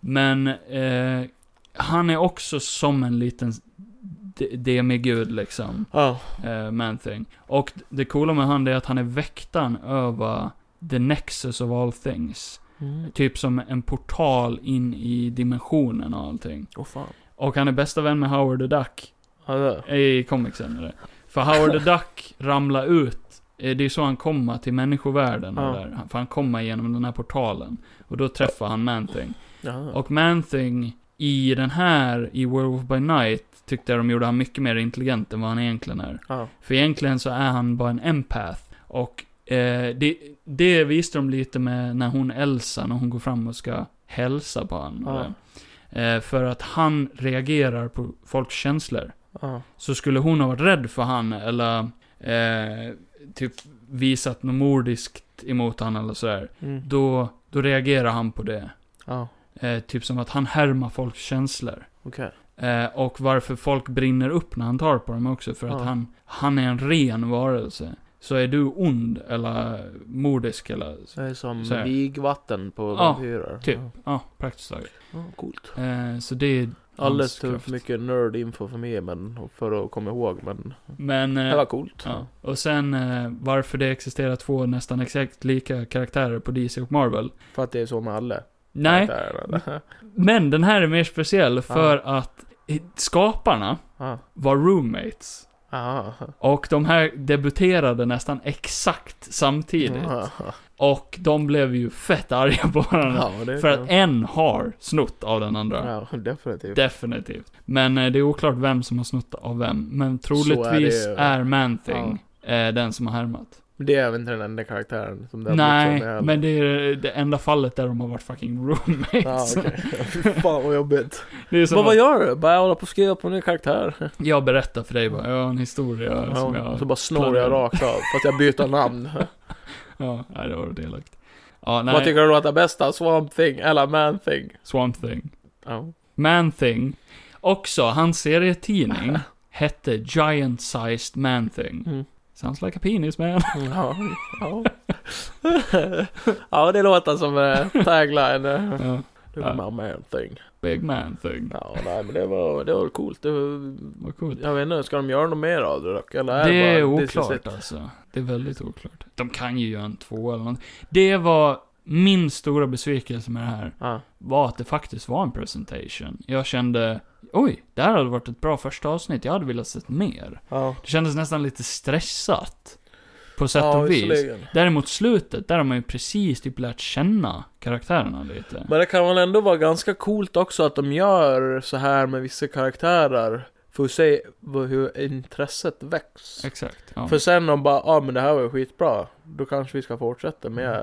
S1: Men eh, han är också som en liten d- demigud liksom.
S3: Ja,
S1: Eh, Man-Thing. Och det coola med han det är att han är väktaren över the nexus of all things.
S3: mm.
S1: Typ som en portal in i dimensionen och allting.
S3: oh, fan.
S1: Och han är bästa vän med Howard the Duck.
S3: Ja, det.
S1: I comicsen är det. För Howard the Duck ramlar ut. Eh, Det är så han kommer till människovärlden. och
S3: Ja.
S1: det Där. Han- För han kommer genom den här portalen. Och då träffar han Man-Thing.
S3: Ja.
S1: Och Man-Thing i den här, i Werewolf by Night, tyckte jag de gjorde han mycket mer intelligent än vad han egentligen är.
S3: ja.
S1: För egentligen så är han bara en empath. Och eh, det, det visste de lite med när hon Elsa, när hon går fram och ska hälsa på honom. och
S3: Ja.
S1: det. Eh, för att han reagerar på folks känslor
S3: ja.
S1: så skulle hon ha varit rädd för han eller eh, typ visat något mordiskt emot han eller sådär.
S3: Mm.
S1: Då, då reagerar han på det.
S3: ja.
S1: Eh, typ som att han härmar folks känslor.
S3: Okej.
S1: Eh, och varför folk brinner upp när han tar på dem också, för att
S3: Ja.
S1: han, han är en ren varelse. Så är du ond, eller mordisk, eller...
S3: Så Det är som
S1: Så här.
S3: vigvatten på
S1: Ja,
S3: vampyrer.
S1: Typ.
S3: Ja.
S1: Ja, praktiskt taget.
S3: Ja, coolt.
S1: Eh, så det är
S3: Alldeles för
S1: kraft.
S3: mycket nerd-info för mig men, för att komma ihåg, men
S1: Men...
S3: det var
S1: Eh,
S3: coolt.
S1: ja. Och sen eh, varför det existerar två nästan exakt lika karaktärer på DC och Marvel.
S3: För att det är så med alla.
S1: Nej,
S3: Där, eller?
S1: men den här är mer speciell för att eh, skaparna
S3: Ja.
S1: var roommates.
S3: Aha.
S1: Och de här debuterade nästan exakt samtidigt.
S3: Aha.
S1: Och de blev ju fett arga på varandra.
S3: Ja, det
S1: för att en har snott av den andra.
S3: Ja, definitivt.
S1: Definitivt. Men eh, det är oklart vem som har snott av vem. Men troligtvis
S3: är
S1: är,
S3: det ju.
S1: Man-Thing eh, den som har härmat.
S3: Det är väl inte den enda karaktären som det har blivit så
S1: Nej,
S3: med
S1: men det är det enda fallet där de har varit fucking
S3: Ja,
S1: roommates.
S3: okej. Fy fan vad jobbigt.
S1: det är som
S3: Vad,
S1: att
S3: vad gör du? Bara hålla på och skriva på en ny karaktär.
S1: jag berättar för dig bara, jag har en historia som
S3: Mm. Ja,
S1: jag...
S3: så bara snor jag
S1: planerar.
S3: rakt av, fast jag byter namn.
S1: Ja, nej, det var delaktigt. Ja, nej.
S3: Vad tycker du låter bäst då? Swamp Thing eller Man Thing?
S1: Swamp Thing.
S3: Ja.
S1: Man Thing. Också, hans serietidning hette Giant Sized Man Thing.
S3: Mm.
S1: Sounds like a penis man.
S3: Ja, ja. ja, det låter som eh, tagline.
S1: ja.
S3: Du är my man thing.
S1: Big Man Thing.
S3: Ja, nej men det var, det var coolt. Det var,
S1: Vad coolt.
S3: jag vet inte, ska de göra något mer av det dock? Eller
S1: Det
S3: bara-
S1: är
S3: this is
S1: oklart
S3: it?
S1: alltså. Det är väldigt oklart. De kan ju göra en två eller något. Det var min stora besvikelse med det här.
S3: Ja,
S1: Var att det faktiskt var en presentation. Jag kände, oj, det här hade varit ett bra första avsnitt. Jag hade velat sett mer.
S3: ja.
S1: Det kändes nästan lite stressat. På sätt
S3: ja,
S1: och vis.
S3: visserligen.
S1: Däremot slutet, där har man ju precis typ lärt känna karaktärerna lite.
S3: Men det kan väl ändå vara ganska coolt också att de gör så här med vissa karaktärer. För att se vad- hur intresset väcks.
S1: Exakt. Ja.
S3: För sen de bara, ja ah, men det här var ju skitbra. Då kanske vi ska fortsätta med
S1: Det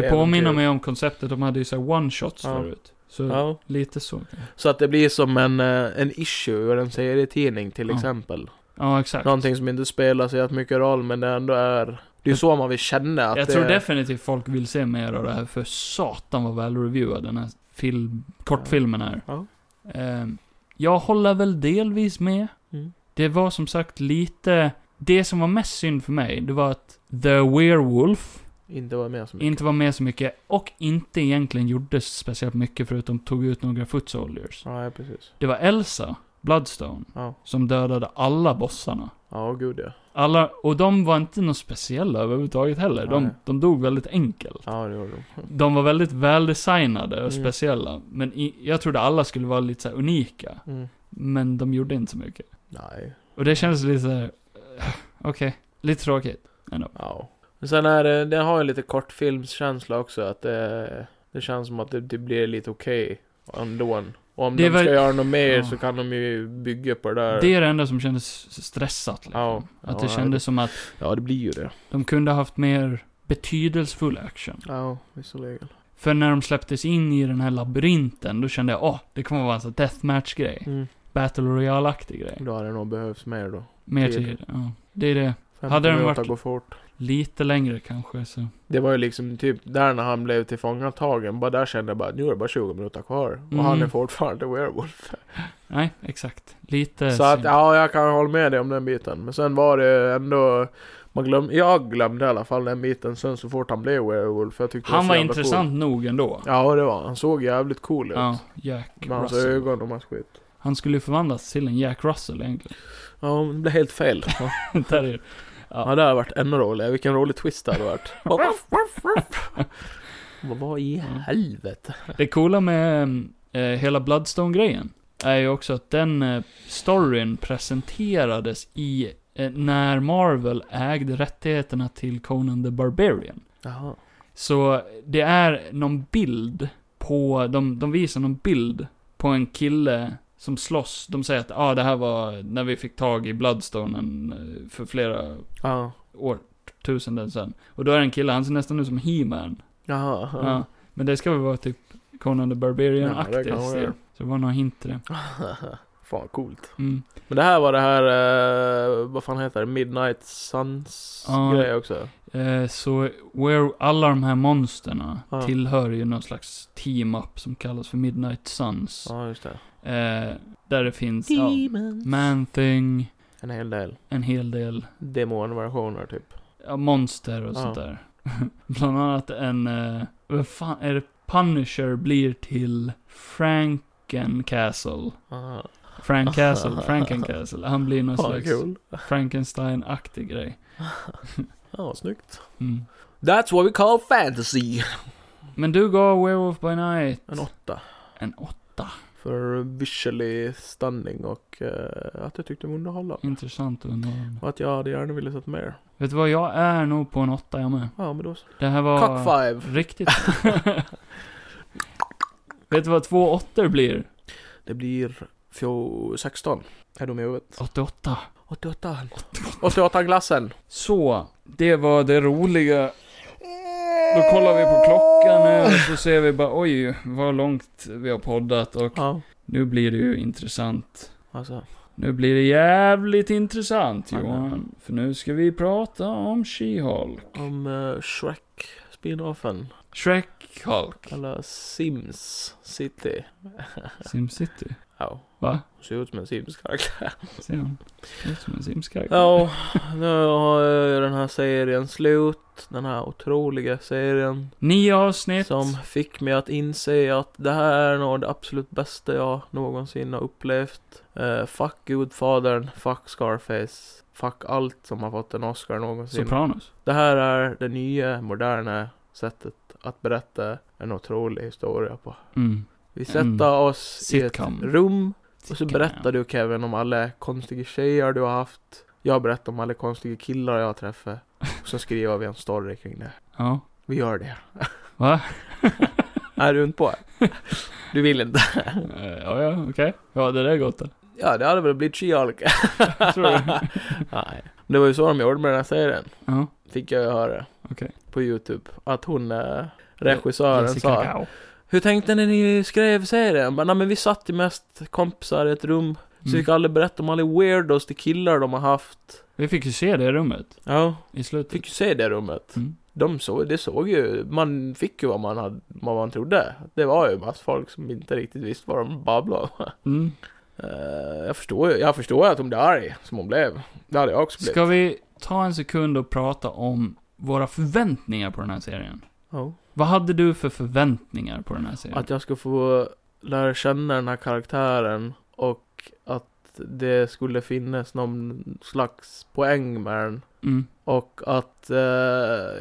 S3: äventyr."
S1: påminner mig om konceptet, de hade ju såhär one-shots
S3: Ja.
S1: förut. Så,
S3: Ja.
S1: lite så.
S3: Så att det blir som en, eh, en issue ur en serietidning till
S1: Ja.
S3: exempel.
S1: Ja, exakt.
S3: Någonting som inte spelar så jävla mycket roll men det ändå är... Det är så man vill känna att
S1: jag tror
S3: det...
S1: definitivt folk vill se mer av det här, för satan vad välreviewad den här film, kortfilmen är.
S3: Ja.
S1: Ehm, jag håller väl delvis med.
S3: Mm.
S1: Det var som sagt lite... Det som var mest synd för mig, det var att The Werewolf
S3: Inte var med så mycket.
S1: inte var med så mycket och inte egentligen gjorde speciellt mycket förutom tog ut några foot soldiers.
S3: Ja, ja, precis.
S1: Det var Elsa, Bloodstone,
S3: Ja,
S1: som dödade alla bossarna.
S3: ja gud ja.
S1: Alla, och de var inte något speciella överhuvudtaget heller. De,
S3: Nej.
S1: de dog väldigt enkelt.
S3: Ja, det gjorde de.
S1: De var väldigt väldesignade och
S3: Mm.
S1: speciella. Men i, jag trodde alla skulle vara lite så här unika.
S3: Mm.
S1: Men de gjorde inte så mycket.
S3: Nej.
S1: Och det kändes lite så här. eh, Okej, lite tråkigt. Ändå.
S3: Ja. Men sen är det... Den har ju lite kortfilmskänsla också att det... Det känns som att det, det blir lite okej ändå. Och om
S1: Det
S3: de
S1: är väl-
S3: ska göra något mer
S1: Ja.
S3: så kan de ju bygga på det där.
S1: Det är det enda som kändes stressat liksom.
S3: Ja.
S1: Att
S3: Ja,
S1: det kändes som att
S3: Ja, det blir ju det.
S1: de kunde haft mer betydelsefull action.
S3: Ja, visserligen.
S1: För när de släpptes in i den här labyrinten, då kände jag åh, det kommer vara en sån här deathmatch-grej.
S3: Mm.
S1: Battle Royale-aktig grej.
S3: Då hade det nog behövts mer då.
S1: Mer
S3: Tid.
S1: tid. Ja. Det är det.
S3: 15
S1: Hade den
S3: minuter
S1: varit-
S3: går fort.
S1: Lite längre kanske, så.
S3: Det var ju liksom typ där när han blev tillfångatagen. Bara där kände jag bara nu är det bara 20 minuter kvar.
S1: Mm.
S3: Och han är fortfarande werewolf.
S1: Nej, exakt. Lite
S3: Så att
S1: synd.
S3: ja, jag kan hålla med dig om den biten. Men sen var det ändå... Man glöm, jag glömde i alla fall den biten sen så fort han blev werewolf. Jag tyckte det
S1: Han
S3: så
S1: var
S3: jävla
S1: intressant nog ändå.
S3: Cool. Ja det var Han såg jävligt cool ut.
S1: Ja, Jack
S3: Med hans
S1: Russell.
S3: ögon och hans skit.
S1: Han skulle ju förvandlas till en Jack Russell egentligen.
S3: Ja, men det blev helt fel. Ja,
S1: Där är det.
S3: ja det hade varit ännu roligare. Vilken rolig twist det hade varit. Vad vad i
S1: Mm.
S3: helvete?
S1: det coola med eh, hela Bloodstone-grejen är ju också att den eh, storyn presenterades i eh, när Marvel ägde rättigheterna till Conan the Barbarian.
S3: Jaha.
S1: Så det är någon bild på, de, de visar någon bild på en kille som slåss. De säger att ah, det här var när vi fick tag i Bloodstonen eh, för flera
S3: Ja.
S1: årtusenden sen. Och då är det en kille, han ser nästan ut som He-Man.
S3: Jaha.
S1: Ja. Men det ska väl vara typ Conan the
S3: Ja, det kan
S1: Barbarian-aktigt.
S3: vara det.
S1: så det var någon hint till det.
S3: Fan coolt.
S1: Mm.
S3: Men det här var det här, eh, vad fan heter det? Midnight Suns
S1: Ja.
S3: grej också.
S1: Eh, så where alla de här monsterna
S3: Ja.
S1: tillhör ju någon slags team-up som kallas för Midnight Suns.
S3: Ja just det.
S1: Eh, där det finns ja, Man-Thing,
S3: En hel del
S1: en hel del
S3: demonversioner typ.
S1: ja, monster och
S3: Ja.
S1: sånt där. Bland annat en, eh, vad fan är det? Punisher blir till Franken Castle.
S3: Ah,
S1: Frank Castle, Franken Castle. Han blir någon
S3: fan vad
S1: slags
S3: kul.
S1: Frankenstein-aktig grej.
S3: Ja, snyggt.
S1: Mm.
S3: That's what we call fantasy.
S1: Men du gav Werewolf by Night
S3: En åtta.
S1: en åtta.
S3: För visually stunning och eh, att jag tyckte det var underhållande.
S1: Intressant och underhållande.
S3: Och att jag hade gärna velat sett mer.
S1: Vet du vad, jag är nog på en åtta jag med.
S3: Ja men då så.
S1: Det här var...
S3: Cock five.
S1: Riktigt. Vet du vad två åttor blir?
S3: Det blir fjol 16. Är de i huvudet?
S1: 88.
S3: 88. 88 glassen.
S1: Så, det var det roliga. Då kollar vi på klockan nu och så ser vi bara oj, vad långt vi har poddat och
S3: Ja.
S1: nu blir det ju intressant.
S3: Alltså.
S1: Nu blir det jävligt intressant
S3: Ja, nej.
S1: Johan. För nu ska vi prata om She-Hulk.
S3: Om eh, Shrek spin-offen.
S1: Shrek-Hulk.
S3: Eller Sims City.
S1: Simcity.
S3: Ja.
S1: Va?
S3: Hon ser ut som en Sims-karaktär.
S1: Ser han? Ser ut som en simskajk.
S3: Ja, nu har ju den här serien slut. Den här otroliga serien.
S1: Nio avsnitt.
S3: Som fick mig att inse att det här är nog det absolut bästa jag någonsin har upplevt. Eh, fuck Gudfadern, fuck Scarface, fuck allt som har fått en Oscar någonsin.
S1: Sopranos.
S3: Det här är det nya, moderna sättet att berätta en otrolig historia på.
S1: Mm.
S3: Vi
S1: Mm.
S3: sätter oss
S1: Sitcom.
S3: i ett rum och så berättar du Kevin om alla konstiga tjejer du har haft. Jag berättar om alla konstiga killar jag har träffat. Och så skriver vi en story kring det.
S1: Ja.
S3: Vi gör det.
S1: Va?
S3: Är du inte på? Du vill inte?
S1: Eh, Ja, ja, okej. Ja, det där är gott då.
S3: Ja, det hade väl blivit She-Hulk.
S1: Tror du?
S3: Nej. Det var ju så de gjorde med den här serien.
S1: Ja.
S3: Fick jag ju höra.
S1: Okej.
S3: På Youtube. Att hon, eh, regissören,
S1: Jessica
S3: sa.
S1: Gao. Mm.
S3: Hur tänkte ni när ni skrev serien? Bara, nej men vi satt ju mest kompisar i ett rum. Så vi
S1: Mm.
S3: fick aldrig berätta om alla weirdos till killar de har haft.
S1: Vi fick ju se det rummet
S3: Ja.
S1: i slutet.
S3: Fick ju se det rummet.
S1: Mm.
S3: De såg, det såg ju, man fick ju vad man, hade, vad man trodde. Det var ju massa folk som inte riktigt visste vad de babblade om.
S1: Mm.
S3: Eh, jag förstår ju, jag förstår ju att hon blev arg, som hon blev. Det hade jag också blivit.
S1: Ska vi ta en sekund och prata om våra förväntningar på den här serien?
S3: Ja.
S1: Vad hade du för förväntningar på den här serien?
S3: Att jag skulle få lära känna den här karaktären och att det skulle finnas någon slags poäng med den.
S1: Mm.
S3: Och att eh,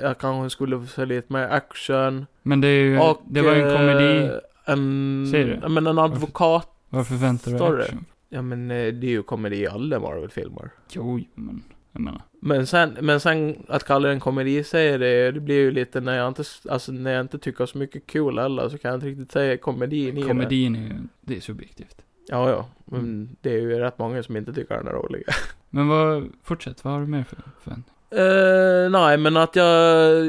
S3: jag kanske skulle få se lite mer action.
S1: Men det är ju,
S3: Och,
S1: det var ju en komedi.
S3: eh, en,
S1: Säger du?
S3: ja, men en advokat.
S1: Varför förväntar du
S3: story.
S1: dig action?
S3: Ja men eh, det är ju komedi i alla Marvel-filmer.
S1: Jo, jo, men jag menar.
S3: Men sen, men sen att kalla den komedi säger det, det blir ju lite när jag inte, alltså när jag inte tycker så mycket kul heller så kan jag inte riktigt säga komedin i det.
S1: Komedin är ju, det är subjektivt.
S3: Ja, ja. Men
S1: Mm.
S3: det är ju rätt många som inte tycker den är rolig.
S1: Men vad, fortsätt, vad har du mer för förväntningar?
S3: Eh, nej, men att jag,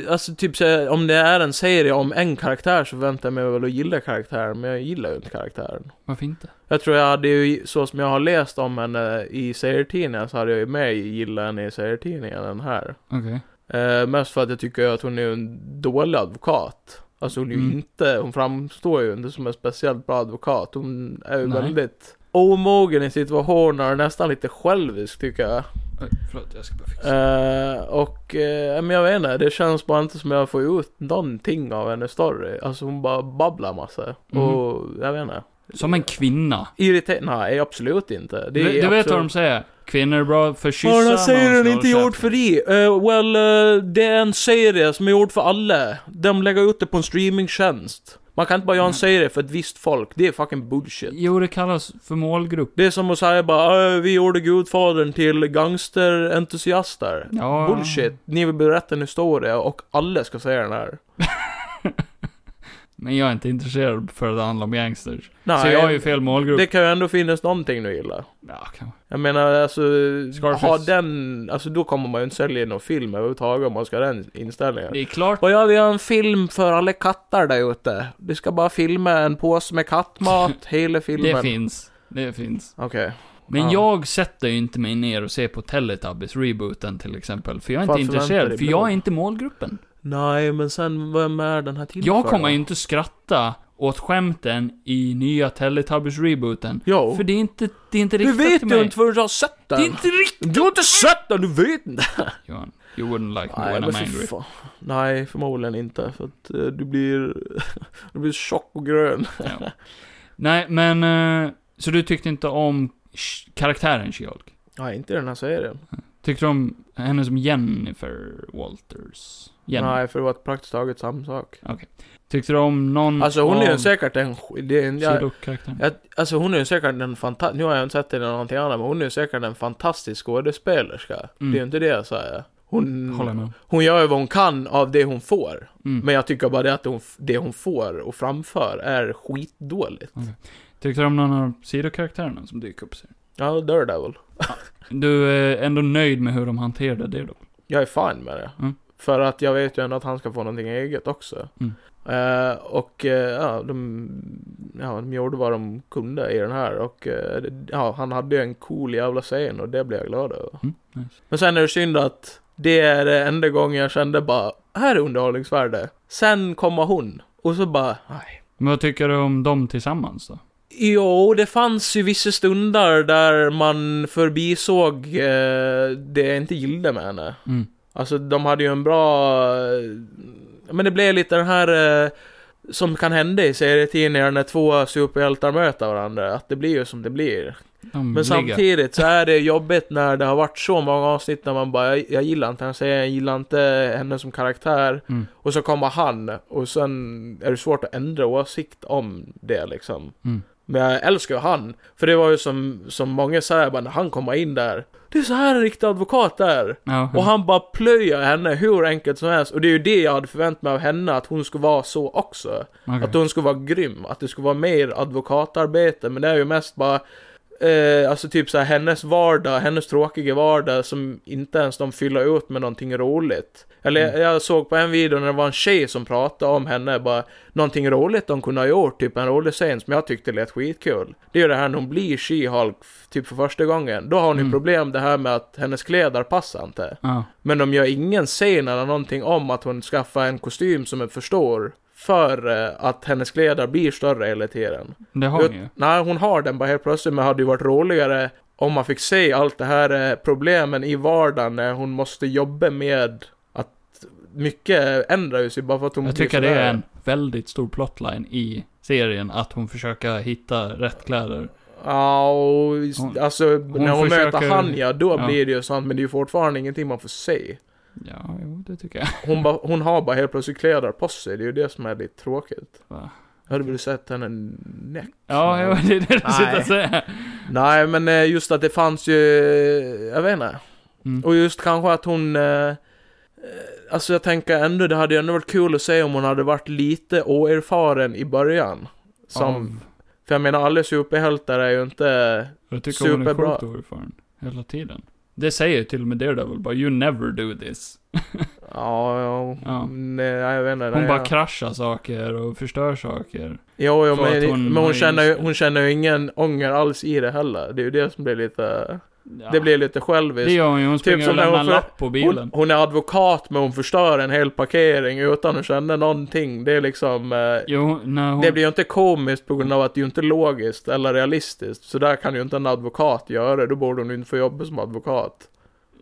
S3: alltså typ så här, om det är en serie om en karaktär så väntar jag mig väl att gilla karaktären, men jag gillar ju inte karaktären.
S1: Varför inte?
S3: Jag tror jag hade ju, så som jag har läst om henne i serietidningen så hade jag ju mer gillat henne i serietidningen än här.
S1: Okej.
S3: Eh, mest för att jag tycker att hon är en dålig advokat. Alltså hon är ju
S1: Mm.
S3: inte, hon framstår ju inte som en speciellt bra advokat. Hon är ju
S1: Nej.
S3: väldigt omogen i situationer, nästan lite självisk tycker jag.
S1: Oj, förlåt, jag ska bara fixa.
S3: Eh, och, eh, men jag vet inte, det känns bara inte som jag får ut någonting av hennes story. Alltså hon bara babblar massa.
S1: Mhm.
S3: Och, jag vet inte.
S1: Som en kvinna.
S3: Irriterande? Nej, absolut inte. Det är
S1: du du vet vad de
S3: absolut...
S1: säger? Kvinnor är bra för kyssar.
S3: Vad den här
S1: man
S3: serien är
S1: slår
S3: inte gjord
S1: käften.
S3: för dig. Eh, well, eh, det är en serie som är gjord för alla. De lägger ut det på en streamingtjänst. Man kan inte bara göra en
S1: Mm.
S3: serie för ett visst folk. Det är fucking bullshit.
S1: Jo, det kallas för målgrupp.
S3: Det är som att säga bara "Eh, vi gjorde Gudfadern till gangsterentusiaster.
S1: Ja,
S3: Bullshit. Ni vill berätta en historia och alla ska säga den här.
S1: Men jag är inte intresserad för att det handlar om gangsters.
S3: Nej,
S1: så jag är ju fel målgrupp.
S3: det kan ju ändå finnas någonting du gillar.
S1: Ja, kanske.
S3: Jag menar alltså,
S1: Scarface.
S3: ha den, alltså då kommer man ju inte sälja någon film överhuvudtaget om man ska ha den inställningen.
S1: Det är klart.
S3: Och jag vill göra en film för alla katter där ute. Du ska bara filma en påse med kattmat, hela filmen.
S1: Det finns. Det finns.
S3: Okej.
S1: Men
S3: Ja.
S1: jag sätter ju inte mig ner och ser på Teletubbies rebooten till exempel. För jag är
S3: Varför
S1: inte
S3: väntar
S1: intresserad,
S3: det
S1: för jag
S3: blod?
S1: är inte målgruppen.
S3: Nej, men sen vem är den här till
S1: Jag
S3: för
S1: kommer
S3: då?
S1: ju inte skratta åt skämten i nya Teletubbies rebooten.
S3: Jo.
S1: För det är inte, det är inte
S3: Du
S1: riktat
S3: Oh. vet
S1: till
S3: ju
S1: mig.
S3: inte förrän du har sett
S1: det
S3: den!
S1: är inte riktigt
S3: Du har inte sett den, du vet inte!
S1: Johan. You wouldn't like me
S3: Nej,
S1: when
S3: men
S1: I'm
S3: för
S1: angry.
S3: fan. Nej, förmodligen inte. För att eh, du blir... du blir tjock och grön.
S1: Ja. Nej, men... eh, Så du tyckte inte om sh- karaktären She-Hulk?
S3: Nej, inte i den här serien.
S1: Tyckte du om henne som Jennifer Walters? Jenny.
S3: Nej, för det var praktiskt taget samma sak.
S1: Mm. Tyckte du om någon
S3: Alltså hon är ju
S1: av
S3: säkert en... sk- Det är en jag,
S1: sidokaraktären?
S3: jag, alltså hon är ju säkert en fantastisk... Nu har jag inte sett henne i någonting annat, men hon är ju säkert en fantastisk skådespelerska.
S1: Mm.
S3: Det är ju inte det jag säger. Hon,
S1: Håller med.
S3: hon gör ju vad hon kan av det hon får.
S1: Mm.
S3: Men jag tycker bara det att hon, det hon får och framför är skitdåligt.
S1: Tyckte du om någon av sidokaraktärerna som dyker upp? Sig?
S3: Ja, Daredevil.
S1: Du eh, är ändå nöjd med hur de hanterade det då?
S3: Jag är fine med det.
S1: Mm.
S3: För att jag vet ju ändå att han ska få någonting eget också.
S1: Mm.
S3: Eh, och eh, ja, de, ja, de gjorde vad de kunde i den här. Och eh, det, ja, han hade ju en cool jävla scen och det blev jag glad över.
S1: Mm, nice.
S3: Men sen är det synd att det är det enda gången jag kände bara, här är underhållningsvärde. Sen kommer hon. Och så bara, nej.
S1: Men vad tycker du om dem tillsammans då?
S3: Jo, det fanns ju vissa stunder där man förbisåg eh, det jag inte gillade med henne.
S1: Mm.
S3: Alltså, de hade ju en bra... eh, Men det blev lite den här... Eh, som kan hända i serietidningar när två superhjältar möter varandra. Att det blir ju som det blir.
S1: De
S3: Men
S1: ligger.
S3: samtidigt så är det jobbigt när det har varit så många avsnitt där man bara, jag, jag gillar inte henne, så jag gillar inte henne som karaktär.
S1: Mm.
S3: Och så kommer han, och sen är det svårt att ändra åsikt om det liksom.
S1: Mm.
S3: Men jag älskar ju han. För det var ju som, som många säger, bara när han kommer in där. Det är så här en riktig advokat är.
S1: Ja,
S3: Och han bara plöjer henne hur enkelt som helst. Och det är ju det jag hade förväntat mig av henne, att hon skulle vara så också.
S1: okej.
S3: Att hon skulle vara grym, att det skulle vara mer advokatarbete, men det är ju mest bara Eh, alltså typ såhär hennes vardag, hennes tråkiga vardag som inte ens de fyller ut med någonting roligt. Eller
S1: Mm.
S3: jag- jag såg på en video när det var en tjej som pratade om henne, bara någonting roligt de kunde ha gjort, typ en rolig scen som jag tyckte lät skitkul. Det är ju det här när hon blir She-Hulk, f- typ för första gången. Då har hon ju
S1: Mm.
S3: problem det här med att hennes kläder passar inte.
S1: Ja.
S3: Men de gör ingen scen eller någonting om att hon skaffar en kostym som man förstår för eh, att hennes kläder blir större hela tiden.
S1: Det har
S3: Ut-
S1: ni ju.
S3: Nej, hon har den bara helt plötsligt, men hade ju varit roligare om man fick se allt det här eh, problemen i vardagen när hon måste jobba med att mycket ändrar ju sig bara för att hon
S1: Jag
S3: blir
S1: tycker det är
S3: sådär.
S1: en väldigt stor plotline i serien, att hon försöker hitta rätt kläder.
S3: Ja, och s-
S1: Hon-
S3: alltså när hon
S1: försöker-
S3: möter Hanja, då
S1: Ja.
S3: blir det ju sånt, men det är ju fortfarande ingenting man får se.
S1: Ja, jo, det tycker jag.
S3: Hon, ba, hon har bara helt plötsligt kläder på sig, det är ju det som är lite tråkigt.
S1: Va?
S3: Hade du sett henne näck?
S1: Ja, jo, det är det du
S3: Nej.
S1: sitter och säger.
S3: Nej, men eh, just att det fanns ju, eh, jag vet inte.
S1: Mm.
S3: Och just kanske att hon, eh, eh, alltså jag tänker ändå, det hade ju ändå varit kul att se om hon hade varit lite oerfaren i början. Som,
S1: Av-
S3: för jag menar alla superhjältar är ju inte,
S1: Jag tycker hon är
S3: Superbra.
S1: sjukt oerfaren. Hela tiden. Det säger till och med Daredevil bara, you never do this.
S3: ja, ja,
S1: Ja.
S3: Nej, jag vet inte.
S1: Hon
S3: nej,
S1: bara
S3: jag-
S1: kraschar saker och förstör saker.
S3: Jo, jo
S1: För att
S3: men,
S1: hon
S3: hon, men
S1: har
S3: hon, känner, ju-
S1: inget-
S3: hon känner ju ingen ånger alls i det heller. Det är ju det som blir lite,
S1: Ja,
S3: det blir lite
S1: det
S3: själviskt.
S1: gör hon ju. Hon springer
S3: som
S1: och
S3: när
S1: lämnar
S3: hon
S1: en
S3: för-
S1: lapp på bilen.
S3: Hon, hon är advokat men hon förstör en hel parkering utan att känna någonting. Det är liksom... Eh,
S1: Jo, när hon...
S3: det blir ju inte komiskt på grund av att det är ju inte är logiskt eller realistiskt. Så där kan ju inte en advokat göra. Då borde hon ju inte få jobba som advokat.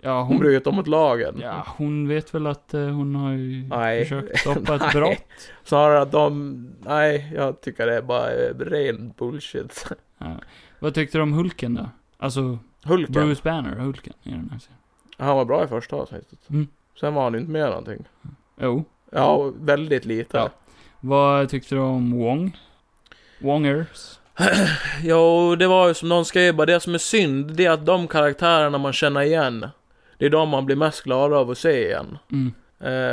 S1: ja,
S3: Hon
S1: hon...
S3: bryr ju inte om mot lagen.
S1: ja, hon vet väl att eh, hon har ju
S3: Nej.
S1: försökt stoppa ett
S3: Nej.
S1: brott.
S3: Snarare att de... Nej, jag tycker det är bara eh, ren bullshit.
S1: Ja. Vad tyckte du om Hulken då? Alltså,
S3: Hulken,
S1: Bruce Banner, Hulken, i den här serien.
S3: han var bra i första avsnittet.
S1: Mm.
S3: Sen var han ju inte med i någonting.
S1: Jo.
S3: Ja, väldigt lite.
S1: Ja. Vad tyckte du om Wong? Wongers?
S3: Jo, det var ju som någon skrev bara, det som är synd, det är att de karaktärerna man känner igen, det är de man blir mest glad av att se igen.
S1: Mm.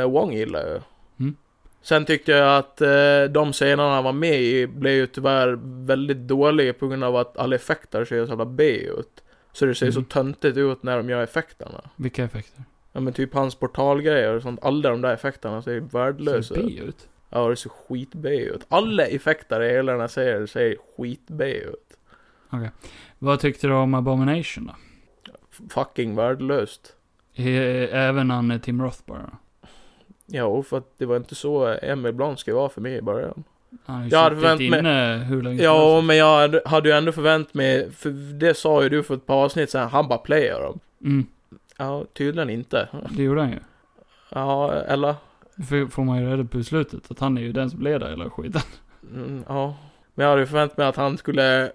S3: Eh, Wong gillar jag ju.
S1: Mm.
S3: Sen tyckte jag att eh, de scenerna han var med i blev ju tyvärr väldigt dåliga på grund av att alla effekter ser så jävla B ut. Så det ser så
S1: Mm.
S3: töntigt ut när de gör effekterna.
S1: Vilka effekter?
S3: Ja men typ hans portalgrejer och sånt, alla de där effekterna ser värdelösa
S1: Ser
S3: ut.
S1: bi ut?
S3: Ja, det ser skit B ut. Alla effekter i hela den här serien ser skit B ut.
S1: Vad tyckte du om Abomination då?
S3: Fucking värdelöst.
S1: E- Även han eh, Tim Roth bara?
S3: Ja, för att det var inte så Emil Blunt skulle vara för mig i början.
S1: Han har ju
S3: Jag hade
S1: suttit
S3: förväntat mig-
S1: inne hur länge som
S3: Ja,
S1: helst.
S3: men jag hade- hade ju ändå förväntat mig, för det sa ju du för ett par avsnitt sedan, han bara playar dem.
S1: Mm,
S3: Ja, tydligen inte.
S1: det gjorde han ju.
S3: Ja, eller?
S1: F- får man ju reda på i slutet att han är ju den som leder hela skiten.
S3: Mm, ja. Men jag hade ju förväntat mig att han skulle...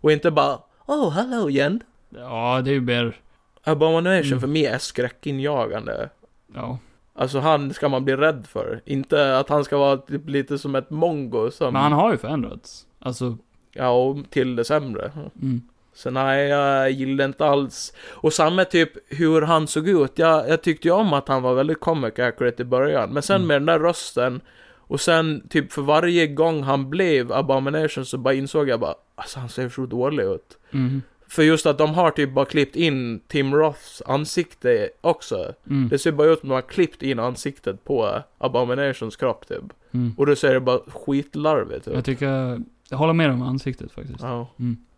S3: Och inte bara Oh, hello igen.
S1: Ja, det är ju mer...
S3: Abomination
S1: Mm.
S3: för mig är skräckinjagande.
S1: Ja.
S3: Alltså han ska man bli rädd för. Inte att han ska vara typ lite som ett mongo som...
S1: Men han har ju förändrats. Alltså,
S3: Ja, och till det sämre.
S1: mm.
S3: Så nej, jag gillade inte alls. Och samma typ hur han såg ut. Jag, jag tyckte ju om att han var väldigt comic accurate i början. Men sen
S1: Mm.
S3: med den där rösten. Och sen typ för varje gång han blev Abomination så bara insåg jag bara alltså han ser så dålig ut.
S1: Mm.
S3: För just att de har typ bara klippt in Tim Roths ansikte också.
S1: Mm.
S3: Det ser bara ut som att de har klippt in ansiktet på Abominations kropp typ.
S1: Mm.
S3: Och då ser det bara skitlarvigt
S1: Jag
S3: ut.
S1: tycker... Jag håller med om ansiktet faktiskt.
S3: Ja.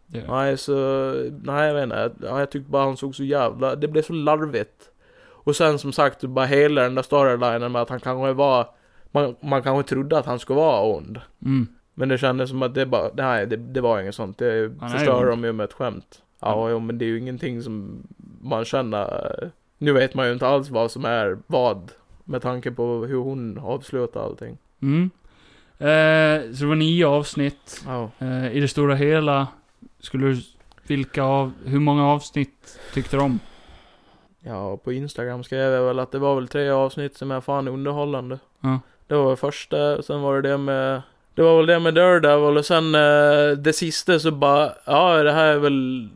S1: Det gör jag.
S3: Nej, så... Nej, jag vet inte. Ja, jag tyckte bara han såg så jävla... Det blev så larvigt. Och sen som sagt, bara hela den där storylinen med att han kanske var... Man, man kanske trodde att han skulle vara ond.
S1: Mm.
S3: Men det kändes som att det bara... Nej, det, det var inget sånt. Det
S1: är ond.
S3: förstör de ju med ett skämt. Ja, jo, men det är ju ingenting som man känner... Nu vet man ju inte alls vad som är vad. Med tanke på hur hon avslutar allting.
S1: Mm. Eh, så det var nio avsnitt.
S3: Ja.
S1: Eh, I det stora hela, skulle du... Vilka av... Hur många avsnitt tyckte du om?
S3: Ja, på Instagram skrev jag väl att det var väl tre avsnitt som är fan underhållande.
S1: Ja.
S3: Det var väl första, sen var det det med... Det var väl det med Daredevil och sen eh, det sista så bara, ja det här är väl...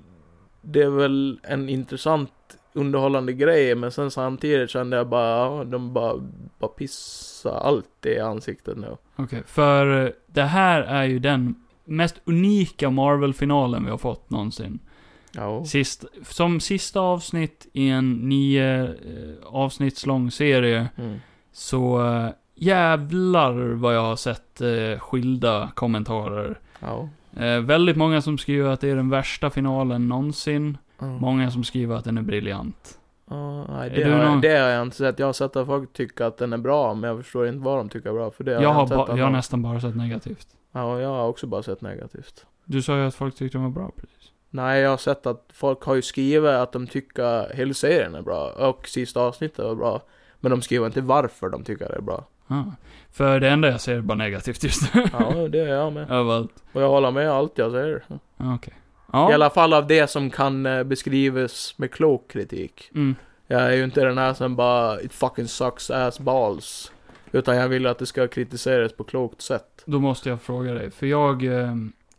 S3: Det är väl en intressant underhållande grej men sen samtidigt kände jag bara, ja de bara, bara pissar allt i ansiktet nu.
S1: Okej, för eh, det här är ju den mest unika Marvel-finalen vi har fått någonsin.
S3: Ja.
S1: Sist, som sista avsnitt i en nio eh, avsnittslång serie,
S3: Mm.
S1: så eh, jävlar vad jag har sett eh, skilda kommentarer.
S3: Ja.
S1: Eh, väldigt många som skriver att det är den värsta finalen någonsin.
S3: Mm.
S1: Många som skriver att den är briljant.
S3: Ja, nej,
S1: Är
S3: det,
S1: du
S3: har,
S1: någon-
S3: jag- det har jag inte sett. Jag har sett att folk tycker att den är bra, men jag förstår inte vad de tycker är bra. För det har
S1: jag,
S3: jag
S1: har
S3: inte sett.
S1: ba,
S3: att
S1: jag har
S3: någon-
S1: nästan bara sett negativt.
S3: Ja, jag har också bara sett negativt.
S1: Du sa ju att folk tyckte den var bra precis.
S3: Nej, jag har sett att folk har ju skrivit att de tycker hela serien är bra och sista avsnittet var bra. Men de skriver inte varför de tycker det är bra.
S1: Ah. För det enda jag ser är bara negativt just nu.
S3: Ja, det är jag med.
S1: Överallt.
S3: Och jag håller med allt jag säger. I
S1: Ja.
S3: alla fall av det som kan eh, beskrivas med klok kritik.
S1: Mm.
S3: Jag är ju inte den här som bara It fucking sucks ass balls. Utan jag vill att det ska kritiseras på klokt sätt.
S1: Då måste jag fråga dig, för jag, eh,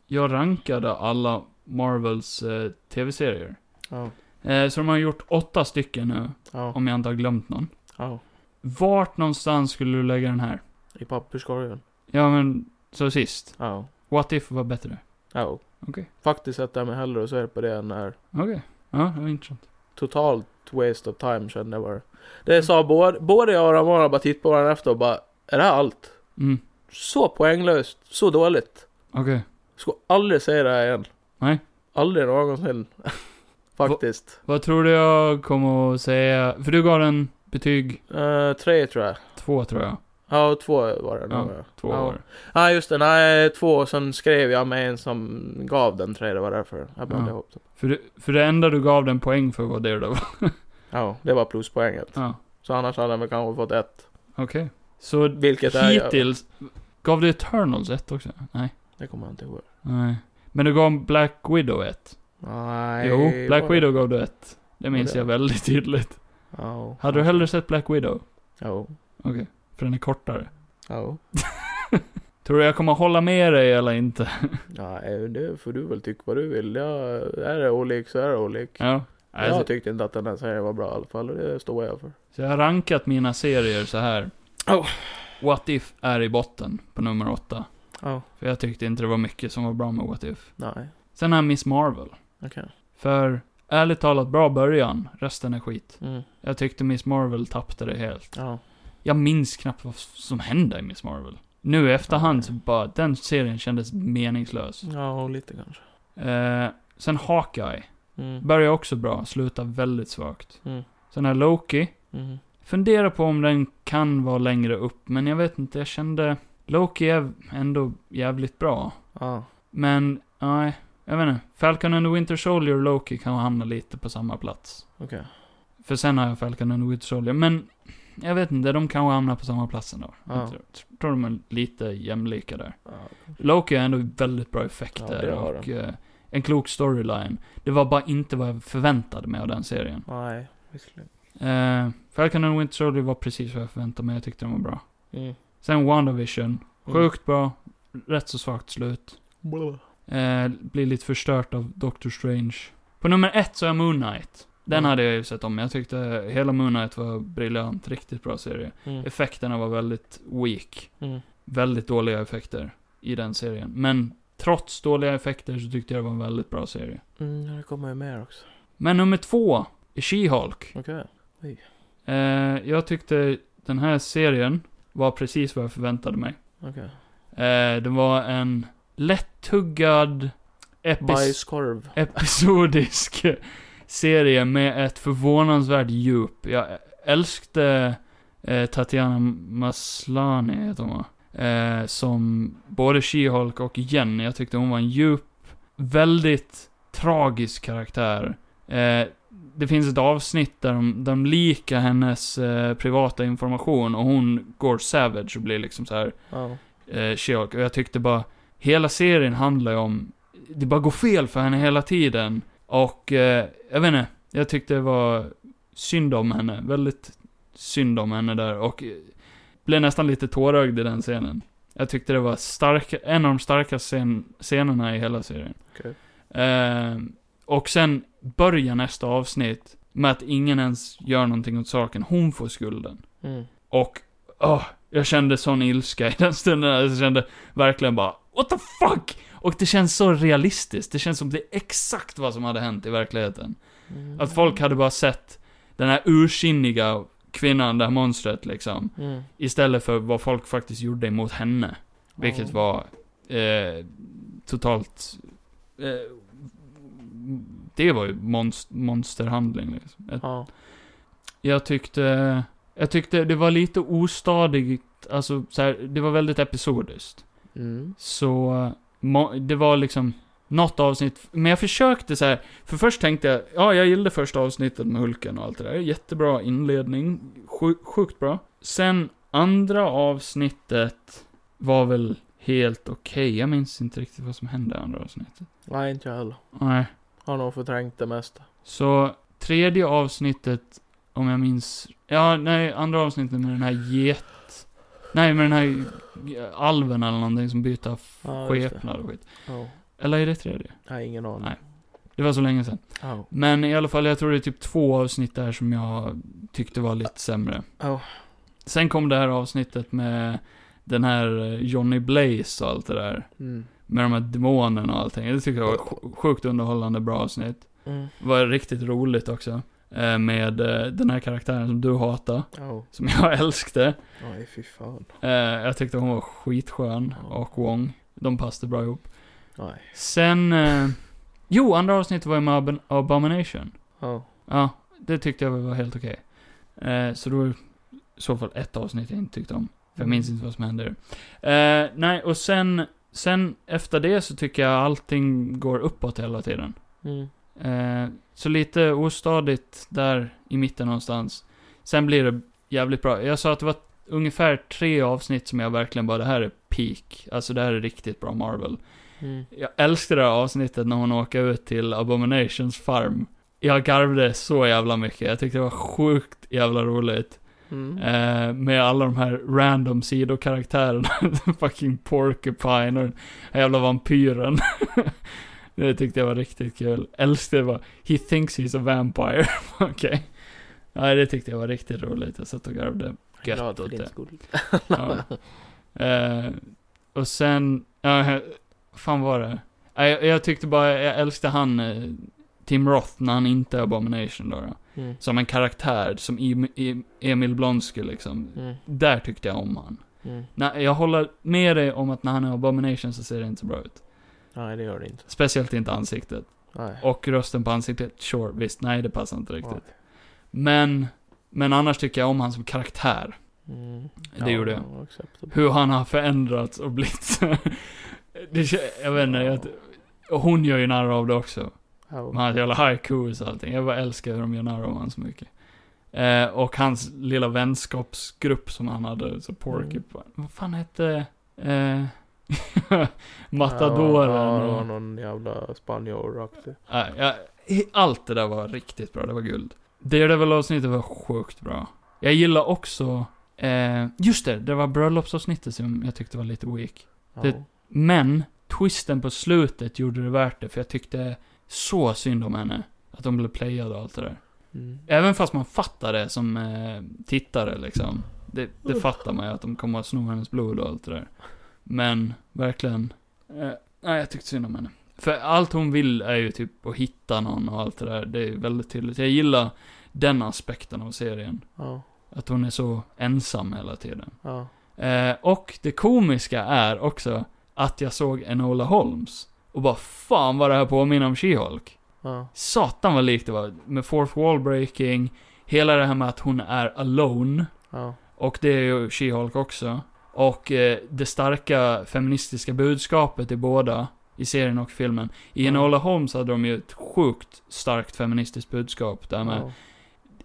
S1: jag rankade alla Marvels eh, tv-serier.
S3: Ja,
S1: Eh, så de har gjort åtta stycken nu,
S3: ja,
S1: om jag inte har glömt någon.
S3: ja.
S1: Vart någonstans skulle du lägga den här?
S3: I papperskorgen.
S1: Ja men, så sist.
S3: Ja,
S1: What if var bättre?
S3: ja.
S1: Okej.
S3: Faktiskt sätter jag mig hellre och ser på det än här.
S1: Okej. Ja, det var intressant.
S3: totalt waste of time kände jag bara. Det sa både, både jag och Ramona bara tittade på varandra efter och bara, är det här allt?
S1: Mm.
S3: Så poänglöst, så dåligt.
S1: Okej.
S3: Ska aldrig säga det här igen.
S1: Nej.
S3: Aldrig någonsin. Faktiskt.
S1: Vad tror du jag kommer att säga? För du gav den betyg
S3: Eh, tre tror jag.
S1: två tror jag.
S3: Ja, två var det nog. Ja,
S1: Två
S3: ja.
S1: år.
S3: Ja, just det. Nej, två. Sen skrev jag med en som gav den tre. Det var därför jag blandade
S1: Ja.
S3: ihop dem.
S1: För, du- för det enda du gav den poäng för var det då.
S3: Ja, det var pluspoänget.
S1: Ja.
S3: Så annars hade jag väl kanske fått ett.
S1: Okej. Så
S3: Vilket är...
S1: hittills... Gav du Eternals ett också? Nej.
S3: Det kommer jag inte ihåg.
S1: Nej. Men du gav Black Widow ett?
S3: Nej.
S1: jo, Black
S3: var det-
S1: Widow gav du ett. Det minns
S3: det-
S1: jag väldigt tydligt.
S3: Ja.
S1: Hade du hellre sett Black Widow?
S3: Ja.
S1: Okej. För den är kortare.
S3: Ja.
S1: Tror du jag kommer hålla med dig eller inte?
S3: Nej, eh, det får du väl tycka vad du vill. Ja, är det olik så är det olik.
S1: Ja.
S3: Jag
S1: Alltså,
S3: tyckte inte att den här serien var bra i alla fall och det står jag för.
S1: så jag har rankat mina serier så här.
S3: Oh.
S1: What If är i botten på nummer åtta.
S3: Ja.
S1: För jag tyckte inte det var mycket som var bra med What If.
S3: Nej,
S1: Sen har jag Miss Marvel.
S3: okej.
S1: För, ärligt talat, bra början. Resten är skit.
S3: Mm.
S1: Jag tyckte Miss Marvel tappade det helt.
S3: Ja.
S1: Jag minns knappt vad som hände i Miss Marvel. Nu i efterhand så bara, den serien kändes meningslös.
S3: Ja, lite kanske.
S1: Eh, sen Hawkeye.
S3: Mm.
S1: Börjar också bra, slutar väldigt svagt.
S3: Mm.
S1: Sen här Loki.
S3: Mm.
S1: Funderar på om den kan vara längre upp, men jag vet inte, jag kände... Loki är ändå jävligt bra.
S3: Ja.
S1: Men, nej. Jag vet inte. Falcon and the Winter Soldier och Loki kan hamna lite på samma plats.
S3: Okej.
S1: För sen har jag Falcon and the Winter Soldier, men... Jag vet inte, de kanske hamnar på samma plats ändå.
S3: Ja.
S1: Jag tror, tror de är lite jämlika där.
S3: Ja.
S1: Loki har ändå väldigt bra effekter
S3: Ja, det har
S1: och eh, en klok storyline. Det var bara inte vad jag förväntade mig av den serien.
S3: Nej, visserligen.
S1: Eh, Falcon and the Winter Soldier var precis vad jag förväntade mig, jag tyckte den var bra.
S3: Mm.
S1: Sen WandaVision,
S3: Mm.
S1: sjukt bra, rätt så svagt slut.
S3: Blah.
S1: Eh, blir lite förstört av Doctor Strange. På nummer ett så är Moon Knight. Den
S3: Mm.
S1: hade jag ju sett om, jag tyckte hela Moon Knight var briljant, riktigt bra serie.
S3: Mm.
S1: Effekterna var väldigt weak.
S3: Mm.
S1: Väldigt dåliga effekter i den serien. Men trots dåliga effekter så tyckte jag det var en väldigt bra serie.
S3: Mm, det kommer ju mer också.
S1: Men nummer två är She-Hulk.
S3: Okej.
S1: Eh, jag tyckte den här serien var precis vad jag förväntade mig.
S3: Okej.
S1: Eh, det var en lättuggad epis
S3: Bajskorv.
S1: episodisk serie med ett förvånansvärt djup. Jag älskade eh, Tatiana Maslany, heter hon va? eh, Som både She-Hulk och Jenny. Jag tyckte hon var en djup, väldigt tragisk karaktär. Eh, det finns ett avsnitt där de, de likar hennes eh, privata information och hon går savage och blir liksom så här
S3: Ja.
S1: eh, She-Hulk. Och jag tyckte bara, hela serien handlar ju om, det bara går fel för henne hela tiden. Och, eh, jag vet inte, jag tyckte det var synd om henne. Väldigt synd om henne där. Och eh, blev nästan lite tårögd i den scenen. Jag tyckte det var starka, en av de starkaste scen, scenerna i hela serien.
S3: Okej.
S1: Eh, och sen börjar nästa avsnitt med att ingen ens gör någonting åt saken. Hon får skulden.
S3: Mm.
S1: Och, åh, jag kände sån ilska i den stunden. Jag kände verkligen bara, what the fuck? Och det känns så realistiskt. Det känns som det är exakt vad som hade hänt i verkligheten.
S3: Mm.
S1: Att folk hade bara sett den här ursinniga kvinnan, det här monstret liksom.
S3: Mm.
S1: Istället för vad folk faktiskt gjorde emot henne. Vilket
S3: Ja.
S1: var eh, totalt... Eh, det var ju monst- monsterhandling liksom. Ett
S3: Ja.
S1: jag tyckte, jag tyckte det var lite ostadigt, alltså så här, det var väldigt episodiskt.
S3: Mm.
S1: Så, må, det var liksom något avsnitt, men jag försökte så här, för först tänkte jag, ja jag gillade första avsnittet med Hulken och allt det där, jättebra inledning, sju, sjukt bra. Sen andra avsnittet var väl helt okej, jag minns inte riktigt vad som hände i andra avsnittet.
S3: Nej, inte jag heller.
S1: Nej.
S3: Har nog förträngt det mesta.
S1: Så tredje avsnittet, om jag minns... Ja, nej, andra avsnittet med den här get... Nej, med den här alven eller någonting som byter f-
S3: Ja, just det.
S1: skepnad och skit.
S3: Ja.
S1: Eller är det tredje?
S3: Nej, ingen aning.
S1: Nej. Det var så länge sedan.
S3: Ja.
S1: Men i alla fall, jag tror det är typ två avsnitt där som jag tyckte var lite sämre.
S3: Ja.
S1: Sen kom det här avsnittet med den här eh, Johnny Blaze och allt det där.
S3: Mm.
S1: Med de här demonerna och allting. Det tycker jag var ett sj- sjukt underhållande bra avsnitt.
S3: Mm.
S1: var riktigt roligt också. eh, Med eh, den här karaktären som du hatar.
S3: Ja.
S1: Som jag älskade.
S3: Nej, fy fan.
S1: Eh, Jag tyckte hon var skitskön. Och Wong. De passade bra ihop.
S3: Nej.
S1: Sen... eh, Jo, andra avsnittet var ju med Ab- Abomination.
S3: Ja.
S1: Ja, det tyckte jag var helt okej. Eh, Så då var det i så fall ett avsnitt jag inte tyckte om. För jag minns inte vad som hände. Eh, nej, och sen... Sen efter det så tycker jag allting går uppåt hela tiden.
S3: Mm.
S1: Eh, så lite ostadigt där i mitten någonstans. Sen blir det jävligt bra. Jag sa att det var ungefär tre avsnitt som jag verkligen bara, det här är peak. Alltså det här är riktigt bra Marvel.
S3: Mm.
S1: Jag älskade det här avsnittet när hon åker ut till Abominations farm. Jag garvade så jävla mycket. Jag tyckte det var sjukt jävla roligt.
S3: Mm.
S1: Eh, med alla de här random sidokaraktärerna. Fucking Porcupine och den här jävla vampyren. det tyckte jag var riktigt kul. Älskade det bara, He thinks he's a vampire. Okej. Nej, det tyckte jag var riktigt roligt. Jag satt och garvade. gött
S3: Glad för
S1: åt
S3: din
S1: det.
S3: skull.
S1: Ja. Eh, och sen, ja, fan var det? Nej, jag, jag tyckte bara, jag älskade han, eh, Tim Roth, när han inte är Abomination då. då.
S3: Mm.
S1: Som en karaktär, som Em- Em- Emil Blonsky liksom.
S3: Mm.
S1: Där tyckte jag om han.
S3: Mm.
S1: Nej, jag håller med dig om att när han är abomination så ser det inte så bra ut.
S3: Nej, det gör det inte.
S1: Speciellt inte ansiktet.
S3: Nej.
S1: Och rösten på ansiktet, sure, visst, nej det passar inte riktigt.
S3: Okej.
S1: Men, men annars tycker jag om han som karaktär.
S3: Mm.
S1: Det gjorde jag.
S3: ja, acceptable.
S1: Hur han har förändrats och blivit så- det, kän- Jag vet inte, jag, och hon gör ju narr av det också.
S3: Ja.
S1: Med hans jävla haikus och allting. Jag bara älskar hur de gör narr av honom så mycket. Eh, och hans lilla vänskapsgrupp som han hade, så
S3: Mm.
S1: Porcupine. Vad fan hette... Eh, Matadoren
S3: Ja, ja, det var
S1: och...
S3: någon jävla spanjoraktig.
S1: Nej, jag- he- allt det där var riktigt bra, det var guld. Daredevil-avsnittet var sjukt bra. Jag gillar också... Eh, just det, det var bröllopsavsnittet som jag tyckte var lite weak.
S3: Ja.
S1: Det- Men, twisten på slutet gjorde det värt det, för jag tyckte så synd om henne. Att de blev playade och allt det där.
S3: Mm.
S1: Även fast man fattar det som eh, tittare liksom. Det, det fattar man ju att de kommer att sno hennes blod och allt det där. Men, verkligen. Eh, nej, jag tyckte synd om henne. För allt hon vill är ju typ att hitta någon och allt det där. Det är väldigt tydligt. Jag gillar den aspekten av serien.
S3: Ja.
S1: Att hon är så ensam hela tiden.
S3: Ja.
S1: Eh, och det komiska är också att jag såg Enola Holmes. Och bara fan vad det här påminner om She-Hulk.
S3: Ja.
S1: Satan vad likt det var. Med fourth wall breaking, hela det här med att hon är alone.
S3: Ja.
S1: Och det är ju She-Hulk också. Och eh, det starka feministiska budskapet i båda, i serien och filmen. I
S3: Mm.
S1: Enola Holmes hade de ju ett sjukt starkt feministiskt budskap där med.
S3: Ja.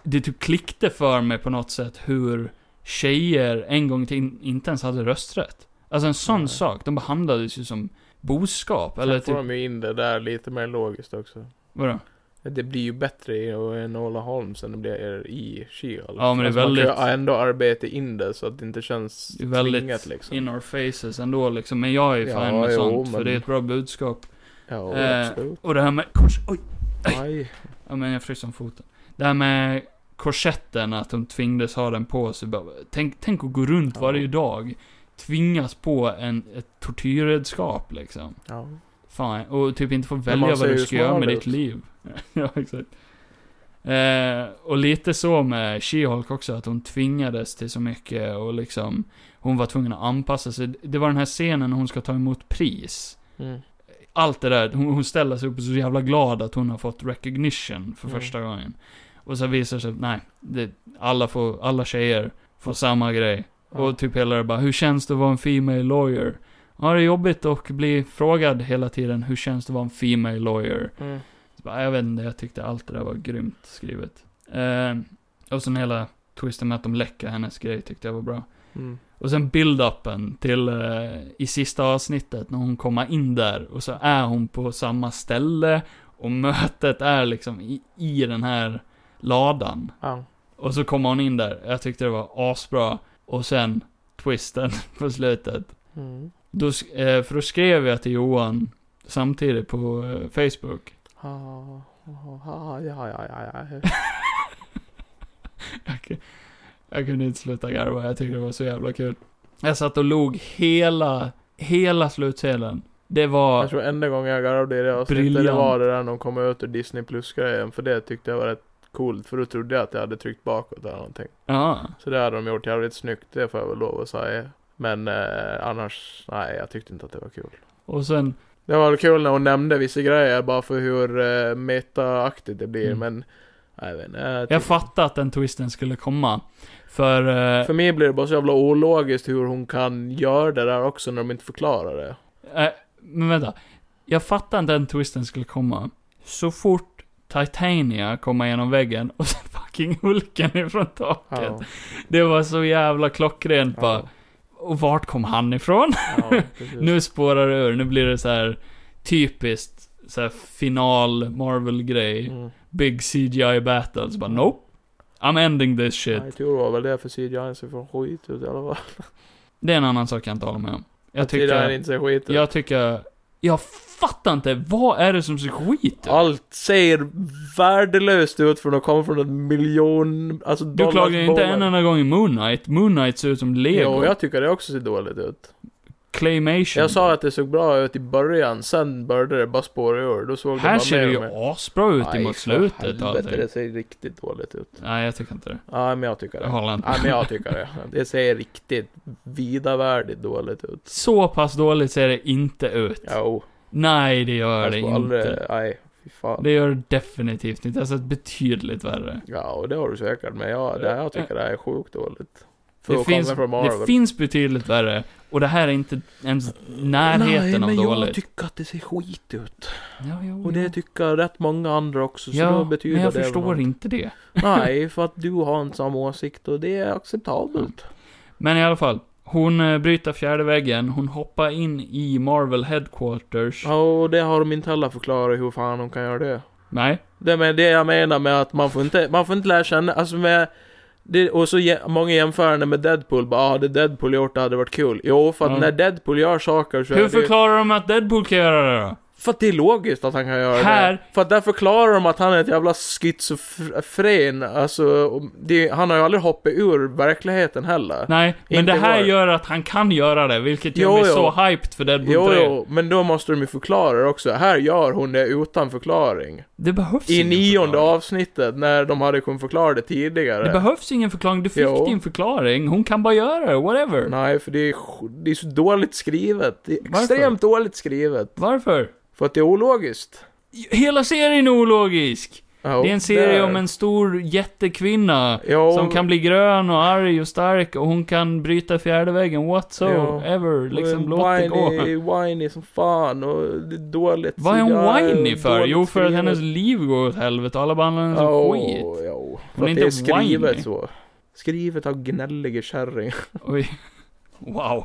S1: Det typ klickte för mig på något sätt hur tjejer en gång till inte ens hade rösträtt. Alltså en sån
S3: Nej.
S1: sak. De behandlades ju som boskap. Eller
S3: Sen får
S1: typ,
S3: de ju in det där lite mer logiskt också.
S1: vadå?
S3: Det blir ju bättre i Enola Holmes än det blir i She-Hulk.
S1: Ja, men det är
S3: Man
S1: väldigt-
S3: kan ju ändå arbeta in det så att det inte känns
S1: Det är väldigt
S3: tvingat liksom.
S1: in our faces ändå liksom. Men jag är ju
S3: Ja,
S1: fan med
S3: jo,
S1: sånt, för
S3: men-
S1: det är ett bra budskap.
S3: Ja,
S1: Eh,
S3: absolut.
S1: Och det här med kors... Oj!
S3: Aj.
S1: Ja, men jag fryser om foten. Det här med korsetten, att de tvingades ha den på sig. Bara, Tänk, tänk att gå runt
S3: Ja.
S1: varje dag. Tvingas på en, ett tortyrredskap liksom.
S3: Ja.
S1: Fan, och typ inte få
S3: man
S1: välja vad
S3: ser
S1: du
S3: ju
S1: ska göra med
S3: smal
S1: ditt
S3: ut.
S1: liv. ja, exakt. Eh, och lite så med She-Hulk också, att hon tvingades till så mycket och liksom, hon var tvungen att anpassa sig. Det var den här scenen när hon ska ta emot pris.
S3: Mm.
S1: Allt det där, hon, hon ställer sig upp och är så jävla glad att hon har fått recognition för
S3: Mm.
S1: första gången. Och så visar det sig att nej, det, alla, får, alla tjejer får samma grej.
S3: Ja.
S1: Och typ hela det bara, hur känns det att vara en female lawyer? Ja, det är jobbigt och bli frågad hela tiden, hur känns det att vara en female lawyer?
S3: Mm.
S1: Så bara, jag vet inte, jag tyckte allt det där var grymt skrivet. Eh, och sen hela twisten med att de läcker hennes grej tyckte jag var bra.
S3: Mm.
S1: Och sen build-upen till eh, i sista avsnittet när hon kommer in där och så är hon på samma ställe och mötet är liksom i, i den här ladan.
S3: Ja.
S1: Och så kommer hon in där. Jag tyckte det var asbra. Och sen twisten på slutet.
S3: Mm.
S1: Då, sk- eh, för då skrev jag till Johan samtidigt på eh, Facebook.
S3: Ja. Ja. Ja. Ja. Ja. Ja.
S1: Jag, ku- jag kunde inte sluta garva. Jag tyckte det var så jävla kul. Jag satt och log hela, hela slutscenen. Det
S3: Jag
S1: var...
S3: tror enda gången jag garvade i det avsnittet det
S1: Briljant.
S3: var det där när de kom ut ur Disney plus-grejen. För det tyckte jag var rätt coolt. För då trodde jag att jag hade tryckt bakåt eller någonting.
S1: Ja.
S3: Så det hade de gjort jävligt snyggt, det får jag väl lov att säga. Men eh, annars, nej jag tyckte inte att det var kul.
S1: Och sen...
S3: Det var kul när hon nämnde vissa grejer bara för hur eh, metaaktigt det blir
S1: Mm.
S3: men... Nej, jag vet inte. Jag
S1: Jag
S3: tyck-
S1: fattade att den twisten skulle komma. För... Eh,
S3: för mig blir det bara så jävla ologiskt hur hon kan göra det där också när de inte förklarar det.
S1: Eh, men vänta. Jag fattar inte den twisten skulle komma. Så fort Titania kommer genom väggen och sen fucking Hulken ifrån taket.
S3: Ja,
S1: Det var så jävla klockrent bara.
S3: ja,
S1: Och vart kom han ifrån?
S3: ja, precis.
S1: Nu spårar det ur. Nu blir det så här typiskt så här final Marvel-grej.
S3: Mm.
S1: Big CGI battles. Bara nope. I'm ending this shit.
S3: Nej, tur var väl det för CGI ser för skit ut i alla fall.
S1: Det är en annan sak jag inte håller med om. Jag
S3: CGI
S1: tycker...
S3: inte ser skit ut.
S1: Jag tycker... Jag fattar inte. Vad är det som ser skit ut?
S3: Allt ser värdelöst ut för att komma från en miljon, alltså
S1: Du klagade inte en
S3: dollarsbolag.
S1: enda gång i Moon Knight. Moon Knight ser ut som lego.
S3: Jo, jag tycker det också ser dåligt ut.
S1: claymation.
S3: Jag sa att det såg bra ut i början, sen började det bara spåra ur. Då såg
S1: Här
S3: det bara
S1: ser det
S3: mer
S1: ju
S3: och mer.
S1: asbra ut
S3: Aj,
S1: emot
S3: för
S1: slutet och
S3: helvete,
S1: allting.
S3: det ser riktigt dåligt ut.
S1: Nej, jag tycker inte det.
S3: Ja, men jag tycker
S1: Jag
S3: det.
S1: håller inte.
S3: Ja, men jag tycker det. Det ser riktigt vidarvärdigt dåligt ut.
S1: Så pass dåligt ser det inte ut.
S3: Jo,
S1: Nej, det gör
S3: jag
S1: det
S3: skulle
S1: inte.
S3: aldrig... Nej, fy fan.
S1: Det gör det definitivt inte. Jag har sett betydligt värre.
S3: Ja, och det har du säkert, men jag, det, jag tycker det här är sjukt dåligt. För
S1: Det
S3: att finns,
S1: finns,
S3: komma från
S1: det
S3: Marvel.
S1: finns betydligt värre. Och det här är inte ens
S3: Nej,
S1: närheten
S3: men
S1: av
S3: jag
S1: dåligt.
S3: tycker att det ser skit ut.
S1: ja, jo,
S3: Och det
S1: jo.
S3: tycker rätt många andra också, så då
S1: Ja,
S3: betyder
S1: men jag
S3: det väl
S1: förstår
S3: något.
S1: inte det.
S3: Nej, för att du har inte samma åsikt och det är acceptabelt.
S1: Men i alla fall. Hon eh, bryter fjärde väggen, hon hoppar in i Marvel Headquarters.
S3: Ja, och det har de inte heller förklarat hur fan de kan göra det.
S1: Nej.
S3: Det är det jag menar med att man får inte, man får inte lära känna, alltså med... Det, och så jä- många jämförande med Deadpool, bara ah, hade Deadpool gjort det hade varit kul. Jo, för att
S1: Ja.
S3: när Deadpool gör saker så
S1: Hur
S3: är det ju,
S1: förklarar de att Deadpool kan göra det då?
S3: För att det är logiskt att han kan göra det.
S1: Här-
S3: För att där förklarar de att han är ett jävla schizofren, alltså, och det, han har ju aldrig hoppat ur verkligheten heller.
S1: Nej, men
S3: Inte
S1: det här
S3: var.
S1: gör att han kan göra det, vilket gör
S3: Jo,
S1: mig
S3: jo.
S1: så hyped för Deadpool 3.
S3: Jo, jo, men då måste de ju förklara det också. Här gör hon det utan förklaring.
S1: Det behövs
S3: I
S1: ingen
S3: nionde
S1: förklaring.
S3: avsnittet, när de hade kunnat förklara det tidigare.
S1: Det behövs ingen förklaring, du fick
S3: Jo.
S1: din förklaring. Hon kan bara göra det, whatever.
S3: Nej, för det är, sj- det är så dåligt skrivet. Det är
S1: Varför?
S3: extremt dåligt skrivet.
S1: Varför?
S3: För att det är ologiskt.
S1: Hela serien är ologisk!
S3: Ja,
S1: det är en serie
S3: där.
S1: om en stor jättekvinna.
S3: Jo,
S1: Som kan bli grön och arg och stark och hon kan bryta fjärde väggen, what so
S3: Ja.
S1: ever. Liksom, låt det gå.
S3: whiny, whiny som fan och det är dåligt.
S1: Vad är
S3: Ja,
S1: hon whiny för?
S3: dåligt
S1: Jo, för att
S3: skrivet.
S1: hennes liv går åt helvete och alla behandlar henne som
S3: Ja,
S1: skit.
S3: ja. För
S1: Hon är
S3: att det är
S1: inte
S3: skrivet
S1: whiny.
S3: så. Skrivet av gnälliga kärringar
S1: Oj. Wow.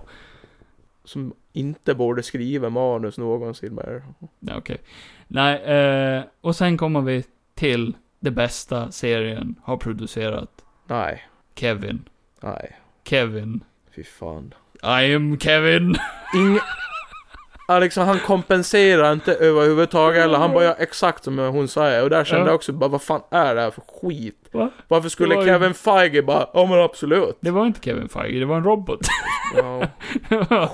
S3: som inte borde skriva manus någonsin mer.
S1: Nej, okej. Nej, eh, och sen kommer vi till det bästa serien har producerat.
S3: Nej,
S1: Kevin.
S3: nej,
S1: Kevin.
S3: fy fan.
S1: I am Kevin.
S3: Ing... Alex, han kompenserar inte överhuvudtaget eller han bara gör exakt som hon säger och där kände
S1: Ja.
S3: jag också bara vad fan är det här för skit?
S1: Va?
S3: Varför skulle
S1: Det var ju-
S3: Kevin Feige bara, ja men absolut.
S1: Det var inte Kevin Feige, det var en robot.
S3: Ja,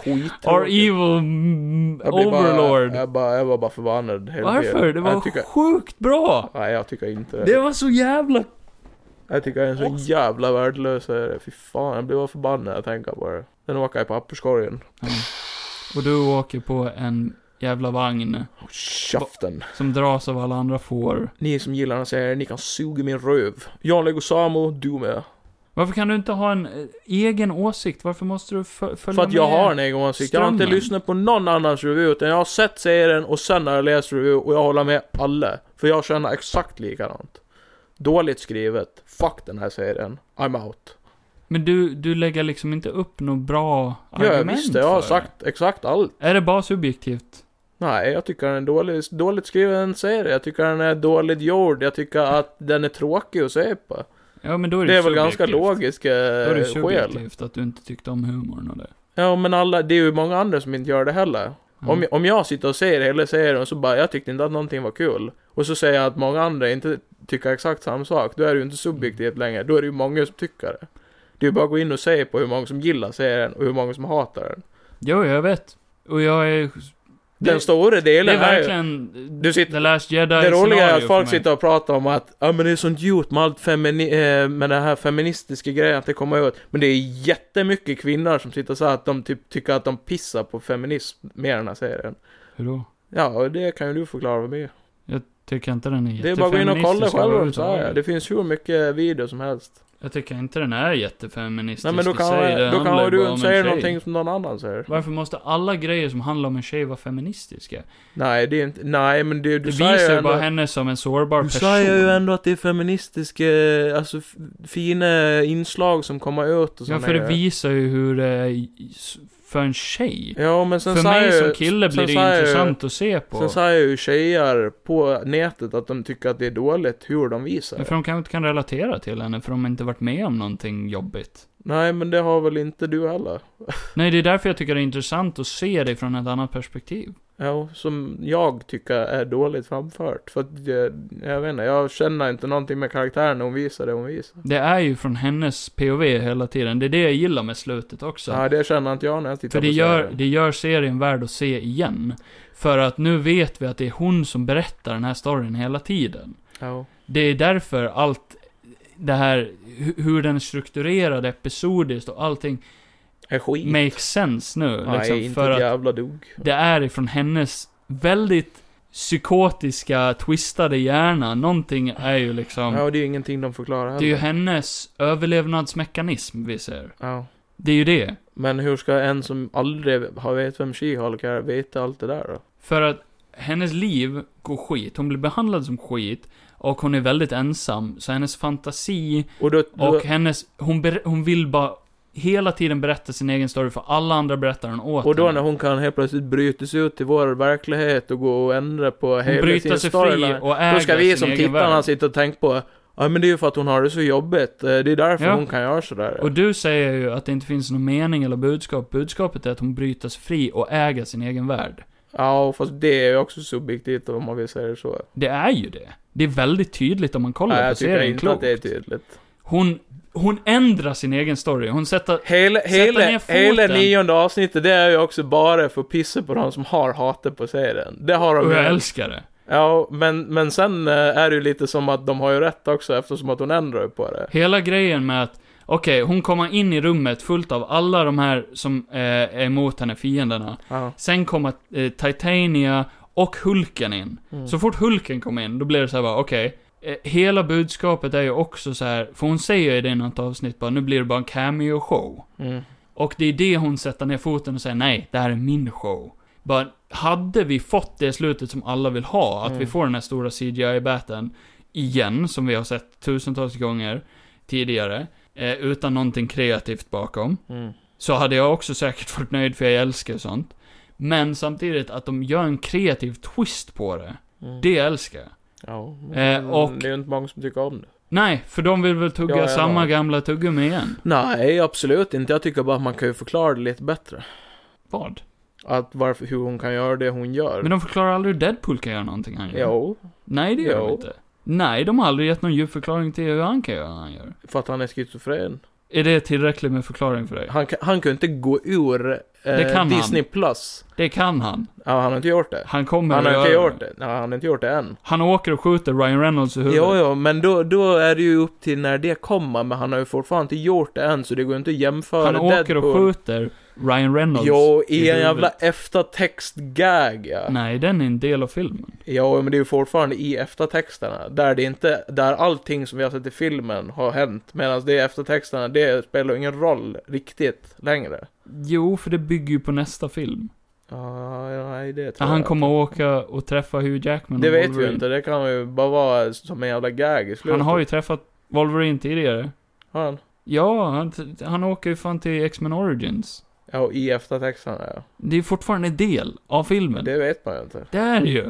S3: skit.
S1: Our evil mm,
S3: Jag blir bara-
S1: overlord.
S3: Jag, bara, jag var bara förbannad. hela
S1: Varför?
S3: tiden.
S1: Det var
S3: Jag tycker,
S1: sjukt bra!
S3: nej, jag tycker inte det.
S1: Det var så jävla...
S3: Jag tycker jag är en så jävla värdelös serie. Fy fan, jag blir bara förbannad när jag tänker på det. Den åker i papperskorgen.
S1: Och du åker på en jävla vagn
S3: Och Käften.
S1: som dras av alla andra får.
S3: Ni som gillar den här serien, ni kan suga min röv. Jag lägger Samo, du med.
S1: Varför kan du inte ha en eh, egen åsikt? Varför måste du fö- följa
S3: För att
S1: med?
S3: jag har en egen åsikt. Jag har inte
S1: strömmen.
S3: lyssnat på någon annans review, utan jag har sett serien och sen har jag läst review och jag håller med alla. För jag känner exakt likadant. Dåligt skrivet. Fuck den här serien. I'm out.
S1: Men du, du lägger liksom inte upp något bra
S3: Ja, jag
S1: argument
S3: visste. Jag har
S1: för
S3: sagt exakt allt.
S1: det. Är det bara subjektivt?
S3: Nej, jag tycker den är dålig, dåligt skriven serie. Jag tycker den är dåligt gjord. Jag tycker att den är tråkig att se på.
S1: Ja, men då är
S3: Det,
S1: det ju
S3: är väl ganska
S1: subjektivt.
S3: logiska
S1: Då är det
S3: eh, skäl.
S1: subjektivt att du inte tyckte om humorn och det.
S3: Ja, men alla, det är ju många andra som inte gör det heller.
S1: Mm.
S3: Om, om jag sitter och ser hela serien så bara, jag tyckte inte att någonting var kul. Och så säger jag att många andra inte tycker exakt samma sak. Då är det ju inte subjektivt
S1: Mm.
S3: längre. Då är det ju många som tycker det. Det är ju bara att gå in och se på hur många som gillar serien och hur många som hatar den.
S1: Jo, jag vet. Och jag är...
S3: Den
S1: det,
S3: stora
S1: det
S3: delen
S1: är
S3: är ju...
S1: verkligen...
S3: Du sitter-
S1: The Last Jedi
S3: Det roliga är
S1: scenario
S3: att folk
S1: för mig.
S3: sitter och pratar om att ja men det är sånt gjort med allt femini- eh, med den här feministiska grejen att det kommer ut. Men det är jättemycket kvinnor som sitter så här att de typ tycker att de pissar på feminism med den här serien.
S1: Hur då?
S3: Ja, och det kan ju du förklara för mig.
S1: Tycker inte den är
S3: Det är bara att gå in och kolla
S1: jättefeministisk
S3: själv om så här.
S1: överhuvudtaget.
S3: Det finns hur mycket video som helst.
S1: Jag tycker inte den är jättefeministisk
S3: Nej men då
S1: i sig. Det
S3: kan, då
S1: handlar ju
S3: kan du
S1: bara om
S3: inte
S1: en tjej.
S3: säga någonting som någon annan säger.
S1: Varför måste alla grejer som handlar om en tjej vara feministiska?
S3: Nej, det är inte, nej men det, du
S1: det
S3: säger
S1: visar
S3: ju
S1: ju bara
S3: ändå-
S1: henne som en sårbar
S3: Du
S1: person.
S3: säger ju ändå att det är feministiska, alltså f- fina inslag som kommer ut och
S1: Ja,
S3: såna
S1: för det
S3: grejer.
S1: visar ju hur det är i- s- för en tjej.
S3: Ja, men sen
S1: för
S3: säger
S1: mig
S3: ju-
S1: som kille
S3: sen
S1: blir det
S3: säger ju-
S1: intressant att se på.
S3: Sen säger ju tjejer på nätet att de tycker att det är dåligt hur de visar
S1: Men
S3: det.
S1: för de kanske inte kan relatera till henne, för de har inte varit med om någonting jobbigt.
S3: Nej, men det har väl inte du heller?
S1: Nej, det är därför jag tycker det är intressant att se det från ett annat perspektiv.
S3: Ja, som jag tycker är dåligt framfört. För att jag, jag vet inte, jag känner inte någonting med karaktären hon visar det hon visar.
S1: Det är ju från hennes POV hela tiden. Det är det jag gillar med slutet också.
S3: Nej, det känner inte jag när jag tittar
S1: För det
S3: på
S1: gör,
S3: serien.
S1: det gör serien värd att se igen. För att nu vet vi att det är hon som berättar den här storyn hela tiden.
S3: Ja.
S1: Det är därför allt det här, hu- hur den är strukturerad episodiskt och allting
S3: Är skit.
S1: makes sense nu.
S3: Nej,
S1: liksom,
S3: inte
S1: för
S3: ett
S1: att
S3: jävla dugg.
S1: det är ifrån hennes väldigt psykotiska, twistade hjärna. Någonting är ju liksom...
S3: Ja, och det är ju ingenting de förklarar heller.
S1: Det är ju hennes överlevnadsmekanism vi ser.
S3: Ja.
S1: Det är ju det.
S3: Men hur ska en som aldrig har vet vem She-Hulk är veta allt det där då?
S1: För att hennes liv går skit. Hon blir behandlad som skit. Och hon är väldigt ensam. Så hennes fantasi
S3: Och då... då
S1: och hennes... Hon, ber, hon vill bara hela tiden berätta sin egen story för alla andra berättar den åt
S3: Och då när
S1: henne.
S3: hon kan helt plötsligt bryta sig ut i vår verklighet och gå och ändra på
S1: Hon
S3: hela
S1: bryter
S3: sin
S1: sig fri
S3: storyline.
S1: och äger
S3: Då ska vi
S1: sin
S3: som
S1: egen
S3: tittarna
S1: värld.
S3: sitta och tänka på Ja men det är ju för att hon har det så jobbigt. Eh, Det är därför
S1: Ja.
S3: hon kan göra sådär.
S1: Och du säger ju att det inte finns någon mening eller budskap. Budskapet är att hon bryter sig fri och äger sin egen värld.
S3: Ja fast det är ju också subjektivt om man vill säga det så.
S1: Det är ju det. Det är väldigt tydligt om man kollar
S3: Nej,
S1: på
S3: jag tycker
S1: serien
S3: inte
S1: klokt.
S3: att det är tydligt.
S1: Hon, hon ändrar sin egen story. Hon sätter...
S3: Hela,
S1: Sätta ner
S3: hela,
S1: foten.
S3: hela nionde avsnittet det är ju också bara för att pissa på de som har hatat på serien. Det har de
S1: Och
S3: ju.
S1: jag älskar det.
S3: Ja, men, men sen eh, är det ju lite som att de har ju rätt också eftersom att hon ändrar ju på det.
S1: Hela grejen med att, okej, hon kommer in i rummet fullt av alla de här som eh, är emot henne, fienderna.
S3: Ja.
S1: Sen kommer eh, Titania och Hulken in. Så fort Hulken kom in, då blev det så här bara, okej. eh, Hela budskapet är ju också så här, för hon säger ju det i något avsnitt bara, nu blir det bara en cameo-show.
S3: Mm.
S1: Och det är det hon sätter ner foten och säger, nej, det här är min show. Bara, hade vi fått det slutet som alla vill ha, att vi
S3: Mm.
S1: får den här stora CGI-batten igen, som vi har sett tusentals gånger tidigare, eh, utan någonting kreativt bakom,
S3: Mm.
S1: så hade jag också säkert varit nöjd för jag älskar sånt. Men samtidigt att de gör en kreativ twist på det,
S3: Mm.
S1: det älskar jag.
S3: Ja,
S1: Eh,
S3: men
S1: och-
S3: det är ju inte många som tycker om det.
S1: Nej, för de vill väl tugga
S3: Ja, ja, ja.
S1: samma gamla tuggummi igen.
S3: Nej, absolut inte. Jag tycker bara att man kan ju förklara det lite bättre.
S1: Vad?
S3: Att varför, hur hon kan göra det hon gör.
S1: Men de förklarar aldrig hur Deadpool kan göra någonting han gör.
S3: Jo,
S1: Nej, det gör
S3: Jo.
S1: de inte. Nej, de har aldrig gett någon djup förklaring till hur han kan göra vad han gör.
S3: för att han är schizofren.
S1: Är det tillräckligt med förklaring för dig?
S3: Han, kan- han kan ju inte gå ur
S1: Det
S3: eh,
S1: kan
S3: Disney Plus.
S1: Det kan han.
S3: Ja, han har inte gjort det.
S1: Han kommer
S3: Han
S1: att
S3: har
S1: göra
S3: inte gjort det. Nej, han har inte gjort det än.
S1: Han åker och skjuter Ryan Reynolds i huvudet.
S3: Jo, jo, men då, då är det ju upp till när det kommer, men han har ju fortfarande inte gjort det än, så det går ju inte att jämföra
S1: han åker och
S3: Deadpool.
S1: skjuter Ryan Reynolds
S3: Jo, i en
S1: huvudet.
S3: jävla eftertext-gag, ja.
S1: Nej, den är en del av filmen.
S3: Ja, men det är ju fortfarande i eftertexterna. Där det inte, där allting som vi har sett i filmen har hänt. Medan det i eftertexterna, det spelar ingen roll riktigt längre.
S1: Jo, för det bygger ju på nästa film.
S3: Ja, ja, nej det tror
S1: Han
S3: jag.
S1: kommer att åka och träffa Hugh Jackman
S3: Det
S1: och
S3: vet vi ju
S1: Wolverine.
S3: inte, det kan ju bara vara som en jävla gag i slutet.
S1: Han har ju träffat Wolverine tidigare.
S3: Har han?
S1: Ja, han, han åker ju fan till X-Men Origins.
S3: Ja, och i eftertexterna ja.
S1: Det är fortfarande en del av filmen. Det,
S3: Det vet man ju inte.
S1: är det ju.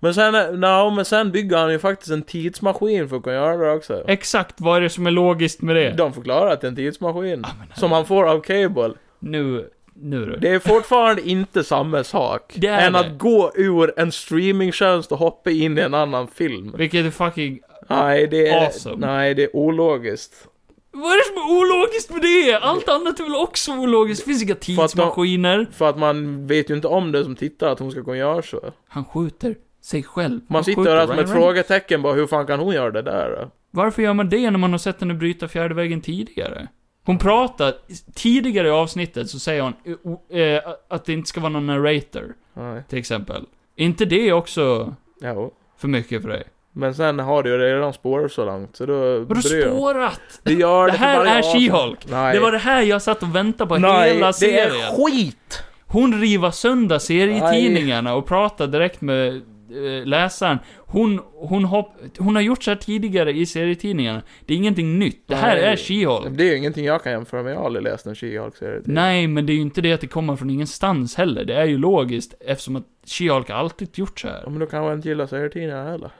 S3: Men sen, no, men sen bygger han ju faktiskt en tidsmaskin för att kunna göra det också.
S1: Exakt vad är det som är logiskt med det?
S3: De förklarar att det är en tidsmaskin.
S1: Ja, men-
S3: Som han får av Cable.
S1: Nu, nu du.
S3: Det är fortfarande inte samma sak.
S1: Det är
S3: än
S1: det.
S3: att gå ur en streamingtjänst och hoppa in i en annan film.
S1: Vilket är fucking...
S3: Nej, det är,
S1: Awesome.
S3: nej, det är ologiskt.
S1: Vad är det som är ologiskt med det? Allt annat är väl också ologiskt? Det finns inga
S3: För att de-
S1: tidsmaskiner.
S3: För att man vet ju inte om det som tittar att hon ska kunna göra så.
S1: Han skjuter sig själv.
S3: Man
S1: Han
S3: sitter
S1: skjuter
S3: där som
S1: Ryan
S3: ett
S1: Reynolds.
S3: frågetecken bara, hur fan kan hon göra det där då?
S1: Varför gör man det när man har sett henne bryta fjärde vägen tidigare? Hon pratar, tidigare i avsnittet så säger hon eh, o- eh, att det inte ska vara någon narrator,
S3: Nej,
S1: till exempel. Är inte det också
S3: jo.
S1: för mycket för dig?
S3: Men sen har det ju redan spårat så långt, så då
S1: Har du
S3: bryr jag mig.
S1: spårat?
S3: Det gör
S1: Det
S3: det för
S1: här
S3: varje
S1: är
S3: avsnitt.
S1: She-Hulk.
S3: Nej.
S1: Det var det här jag satt och väntade på
S3: Nej,
S1: hela
S3: det är
S1: serien.
S3: skit!
S1: Hon riva sönder serietidningarna och pratar direkt med eh, läsaren. Hon, hon, hopp, hon har gjort så här tidigare i serietidningarna. Det är ingenting nytt. Det här
S3: Nej.
S1: är She-Hulk.
S3: Det är ju ingenting jag kan jämföra med, jag har aldrig läst en She-Hulk-serie.
S1: Nej, men det är ju inte det att det kommer från ingenstans heller. Det är ju logiskt eftersom att She-Hulk har alltid gjort så här.
S3: Ja, men då kan man inte gilla serietidningar heller.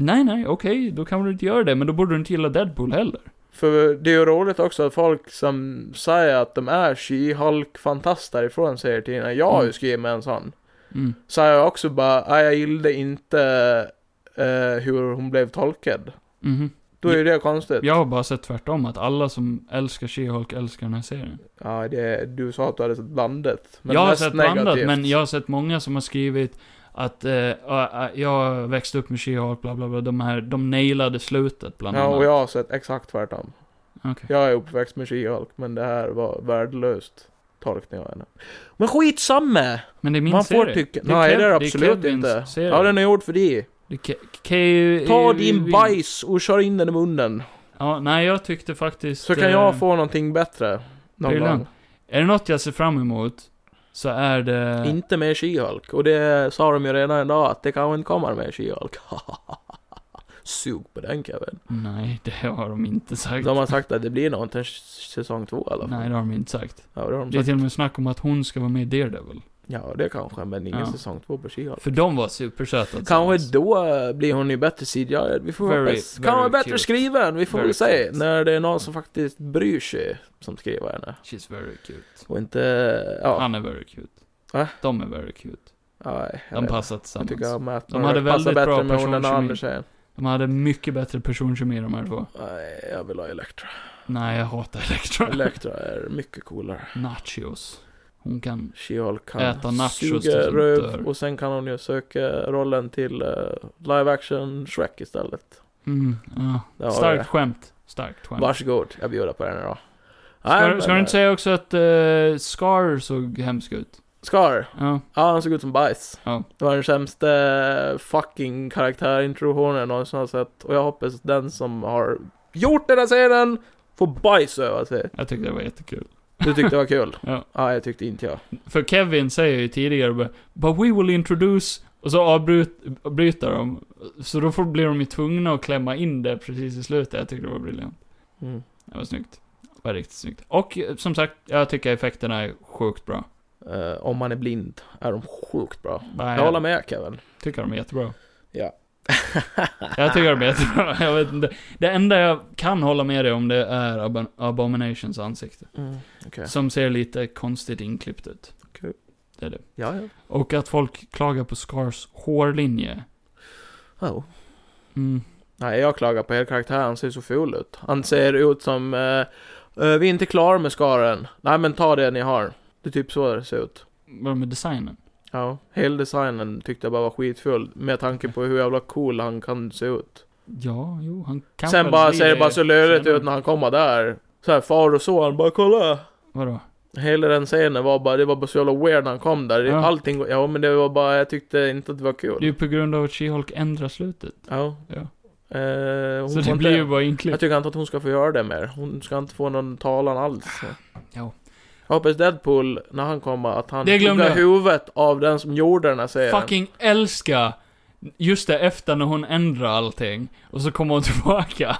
S1: Nej, nej, okej, då kan du inte göra det, men då borde du inte gilla Deadpool heller.
S3: För det är ju roligt också att folk som säger att de är She-Hulk-fantaster ifrån serietidningarna. Jag har ju
S1: Mm.
S3: skrivit med en sån.
S1: Mm.
S3: Säger jag också bara, "Nej, jag gillade inte eh, hur hon blev tolkad.
S1: Mhm.
S3: Då är ju det konstigt.
S1: Jag har bara sett tvärtom, att alla som älskar She-Hulk älskar den här serien.
S3: Ja, det, du sa att du hade sett blandat.
S1: jag har
S3: mest
S1: sett blandat, men jag har sett många som har skrivit att eh, ah, ah, jag växte upp med She-Hulk, bla bla bla. De här, de nailade slutet bland
S3: Ja,
S1: annat.
S3: och jag har sett exakt tvärtom.
S1: Okej.
S3: Jag är uppväxt med She-Hulk, men det här var värdelöst tolkning av henne. Men skitsamma!
S1: Men det är min
S3: Man
S1: serie.
S3: får tycka...
S1: är
S3: Nej,
S1: Kev-
S3: det är det absolut
S1: Kevins
S3: inte.
S1: Serie.
S3: Ja, den är gjord för dig.
S1: det är Ke- Ke-
S3: Ta din bajs och kör in den i munnen.
S1: Ja, nej, jag tyckte faktiskt...
S3: Så kan
S1: eh,
S3: jag få någonting bättre. Någon
S1: Prylan.
S3: gång.
S1: Är det något jag ser fram emot, så är det...
S3: Inte med She-Hulk. Och det sa de ju redan idag, att det kanske inte kommer med She-Hulk. Sug på den Kevin.
S1: Nej, det har de inte sagt.
S3: De har sagt att det blir nog inte en s- säsong två i alla fall.
S1: Nej, det har de inte sagt.
S3: Ja, det har de
S1: Det är
S3: sagt.
S1: till och med snack om att hon ska vara med i Daredevil.
S3: Ja, det kanske, men ingen
S1: Ja.
S3: säsong två på She-Hulk.
S1: För de var supersöta
S3: Kanske då eh, blir hon ju bättre CGI, vi får
S1: Very,
S3: hoppas.
S1: very
S3: Kanske bättre
S1: cute.
S3: skriven, vi får
S1: Very
S3: väl se.
S1: cute.
S3: När det är någon som faktiskt bryr sig som skriver henne.
S1: She's very cute.
S3: Och inte, ja.
S1: Han är very cute.
S3: Va?
S1: De är very cute.
S3: Nej, jag
S1: De
S3: vet.
S1: passar
S3: Jag tycker
S1: tillsammans.
S3: om att
S1: alltså. De
S3: de
S1: hade
S3: hade passar
S1: väldigt
S3: bättre
S1: bra
S3: med hon än den
S1: personkemi.
S3: andra tjejen.
S1: De hade mycket bättre personkemi de här två.
S3: Nej, jag vill ha Elektra.
S1: Nej, jag hatar Elektra.
S3: Elektra är mycket coolare.
S1: Nachos. Hon kan...
S3: She-Hulk kan
S1: Äta nachos tills
S3: suga
S1: hon
S3: röv
S1: dör.
S3: och sen kan hon ju söka rollen till eh, live action Shrek istället.
S1: Mm, ja.
S3: Där har vi
S1: Starkt
S3: det.
S1: skämt. Starkt skämt.
S3: Varsågod, jag bjuder på den idag. Nej,
S1: Ska,
S3: men,
S1: ska du inte säga också att eh, Scar såg hemsk ut?
S3: Scar.
S1: Ja.
S3: Ja, han såg ut som bajs.
S1: Ja.
S3: Det var den sämsta fucking karaktärintroduktionen jag någonsin har sett. Och jag hoppas att den som har gjort den här serien får bajs över sig.
S1: Jag tyckte det var jättekul.
S3: Du tyckte det var kul?
S1: Ja.
S3: Ja, jag tyckte inte jag.
S1: För Kevin säger ju tidigare bara, But we will introduce... Och så avbryter de. Så då får, blir de ju tvungna att klämma in det precis i slutet. Jag tyckte det var briljant.
S3: Mm.
S1: Det var snyggt. Det var riktigt snyggt. Och eh, som sagt, jag tycker effekterna är sjukt bra.
S3: Eh, om man är blind är de sjukt bra.
S1: Nej,
S3: Jag håller med Kevin.
S1: tycker de är jättebra.
S3: Ja.
S1: Jag tycker de är jättebra. Jag vet inte. Det enda jag kan hålla med dig om det är Ab- Abominations ansikte.
S3: Mm. Ja.
S1: Som ser lite konstigt inklippt ut.
S3: Okej.
S1: Det är det.
S3: Ja, ja.
S1: Och att folk klagar på Scars hårlinje.
S3: Oh.
S1: Mm.
S3: Nej, jag klagar på hela karaktären. Han ser så ful ut. Han ser ut som... eh, eh, vi är inte klara med skaren. Nej, men ta det ni har. Det är typ så det ser ut.
S1: Vad med designen?
S3: Ja, hela designen tyckte jag bara var skitfull. Med tanke på hur jävla cool han kan se ut.
S1: Ja, jo, han kan
S3: Sen
S1: väl
S3: bara
S1: bli
S3: ser det bara så löjligt
S1: senare.
S3: ut när han kommer där. Så här far och son, bara kolla!
S1: Vadå?
S3: Hela den scenen var bara, det var bara så jävla weird när han kom där.
S1: Ja.
S3: Allting, ja men det var bara, jag tyckte inte att det var kul.
S1: Det är ju på grund av att She-Hulk ändrar slutet.
S3: Ja.
S1: Ja.
S3: Eh, hon
S1: Så
S3: får
S1: det blir ju
S3: inte,
S1: bara
S3: jag
S1: inklippt.
S3: tycker inte att hon ska få göra det mer. Hon ska inte få någon talan alls.
S1: Ja.
S3: Jag hoppas Deadpool, när han kommer, att han
S1: Det glömde
S3: hugger
S1: jag.
S3: huvudet av den som gjorde den här serien.
S1: Fucking älska just det efter när hon ändrar allting. Och så kommer hon tillbaka.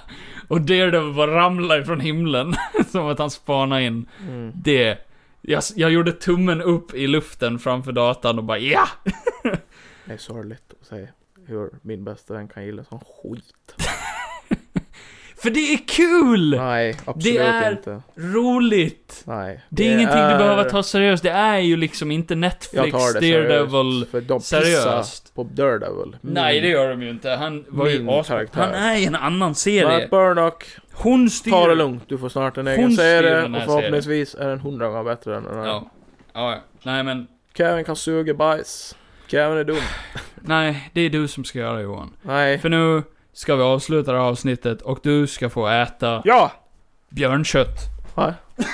S1: Och Daredevil bara ramlar ifrån himlen. som att han spanar in.
S3: Mm.
S1: Det. Jag, jag gjorde tummen upp i luften framför datan och bara ja!
S3: Det är sorgligt att se hur min bästa vän kan gilla sån skit.
S1: För det är kul!
S3: Nej, absolut
S1: är-
S3: inte.
S1: Roligt!
S3: Nej.
S1: Det är ingenting du
S3: är-
S1: behöver ta seriöst. Det är ju liksom inte
S3: Jag
S1: Netflix,
S3: tar det
S1: Daredevil...
S3: seriöst. För de
S1: seriöst.
S3: pissar på Daredevil. Mm.
S1: Nej, det gör de ju inte. Han var ju
S3: Min
S1: asbra.
S3: karaktär.
S1: Han är i en annan serie.
S3: Matt Burnock,
S1: Hon styr...
S3: ta det lugnt. Du får snart en egen
S1: Hon styr
S3: serie
S1: den här
S3: och förhoppningsvis är den hundra gånger bättre än den här.
S1: Ja. Ja, ja. Nej men,
S3: Kevin kan suga bajs. Kevin är dum.
S1: nej, det är du som ska göra det Johan.
S3: Nej.
S1: För nu ska vi avsluta det här avsnittet och du ska få äta
S3: Ja!
S1: björnkött.
S3: Nej.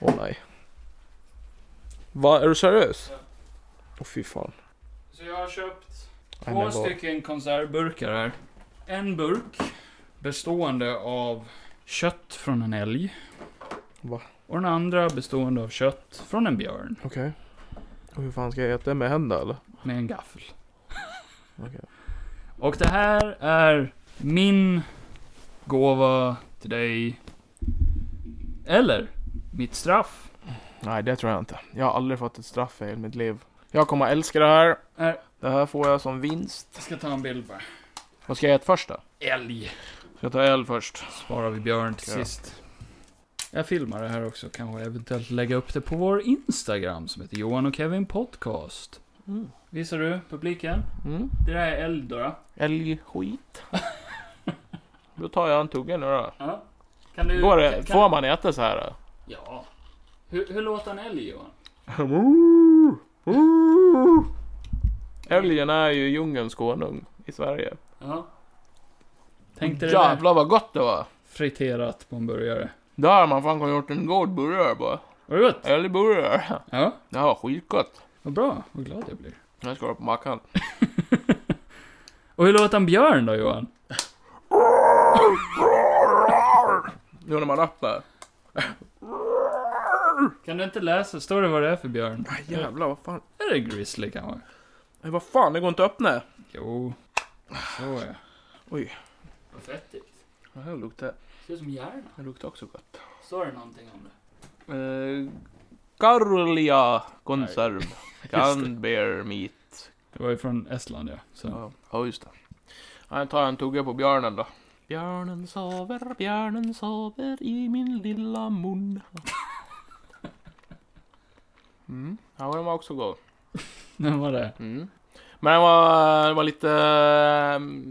S3: Åh nej. Va, är du seriös? Åh fy fan.
S1: Så jag har köpt
S3: Nej, men
S1: två
S3: vad-
S1: stycken konservburkar här. En burk bestående av kött från en älg.
S3: Va?
S1: Och den andra bestående av kött från en björn.
S3: Okej. Och hur fan ska jag äta det med händerna eller?
S1: Med en gaffel.
S3: Okej.
S1: Och det här är min gåva till dig. Eller mitt straff.
S3: Nej, det tror jag inte. Jag har aldrig fått ett straff i hela mitt liv. Jag kommer älska det här.
S1: Nej.
S3: Det här får jag som vinst.
S1: Jag ska ta en bild bara.
S3: Vad ska jag äta först då?
S1: Älg. Ska jag ta öl först? Sparar vi björn till sist. Jag filmar det här också, kanske eventuellt lägga upp det på vår Instagram som heter Johan och Kevin Podcast.
S5: Mm.
S1: Visar du publiken?
S5: Mm.
S1: Det där är eld då. då.
S3: Älgskit. Då tar jag en tugga nu då.
S1: Ja. Kan du...
S3: Går det,
S1: kan-
S3: får man äta så här?
S1: Ja. Hur, hur låter en älg Johan?
S3: Älgen är ju djungelns konung i Sverige.
S1: Ja. Tänkte det där
S3: Jävlar vad gott det var.
S1: friterat på en burgare.
S3: Där har man fan gjort en god burgare bara.
S1: Var det gott?
S3: Älgburgare.
S1: Ja.
S3: Det här var skitgott.
S1: Vad bra. Vad glad jag blir.
S3: Jag ska ha på mackan.
S1: Och hur låter en björn då Johan?
S3: Nu när man öppnar.
S1: Kan du inte läsa? Står det vad det är för björn?
S3: Ah, jävlar vad fan.
S1: Är det grizzly kanske?
S3: Nej, vad fan, det går inte att öppna.
S1: Jo. Så ja.
S3: Oj.
S1: Vad fettigt.
S3: Det här luktar,
S1: Ser ut som hjärna.
S3: det luktar också gott.
S1: Står det någonting om det?
S3: Eh, Karolia konserv. Canned bear meat.
S1: Det var ju från Estland ja. Så.
S3: Ja, Mm. ja, just det. Han tar en tugga på björnen då. Björnen sover, björnen sover i min lilla mun. Mm, ja, den var också god.
S1: Den var det.
S3: Mm. Men den var, den var lite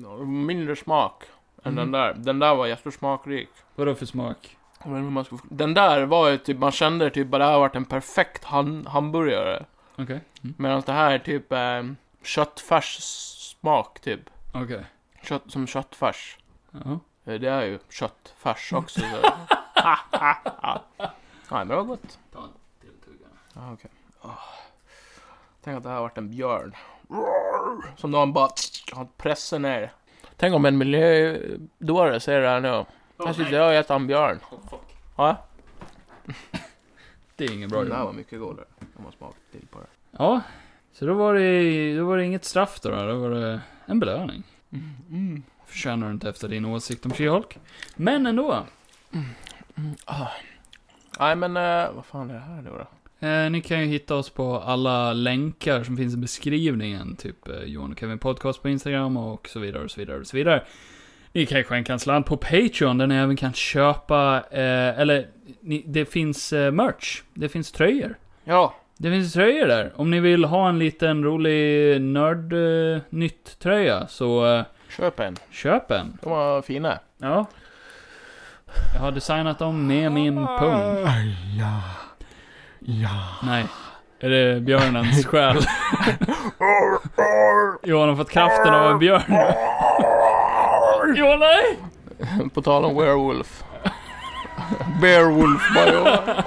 S3: eh, mindre smak än
S1: Mm.
S3: den där. Den där var jättesmakrik.
S1: Vadå för smak?
S3: Jag vet inte hur man ska- Den där var ju typ, man kände typ att det här varit en perfekt han, hamburgare.
S1: Okej. Mm.
S3: Medan det här är typ eh, köttfärssmak typ.
S1: Okej.
S3: Kött, som köttfärs.
S1: Ja.
S3: Eh, Det är ju köttfärs också. Så. Nej, men det var gott.
S1: Ta en till tugga.
S3: Ah, okej. Ah. Tänk att det här har varit en björn. Som någon bara han pressar ner. Tänk om en miljödåre ser det här nu. Här sitter jag och äter en björn. Ja,
S1: Det är inget bra
S3: den här
S1: Johan.
S3: var mycket godare. Om man smakar till på det.
S1: Ja. Så då var det, då var det inget straff då, då. Då var det en belöning.
S3: Mm.
S1: Förtjänar du inte efter din åsikt om She-Hulk. Men ändå.
S3: Nej, men eh, vad fan är det här nu då?
S1: Eh, ni kan ju hitta oss på alla länkar som finns i beskrivningen. Typ eh, Johan och Kevin Podcast på Instagram och så vidare och så vidare och så vidare. Ni kan ju skänka en slant på Patreon där ni även kan köpa, eh, eller ni, det finns eh, merch. Det finns tröjor.
S3: Ja,
S1: Det finns tröjor där. Om ni vill ha en liten rolig nörd-nytt-tröja så eh,
S3: köp en.
S1: köp en.
S3: De var fina.
S1: Ja. Jag har designat dem med min pung.
S6: Ah, ja. Ja.
S1: Nej. Är det björnens själ? Johan har fått kraften av en björn. Johan, nej!
S3: På tal om werewolf. Bearwolf bara.